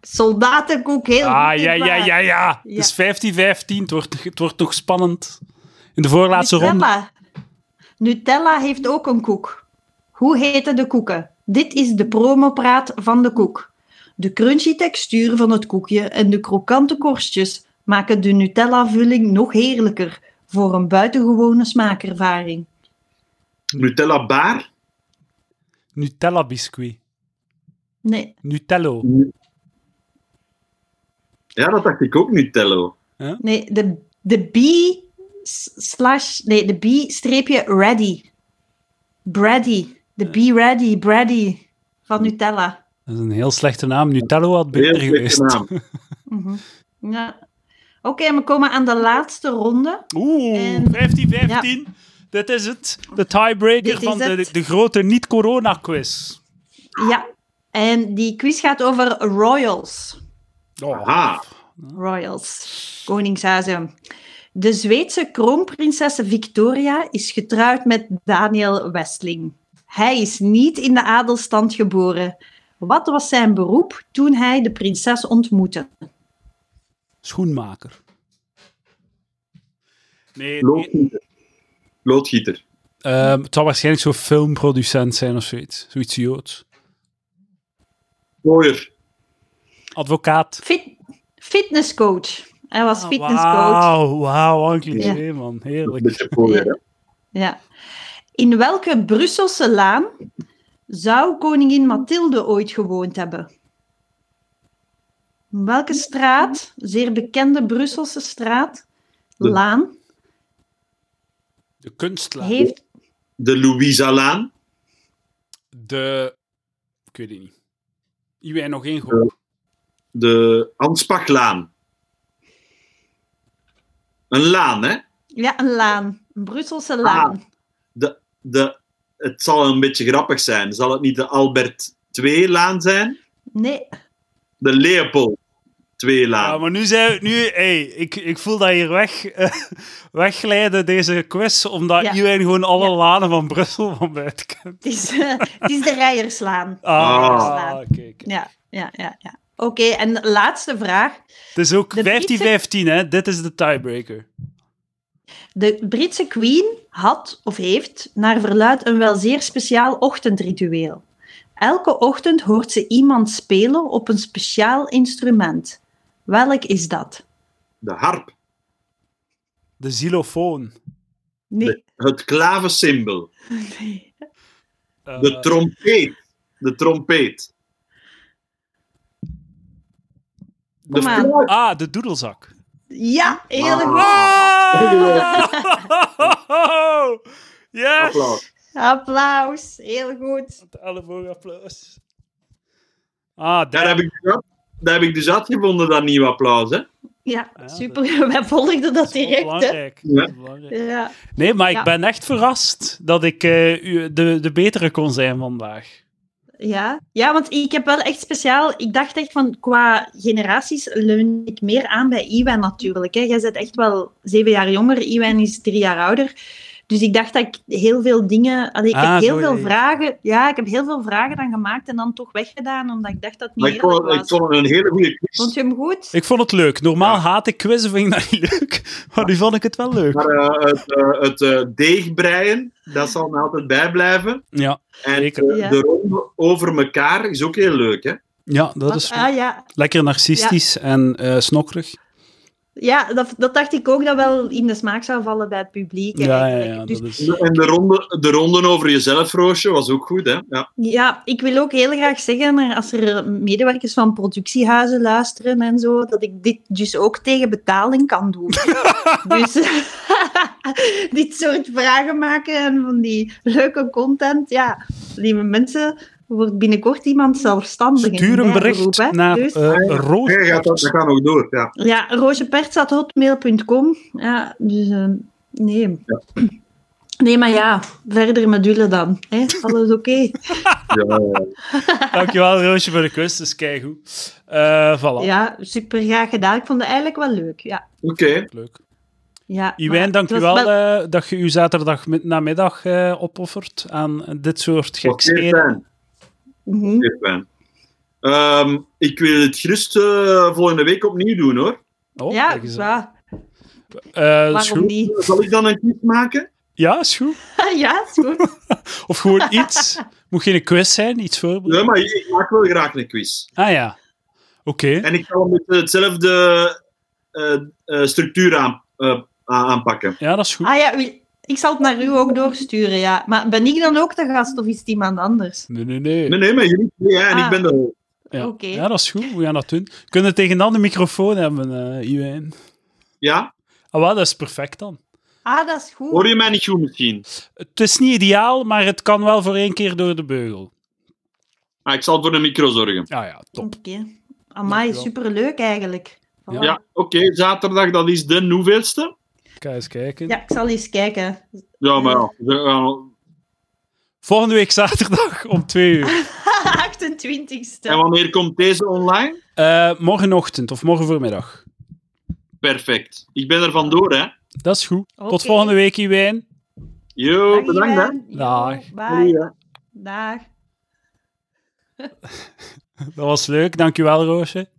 Speaker 2: Soldatenkoek, heel
Speaker 1: Ah,
Speaker 2: goed
Speaker 1: ja, ja, ja,
Speaker 2: waar.
Speaker 1: ja.
Speaker 2: Ja.
Speaker 1: Het is 15-15. Het wordt, het wordt nog spannend. In de voorlaatste ronde.
Speaker 2: Nutella. Nutella heeft ook een koek. Hoe heten de koeken? Dit is de promopraat van de koek. De crunchy textuur van het koekje en de krokante korstjes maken de Nutella-vulling nog heerlijker voor een buitengewone smaakervaring.
Speaker 3: Nutella baar.
Speaker 1: Nutella biscuit.
Speaker 2: Nee,
Speaker 1: Nutello.
Speaker 3: Ja, dat dacht ik ook, Nutello.
Speaker 2: nee de, de B s- slash, nee, de B streepje ready. Brady. De B ready, Brady van Nutella.
Speaker 1: Dat is een heel slechte naam. Nutello had
Speaker 3: Heel
Speaker 1: beter
Speaker 3: slechte
Speaker 1: geweest.
Speaker 3: naam.
Speaker 2: Mhm. Ja. Oké, we komen aan de laatste ronde.
Speaker 1: Oeh,
Speaker 2: En-
Speaker 1: 15-15. Dit is het. De tiebreaker
Speaker 2: Dit is
Speaker 1: van de,
Speaker 2: het.
Speaker 1: de grote niet-corona-quiz.
Speaker 2: Ja. En die quiz gaat over royals.
Speaker 1: Oh.
Speaker 3: Aha.
Speaker 2: Royals. Koningshuizen. De Zweedse kroonprinses Victoria is getrouwd met Daniel Westling. Hij is niet in de adelstand geboren. Wat was zijn beroep toen hij de prinses ontmoette?
Speaker 1: Schoenmaker. Nee, nee.
Speaker 3: Loodgieter. Loodgieter.
Speaker 1: Ehm, het zou waarschijnlijk zo'n filmproducent zijn of zoiets. Zoiets joods.
Speaker 3: Mooier.
Speaker 1: Advocaat.
Speaker 2: Fit- fitnesscoach. Hij was
Speaker 1: Ah,
Speaker 2: fitnesscoach.
Speaker 1: Wauw, wauw, wat een cliché, man.
Speaker 3: Een
Speaker 1: Heerlijk.
Speaker 3: beetje mooier, hè.
Speaker 2: Ja. In welke Brusselse laan zou koningin Mathilde ooit gewoond hebben? In welke straat, zeer bekende Brusselse straat,
Speaker 3: De-
Speaker 2: laan,
Speaker 1: De kunstlaar.
Speaker 2: heeft...
Speaker 3: De Louisa Laan.
Speaker 1: De... Ik weet het niet. Iwijn nog één groep.
Speaker 3: De Anspachlaan. Een laan, hè?
Speaker 2: Ja, een laan. Een Brusselse laan.
Speaker 3: De, het zal een beetje grappig zijn. Zal het niet de Albert 2-laan zijn?
Speaker 2: Nee,
Speaker 3: De Leopold 2-laan.
Speaker 1: Ja, Ah, maar nu zijn we... Nu, hey, ik, ik voel dat hier weg, eh, wegglijden, deze quiz, omdat
Speaker 2: Ja.
Speaker 1: Iwijn gewoon alle
Speaker 2: Ja.
Speaker 1: lanen van Brussel van buiten kent.
Speaker 2: het is, eh, het is de Rijerslaan.
Speaker 1: Ah,
Speaker 2: Ah.
Speaker 1: oké. oké.
Speaker 2: Ja, ja, ja. ja. Oké, en de laatste vraag.
Speaker 1: Het is ook 15-15,
Speaker 2: De Britse-
Speaker 1: hè. Dit is de tiebreaker.
Speaker 2: De Britse Queen had of heeft naar verluid een wel zeer speciaal ochtendritueel. Elke ochtend hoort ze iemand spelen op een speciaal instrument. Welk is dat?
Speaker 3: De harp.
Speaker 1: De xylofoon.
Speaker 2: Nee.
Speaker 3: Het klavensymbool.
Speaker 2: nee.
Speaker 1: Eh,
Speaker 3: De trompeet. De trompeet. De
Speaker 2: Kom aan.
Speaker 3: fluit.
Speaker 1: ah, de doedelzak.
Speaker 2: Ja, heel
Speaker 3: Ah.
Speaker 2: goed.
Speaker 1: Ah! Yes!
Speaker 3: Applaus.
Speaker 2: Applaus. Heel goed.
Speaker 1: Het elleboogapplaus. Ah,
Speaker 3: Daar heb ik dus uit- daar heb ik dus uitgevonden, dat nieuw applaus. Hè?
Speaker 2: Ja,
Speaker 1: Ja,
Speaker 2: super. Wij volgden Ah, dat direct. Hè.
Speaker 1: Belangrijk.
Speaker 3: hè?
Speaker 1: Dat is belangrijk.
Speaker 2: Ja.
Speaker 1: Nee, maar ik
Speaker 2: Ja.
Speaker 1: ben echt verrast dat ik eh, u- de, de betere kon zijn vandaag.
Speaker 2: Ja. ja, want ik heb wel echt speciaal... Ik dacht echt van, qua generaties leun ik meer aan bij Iwan natuurlijk. Hè. Jij bent echt wel zeven jaar jonger, Iwan is drie jaar ouder. Dus ik dacht dat ik heel veel dingen... Allee, ik
Speaker 1: Ah,
Speaker 2: heb heel
Speaker 1: zo,
Speaker 2: veel
Speaker 1: ja, ja.
Speaker 2: vragen... Ja, ik heb heel veel vragen dan gemaakt en dan toch weggedaan, omdat ik dacht dat het
Speaker 3: Maar
Speaker 2: niet
Speaker 3: ik
Speaker 2: eerlijk
Speaker 3: vond,
Speaker 2: was.
Speaker 3: ik vond het een hele goede quiz.
Speaker 2: Vond je hem goed?
Speaker 1: Ik vond het leuk. Normaal
Speaker 3: Ja.
Speaker 1: haat ik quizzen, vind ik dat niet leuk. Maar nu vond ik het wel leuk.
Speaker 3: Maar eh, het, eh, het eh, deegbreien, dat zal me altijd bijblijven.
Speaker 1: Ja,
Speaker 3: En
Speaker 1: Zeker.
Speaker 3: eh,
Speaker 2: Ja.
Speaker 3: de ronde over elkaar is ook heel leuk. Hè?
Speaker 1: ja dat
Speaker 2: Want-
Speaker 1: is goed.
Speaker 2: ah, ja,
Speaker 1: lekker narcistisch en eh snokkerig.
Speaker 2: Ja, dat, dat dacht ik ook dat wel in de smaak zou vallen bij het publiek.
Speaker 1: Ja, ja,
Speaker 2: eigenlijk.
Speaker 1: ja,
Speaker 2: Dus
Speaker 1: dat is...
Speaker 3: En de, ronde, de ronden over jezelf, Roosje, was ook goed. Hè? Ja.
Speaker 2: ja, ik wil ook heel graag zeggen, er- als er medewerkers van productiehuizen luisteren en zo, dat ik dit dus ook tegen betaling kan doen. dus dit soort vragen maken en van die leuke content, ja, lieve mensen, wordt binnenkort iemand zelfstandig. in
Speaker 1: Stuur een
Speaker 2: mijn
Speaker 1: bericht
Speaker 2: beroep, hè.
Speaker 1: naar
Speaker 2: Dus-
Speaker 3: Ah,
Speaker 1: eh Roos.
Speaker 3: Nee, gaat dat, dat gaat nog door. Ja.
Speaker 2: Ja, roosjepert.hotmail.com. Ja, dus eh, nee. Nee, maar ja, verder met Dule dan. Hè? Alles oké.
Speaker 3: Ja,
Speaker 1: Dankjewel, Roosje, voor de quiz. Dus kijk hoe. Eh voilà.
Speaker 2: Ja, super graag gedaan. Ik vond het eigenlijk wel leuk. Ja.
Speaker 3: Oké,
Speaker 1: Leuk.
Speaker 2: Ja,
Speaker 1: Iwijn,
Speaker 2: maar het was
Speaker 1: dankjewel
Speaker 2: wel-
Speaker 1: eh dat je uw zaterdag mid- namiddag eh, opoffert aan dit soort
Speaker 3: oké,
Speaker 1: geksteden.
Speaker 3: fijn.
Speaker 1: eh.
Speaker 2: Mhm.
Speaker 3: oké, fijn. Ehm, ik wil het gerust eh, volgende week opnieuw doen hoor.
Speaker 1: Oh,
Speaker 2: ja,
Speaker 1: kijk eens aan.
Speaker 2: ja,
Speaker 1: Eh, is
Speaker 2: waarom
Speaker 1: goed.
Speaker 2: niet?
Speaker 3: Zal ik dan een quiz maken?
Speaker 1: Ja, is goed.
Speaker 2: ja, is goed.
Speaker 1: Of gewoon iets. Moet geen quiz zijn, iets
Speaker 3: Ja,
Speaker 1: voorbereiden.
Speaker 3: maar ik, ik maak wel graag een quiz.
Speaker 1: Ah ja. Oké.
Speaker 3: En ik zal met hetzelfde eh, eh, structuur aan, eh, aan- aanpakken.
Speaker 1: Ja, dat is goed.
Speaker 2: Ah ja, wil- ik zal het naar u ook doorsturen, ja. Maar ben ik dan ook de gast of is het iemand anders?
Speaker 1: Nee, nee, nee.
Speaker 3: Nee, nee, maar jullie twee hè, en ik
Speaker 2: Ah.
Speaker 3: ben de hoofd.
Speaker 1: Ja.
Speaker 2: Oké.
Speaker 1: ja, dat is goed. We gaan dat doen. Kunnen we tegen dan de microfoon hebben, eh Iwijn?
Speaker 3: Ja?
Speaker 1: Ah, wel, dat is perfect dan.
Speaker 2: Ah, dat is goed.
Speaker 3: Hoor je mij niet goed misschien?
Speaker 1: Het is niet ideaal, maar het kan wel voor één keer door de beugel.
Speaker 3: Ah, ik zal voor de micro zorgen.
Speaker 1: Ah ja, top.
Speaker 2: Oké. Amai,
Speaker 1: Dankjewel.
Speaker 2: superleuk eigenlijk. Voilà.
Speaker 3: Ja, oké, zaterdag, dat is de hoeveelste?
Speaker 1: Kijk eens kijken.
Speaker 2: ja, ik zal eens kijken.
Speaker 3: Ja, maar ja. we gaan-
Speaker 1: Volgende week zaterdag om twee uur.
Speaker 2: 28ste.
Speaker 3: En wanneer komt deze online?
Speaker 1: Eh, morgenochtend of morgen voormiddag.
Speaker 3: Perfect. Ik ben er vandoor, hè.
Speaker 1: Dat is goed.
Speaker 2: Oké.
Speaker 1: Tot volgende week, Iwijn.
Speaker 3: Yo,
Speaker 2: Dag,
Speaker 3: eh, bedankt, hè.
Speaker 2: Iwan.
Speaker 1: Dag.
Speaker 2: Jo,
Speaker 3: Doei,
Speaker 2: Bye.
Speaker 3: hè.
Speaker 2: Dag.
Speaker 1: Dat was leuk. Dankjewel, Roosje.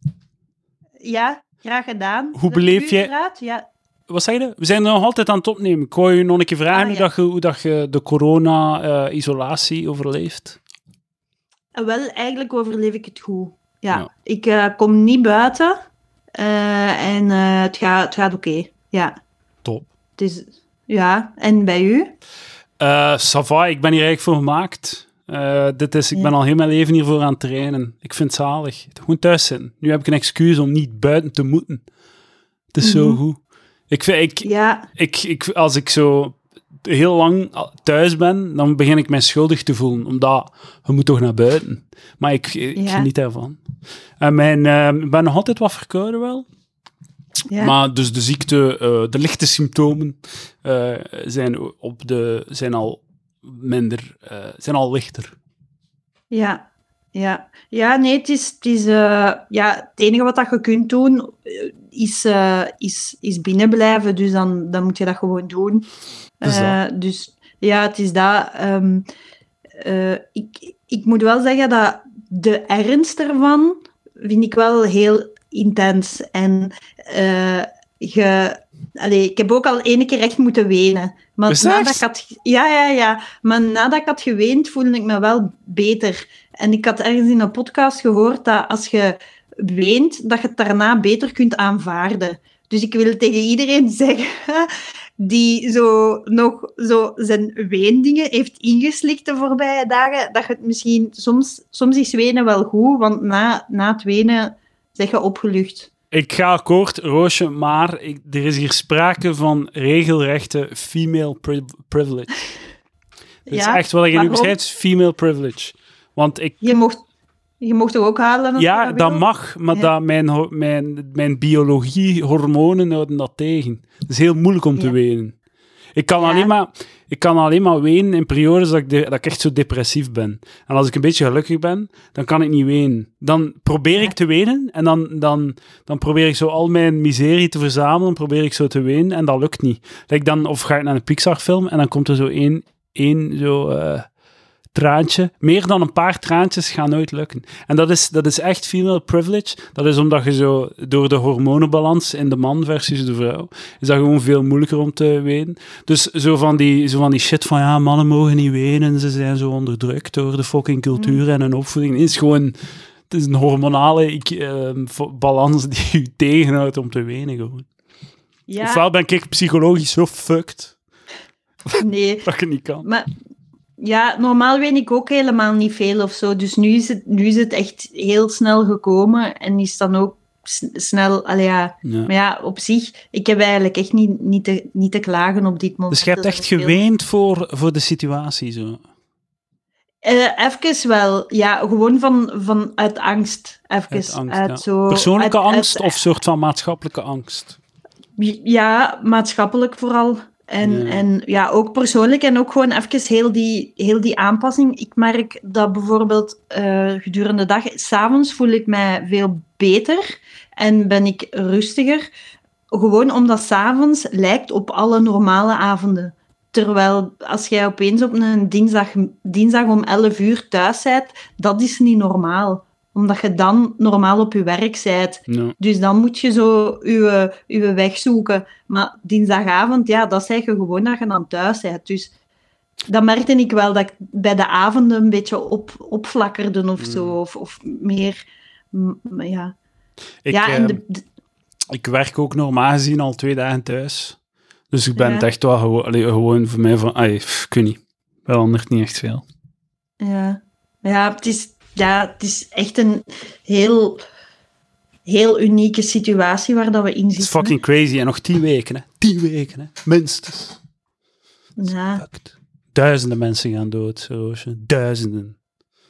Speaker 2: Ja, graag gedaan.
Speaker 1: Hoe
Speaker 2: De
Speaker 1: beleef jij-
Speaker 2: buurpraat, Ja.
Speaker 1: Wat zeg je? We zijn er nog altijd aan het opnemen. Ik hoor je nog een keer vragen
Speaker 2: Ah,
Speaker 1: hoe,
Speaker 2: ja.
Speaker 1: dat je, hoe dat je de corona-isolatie overleeft.
Speaker 2: Eh, Wel, eigenlijk overleef ik het goed. Ja.
Speaker 1: Ja.
Speaker 2: Ik eh, kom niet buiten. eh, en eh, het gaat, het gaat oké. Ja.
Speaker 1: Top.
Speaker 2: Het is, ja. En bij u?
Speaker 1: Eh Sava, ik ben hier eigenlijk voor gemaakt. Eh, dit is, ik
Speaker 2: Ja.
Speaker 1: ben al heel mijn leven hiervoor aan het trainen. Ik vind het zalig. Gewoon thuis zitten. Nu heb ik een excuus om niet buiten te moeten. Het is zo
Speaker 2: Mhm.
Speaker 1: goed. Ik, vind- ik,
Speaker 2: Ja.
Speaker 1: ik, ik, als ik zo heel lang thuis ben, dan begin ik mij schuldig te voelen. Omdat, we moeten toch naar buiten. Maar ik, ik
Speaker 2: Ja.
Speaker 1: geniet daarvan. En mijn, eh, ik ben nog altijd wat verkouden wel.
Speaker 2: ja.
Speaker 1: Maar dus de ziekte, eh, de lichte symptomen eh, zijn, op de, zijn al minder, eh, zijn al lichter.
Speaker 2: Ja, ja. ja nee, het is... Het, is eh, ja, het enige wat dat je kunt doen, eh, is, eh, is, is binnen blijven. Dus dan, dan moet je dat gewoon doen.
Speaker 1: Het is dat.
Speaker 2: Eh, dus ja, het is dat. ehm, eh, ik, ik moet wel zeggen dat de ernst ervan vind ik wel heel intens. En eh, je, Allee, ik heb ook al ene keer echt moeten wenen. Maar
Speaker 1: Is dat
Speaker 2: nadat
Speaker 1: echt?
Speaker 2: ik had, ge- ja, ja, ja. Maar nadat ik had geweend, voelde ik me wel beter. En ik had ergens in een podcast gehoord dat als je weent, dat je het daarna beter kunt aanvaarden. Dus ik wil tegen iedereen zeggen die zo nog zo zijn weendingen heeft ingeslikt de voorbije dagen, dat je het misschien... Soms, soms is wenen wel goed, want na, na het wenen zeg je opgelucht.
Speaker 1: Ik ga akkoord, Roosje, maar ik- er is hier sprake van regelrechte female pri- privilege. Dat is
Speaker 2: Ja,
Speaker 1: echt wat je nu
Speaker 2: waarom?
Speaker 1: beschrijft, female privilege. Want ik,
Speaker 2: Je mocht, je mocht toch ook halen? als je
Speaker 1: ja, dat
Speaker 2: wil?
Speaker 1: mag, maar
Speaker 2: Ja.
Speaker 1: dat mijn, ho- mijn, mijn biologie, hormonen houden dat tegen. Het is heel moeilijk om te
Speaker 2: Ja.
Speaker 1: wenen. Ik kan,
Speaker 2: Ja.
Speaker 1: alleen maar, ik kan alleen maar wenen in periodes dat ik, de- dat ik echt zo depressief ben. En als ik een beetje gelukkig ben, dan kan ik niet wenen. Dan probeer ik te wenen en dan, dan, dan probeer ik zo al mijn miserie te verzamelen, probeer ik zo te wenen en dat lukt niet. Like dan, of ga ik naar een Pixar-film en dan komt er zo één, één zo, eh, traantje. Meer dan een paar traantjes gaan nooit lukken. En dat is, dat is echt female privilege. Dat is omdat je zo door de hormonenbalans in de man versus de vrouw, is dat gewoon veel moeilijker om te wenen. Dus zo van die, zo van die shit van ja, mannen mogen niet wenen, ze zijn zo onderdrukt door de fucking cultuur
Speaker 2: Mm.
Speaker 1: en hun opvoeding. Is gewoon, het is een hormonale ik, eh, vo- balans die u tegenhoudt om te wenen gewoon.
Speaker 2: Ja,
Speaker 1: Ofwel ben ik psychologisch zo fucked
Speaker 2: nee.
Speaker 1: dat ik het niet kan.
Speaker 2: Maar ja, normaal weet ik ook helemaal niet veel of zo. Dus nu is het, nu is het echt heel snel gekomen en is dan ook s- snel... Allee, ja.
Speaker 1: Ja.
Speaker 2: Maar ja, op zich, ik heb eigenlijk echt niet, niet, te, niet te klagen op dit moment.
Speaker 1: Dus je hebt
Speaker 2: Dat is
Speaker 1: echt
Speaker 2: een veel-
Speaker 1: geweend voor, voor de situatie zo.
Speaker 2: Eh, even wel, ja. Gewoon van, van uit angst. Even.
Speaker 1: Uit angst,
Speaker 2: uit
Speaker 1: ja.
Speaker 2: zo,
Speaker 1: Persoonlijke
Speaker 2: uit- uit-
Speaker 1: angst of soort van maatschappelijke angst?
Speaker 2: Ja, maatschappelijk vooral. En
Speaker 1: Ja.
Speaker 2: ja, en, ja ook persoonlijk en ook gewoon even heel die, heel die aanpassing. Ik merk dat bijvoorbeeld eh, gedurende de dag, s'avonds voel ik mij veel beter en ben ik rustiger. Gewoon omdat s'avonds lijkt op alle normale avonden. Terwijl als jij opeens op een dinsdag, dinsdag om 11 uur thuis bent, dat is niet normaal. Omdat je dan normaal op je werk bent.
Speaker 1: Ja.
Speaker 2: Dus dan moet je zo je, uw weg zoeken. Maar dinsdagavond, ja, dat zeg je gewoon dat je dan thuis bent. Dus dat merkte ik wel, dat ik bij de avonden een beetje op, opflakkerde of zo.
Speaker 1: Hmm.
Speaker 2: Of, of meer, m- m- ja.
Speaker 1: Ik,
Speaker 2: ja, en
Speaker 1: eh,
Speaker 2: de, de-
Speaker 1: ik werk ook normaal gezien al twee dagen thuis. Dus ik ben
Speaker 2: Ja.
Speaker 1: het echt wel gewoon, allee, gewoon voor mij van, ai, pff, ik weet niet. Wel anders niet echt veel.
Speaker 2: ja. Ja, het is, ja, het is echt een heel, heel unieke situatie waar dat we in
Speaker 1: Het is
Speaker 2: zitten.
Speaker 1: fucking crazy. En nog tien weken, hè. Tien weken, hè. Minstens.
Speaker 2: Ja,
Speaker 1: Fucked. Duizenden mensen gaan dood, Roosje. Duizenden.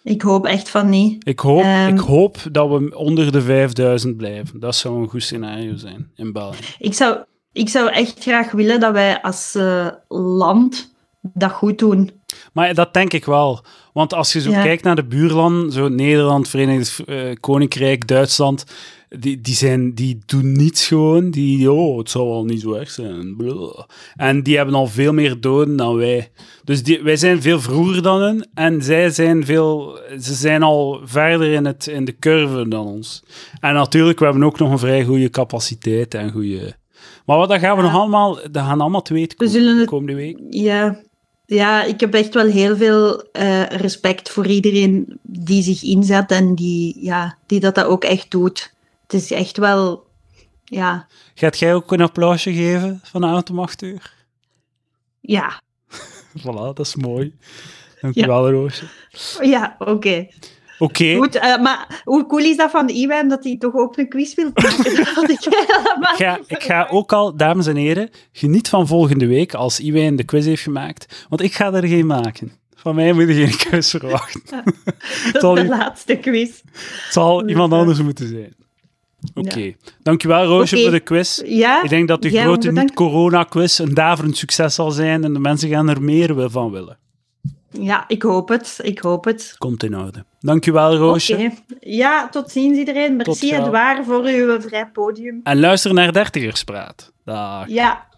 Speaker 2: ik hoop echt van niet.
Speaker 1: Ik hoop,
Speaker 2: Ehm.
Speaker 1: ik hoop dat we onder de 5000 blijven. Dat zou een goed scenario zijn in België.
Speaker 2: Ik zou, ik zou echt graag willen dat wij als eh, land dat goed doen.
Speaker 1: Maar dat denk ik wel. Want als je zo
Speaker 2: Ja.
Speaker 1: kijkt naar de buurlanden, zo Nederland, Verenigd eh, Koninkrijk, Duitsland, die, die, zijn, die doen niets gewoon. Die, oh, het zal wel niet zo erg zijn. Blah. En die hebben al veel meer doden dan wij. Dus die, wij zijn veel vroeger dan hen en zij zijn veel, ze zijn al verder in, het, in de curve dan ons. En natuurlijk, we hebben ook nog een vrij goede capaciteit en goede... Maar wat, dat gaan we
Speaker 2: Ja.
Speaker 1: nog allemaal, dat gaan allemaal te weten
Speaker 2: We
Speaker 1: komen
Speaker 2: zullen het-
Speaker 1: komende week.
Speaker 2: Ja, ja ik heb echt wel heel veel eh, respect voor iedereen die zich inzet en die, ja, die dat, dat ook echt doet. Het is echt wel, ja,
Speaker 1: Gaat jij ook een applausje geven vanavond om 8 uur?
Speaker 2: ja,
Speaker 1: Voilà, dat is mooi. Dankjewel, Roosje.
Speaker 2: ja, oké.
Speaker 1: Oké,
Speaker 2: Goed, eh, maar hoe cool is dat van Iwan dat hij toch ook een quiz wil maken? Dat had ik helemaal
Speaker 1: ik, ga,
Speaker 2: niet
Speaker 1: ik ga ook al, dames en heren, geniet van volgende week als Iwijn de quiz heeft gemaakt, want ik ga er geen maken. Van mij moet je geen quiz verwachten.
Speaker 2: verwacht.
Speaker 1: zal
Speaker 2: Dat is
Speaker 1: u-
Speaker 2: de laatste quiz.
Speaker 1: Het zal iemand anders moeten zijn. Oké, dankjewel Roosje
Speaker 2: Oké.
Speaker 1: voor de quiz.
Speaker 2: Ja,
Speaker 1: Ik denk dat de
Speaker 2: jij ook
Speaker 1: grote
Speaker 2: bedankt.
Speaker 1: niet-corona-quiz een daverend succes zal zijn en de mensen gaan er meer van willen.
Speaker 2: Ja, ik hoop het. Ik hoop het.
Speaker 1: Komt in orde. Dankjewel Roosje.
Speaker 2: Oké. Ja, tot ziens iedereen.
Speaker 1: Tot
Speaker 2: Merci
Speaker 1: gauw.
Speaker 2: Edouard voor uw eh, vrij podium.
Speaker 1: En luister naar Dertigerspraat. Dag.
Speaker 2: Ja,